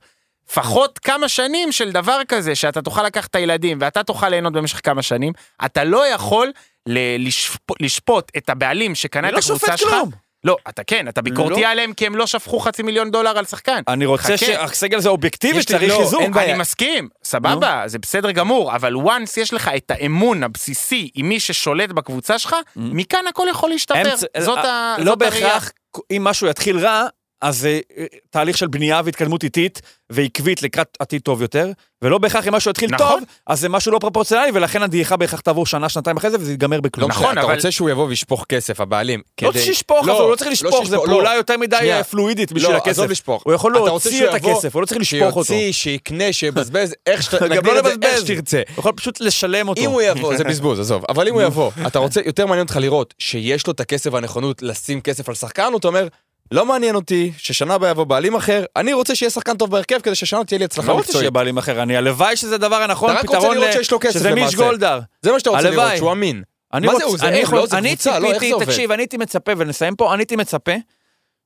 D: לפחות כמה שנים של דבר כזה, שאתה תוכל לקחת את הילדים ואתה תוכל ליהנות במשך כמה שנים, אתה לא יכול ל- לשפ- לשפוט את הבעלים
B: אני
D: שקנה את
B: לא
D: הקבוצה
B: שופט
D: שלך.
B: כלום.
D: לא, אתה כן, אתה ביקורתי
B: לא.
D: עליהם כי הם לא שפכו חצי מיליון דולר על שחקן.
B: אני רוצה
D: חכה.
B: שהסגל הזה אובייקטיבי,
E: יש לי-
B: צריך
E: לא,
B: חיזוק.
E: אין
D: אני
E: בעיה.
D: מסכים, סבבה, זה בסדר גמור, אבל once יש לך את האמון הבסיסי עם מי ששולט בקבוצה שלך, מכאן הכל יכול להשתפר.
B: אמצע-
D: זאת
B: אה,
D: ה-
B: לא
D: זאת הראייה.
B: בהכרח, אם משהו יתחיל רע, אז זה אה, תהליך של בנייה והתקדמות איטית ועקבית לקראת עתיד טוב יותר, ולא בהכרח אם משהו יתחיל
D: נכון.
B: טוב, אז זה משהו לא פרופורציונלי, ולכן הדעיכה בהכרח תעבור שנה, שנתיים אחרי זה, וזה ייגמר
E: לא
B: בכלום.
E: משנה,
D: נכון,
E: אתה
D: אבל-
E: רוצה שהוא יבוא וישפוך כסף, הבעלים.
B: לא
E: כדי-
B: צריך לשפוך, אבל הוא לא צריך לשפוך, זה
E: שישפוך, לא.
B: פעולה יותר מדי
E: שנייה.
B: אה, פלואידית בשביל
E: לא,
B: הכסף.
E: עזוב לשפוך.
B: הוא יכול
E: אתה רוצה
B: להוציא
E: שהוא
B: את
E: יבוא,
B: הכסף, הוא לא צריך לשפוך אותו.
E: שיוציא, שיקנה, שיקבזבז, [LAUGHS] איך שאתה...
B: גם
E: נגדיר
B: לא
E: את זה איך
B: לבזבז.
E: שתרצה.
B: הוא יכול פשוט לשלם אותו.
E: אם הוא יבוא, זה בזבוז, עזוב,
B: [LAUGHS]
E: אבל אם הוא יבוא, אתה רוצה, יותר מעניין אותך לראות שיש לו את הכסף והנכונות לשים כסף על שחקן, אתה אומר, לא מעניין אותי ששנה הבאה יבוא בעלים אחר, אני רוצה שיהיה שחקן טוב בהרכב כדי ששנה תהיה לי הצלחה
B: לא רוצה שיהיה
E: מקצועית.
B: בעלים אחר, אני הלוואי שזה הדבר הנכון,
E: אתה רק רוצה
B: פתרון
E: לראות
B: ל-
E: שיש לו כסף
B: שזה מיש
E: למעשה.
B: גולדהר.
E: זה מה שאתה רוצה לראות,
B: הלוואי.
E: שהוא אמין.
B: אני
E: מה זה
B: רוצה,
E: הוא? זה
B: אני
E: איך?
B: יכול-
E: לא, זה
B: אני
E: קבוצה, לא, איך
B: ציפיתי-
E: זה עובד?
B: תקשיב, אני הייתי מצפה, ונסיים פה, אני הייתי מצפה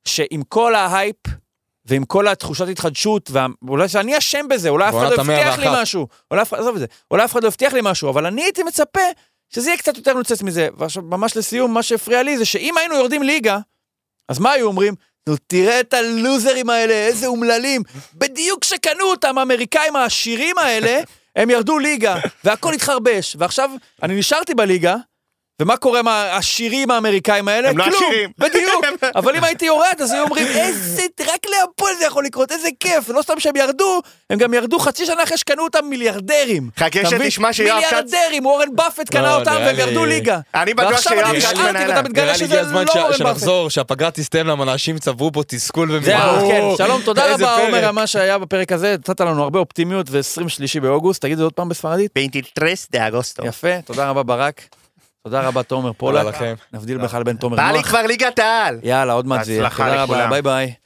B: שעם כל ההייפ ועם כל התחושת התחדשות, וה- אולי שאני אשם בזה, אולי אף אחד לא
E: בעונת המאה
B: הבטיח לי
E: ואחת.
B: משהו, אולי אף אחד, עזוב את זה, אולי אף אחד לא הבטיח לי משהו, אבל אני הייתי מצפה שזה יהיה קצת יותר נוצץ מזה. ועכשיו, ממש לסיום, מה שהפריע לי זה שאם היינו יורדים ליגה, אז מה היו אומרים? נו, תראה את הלוזרים האלה, איזה אומללים. בדיוק כשקנו אותם, האמריקאים
C: [LAUGHS]
B: העשירים האלה, הם ירדו ליגה, והכל התחרבש. ועכשיו, אני נשארתי בליגה, ומה קורה עם העשירים האמריקאים האלה?
C: הם לא
B: כלום,
C: עשירים.
B: [LAUGHS] בדיוק. אבל אם הייתי יורד, אז היו אומרים, איזה, רק להפועל זה יכול לקרות, איזה כיף. לא סתם שהם ירדו, הם גם ירדו חצי שנה אחרי שקנו אותם מיליארדרים.
C: חכה
B: אתה מבין?
C: שתשמע שיואב כץ...
B: מיליארדרים, אורן באפט
E: לא,
B: קנה אותם
E: נראה
B: והם
E: לי-
B: ירדו ליגה.
C: אני בטוח
B: ועכשיו
C: שיואב
B: אני
C: כץ
B: נשארתי
C: מנהל.
B: ואתה מתגלה
E: נראה לי הגיע
B: שזה
E: הזמן
B: לא
E: ש-
B: אורן באפט.
E: שנחזור, שהפגרה תסתיים למה אנשים צברו פה
B: זהו,
E: תסכול
B: כן,
E: ומרמור.
B: שלום, תודה
E: איזה
B: רבה
E: פרק.
B: עומר על מה שהיה בפרק הזה, נתת לנו הרבה אופטימיות ו-23 באוגוסט, תגיד את זה עוד פעם בספרדית.
C: 23 דה אגוסטו.
B: יפה, תודה רבה ברק, תודה רבה תומר
E: תודה
B: פולק,
E: לכם.
B: נבדיל בכלל בין תומר
C: בא לי
B: נוח.
C: כבר ליגת העל.
B: יאללה, עוד מעט זה יהיה,
D: בהצלחה
B: תודה רבה,
D: לכולם.
B: ביי ביי.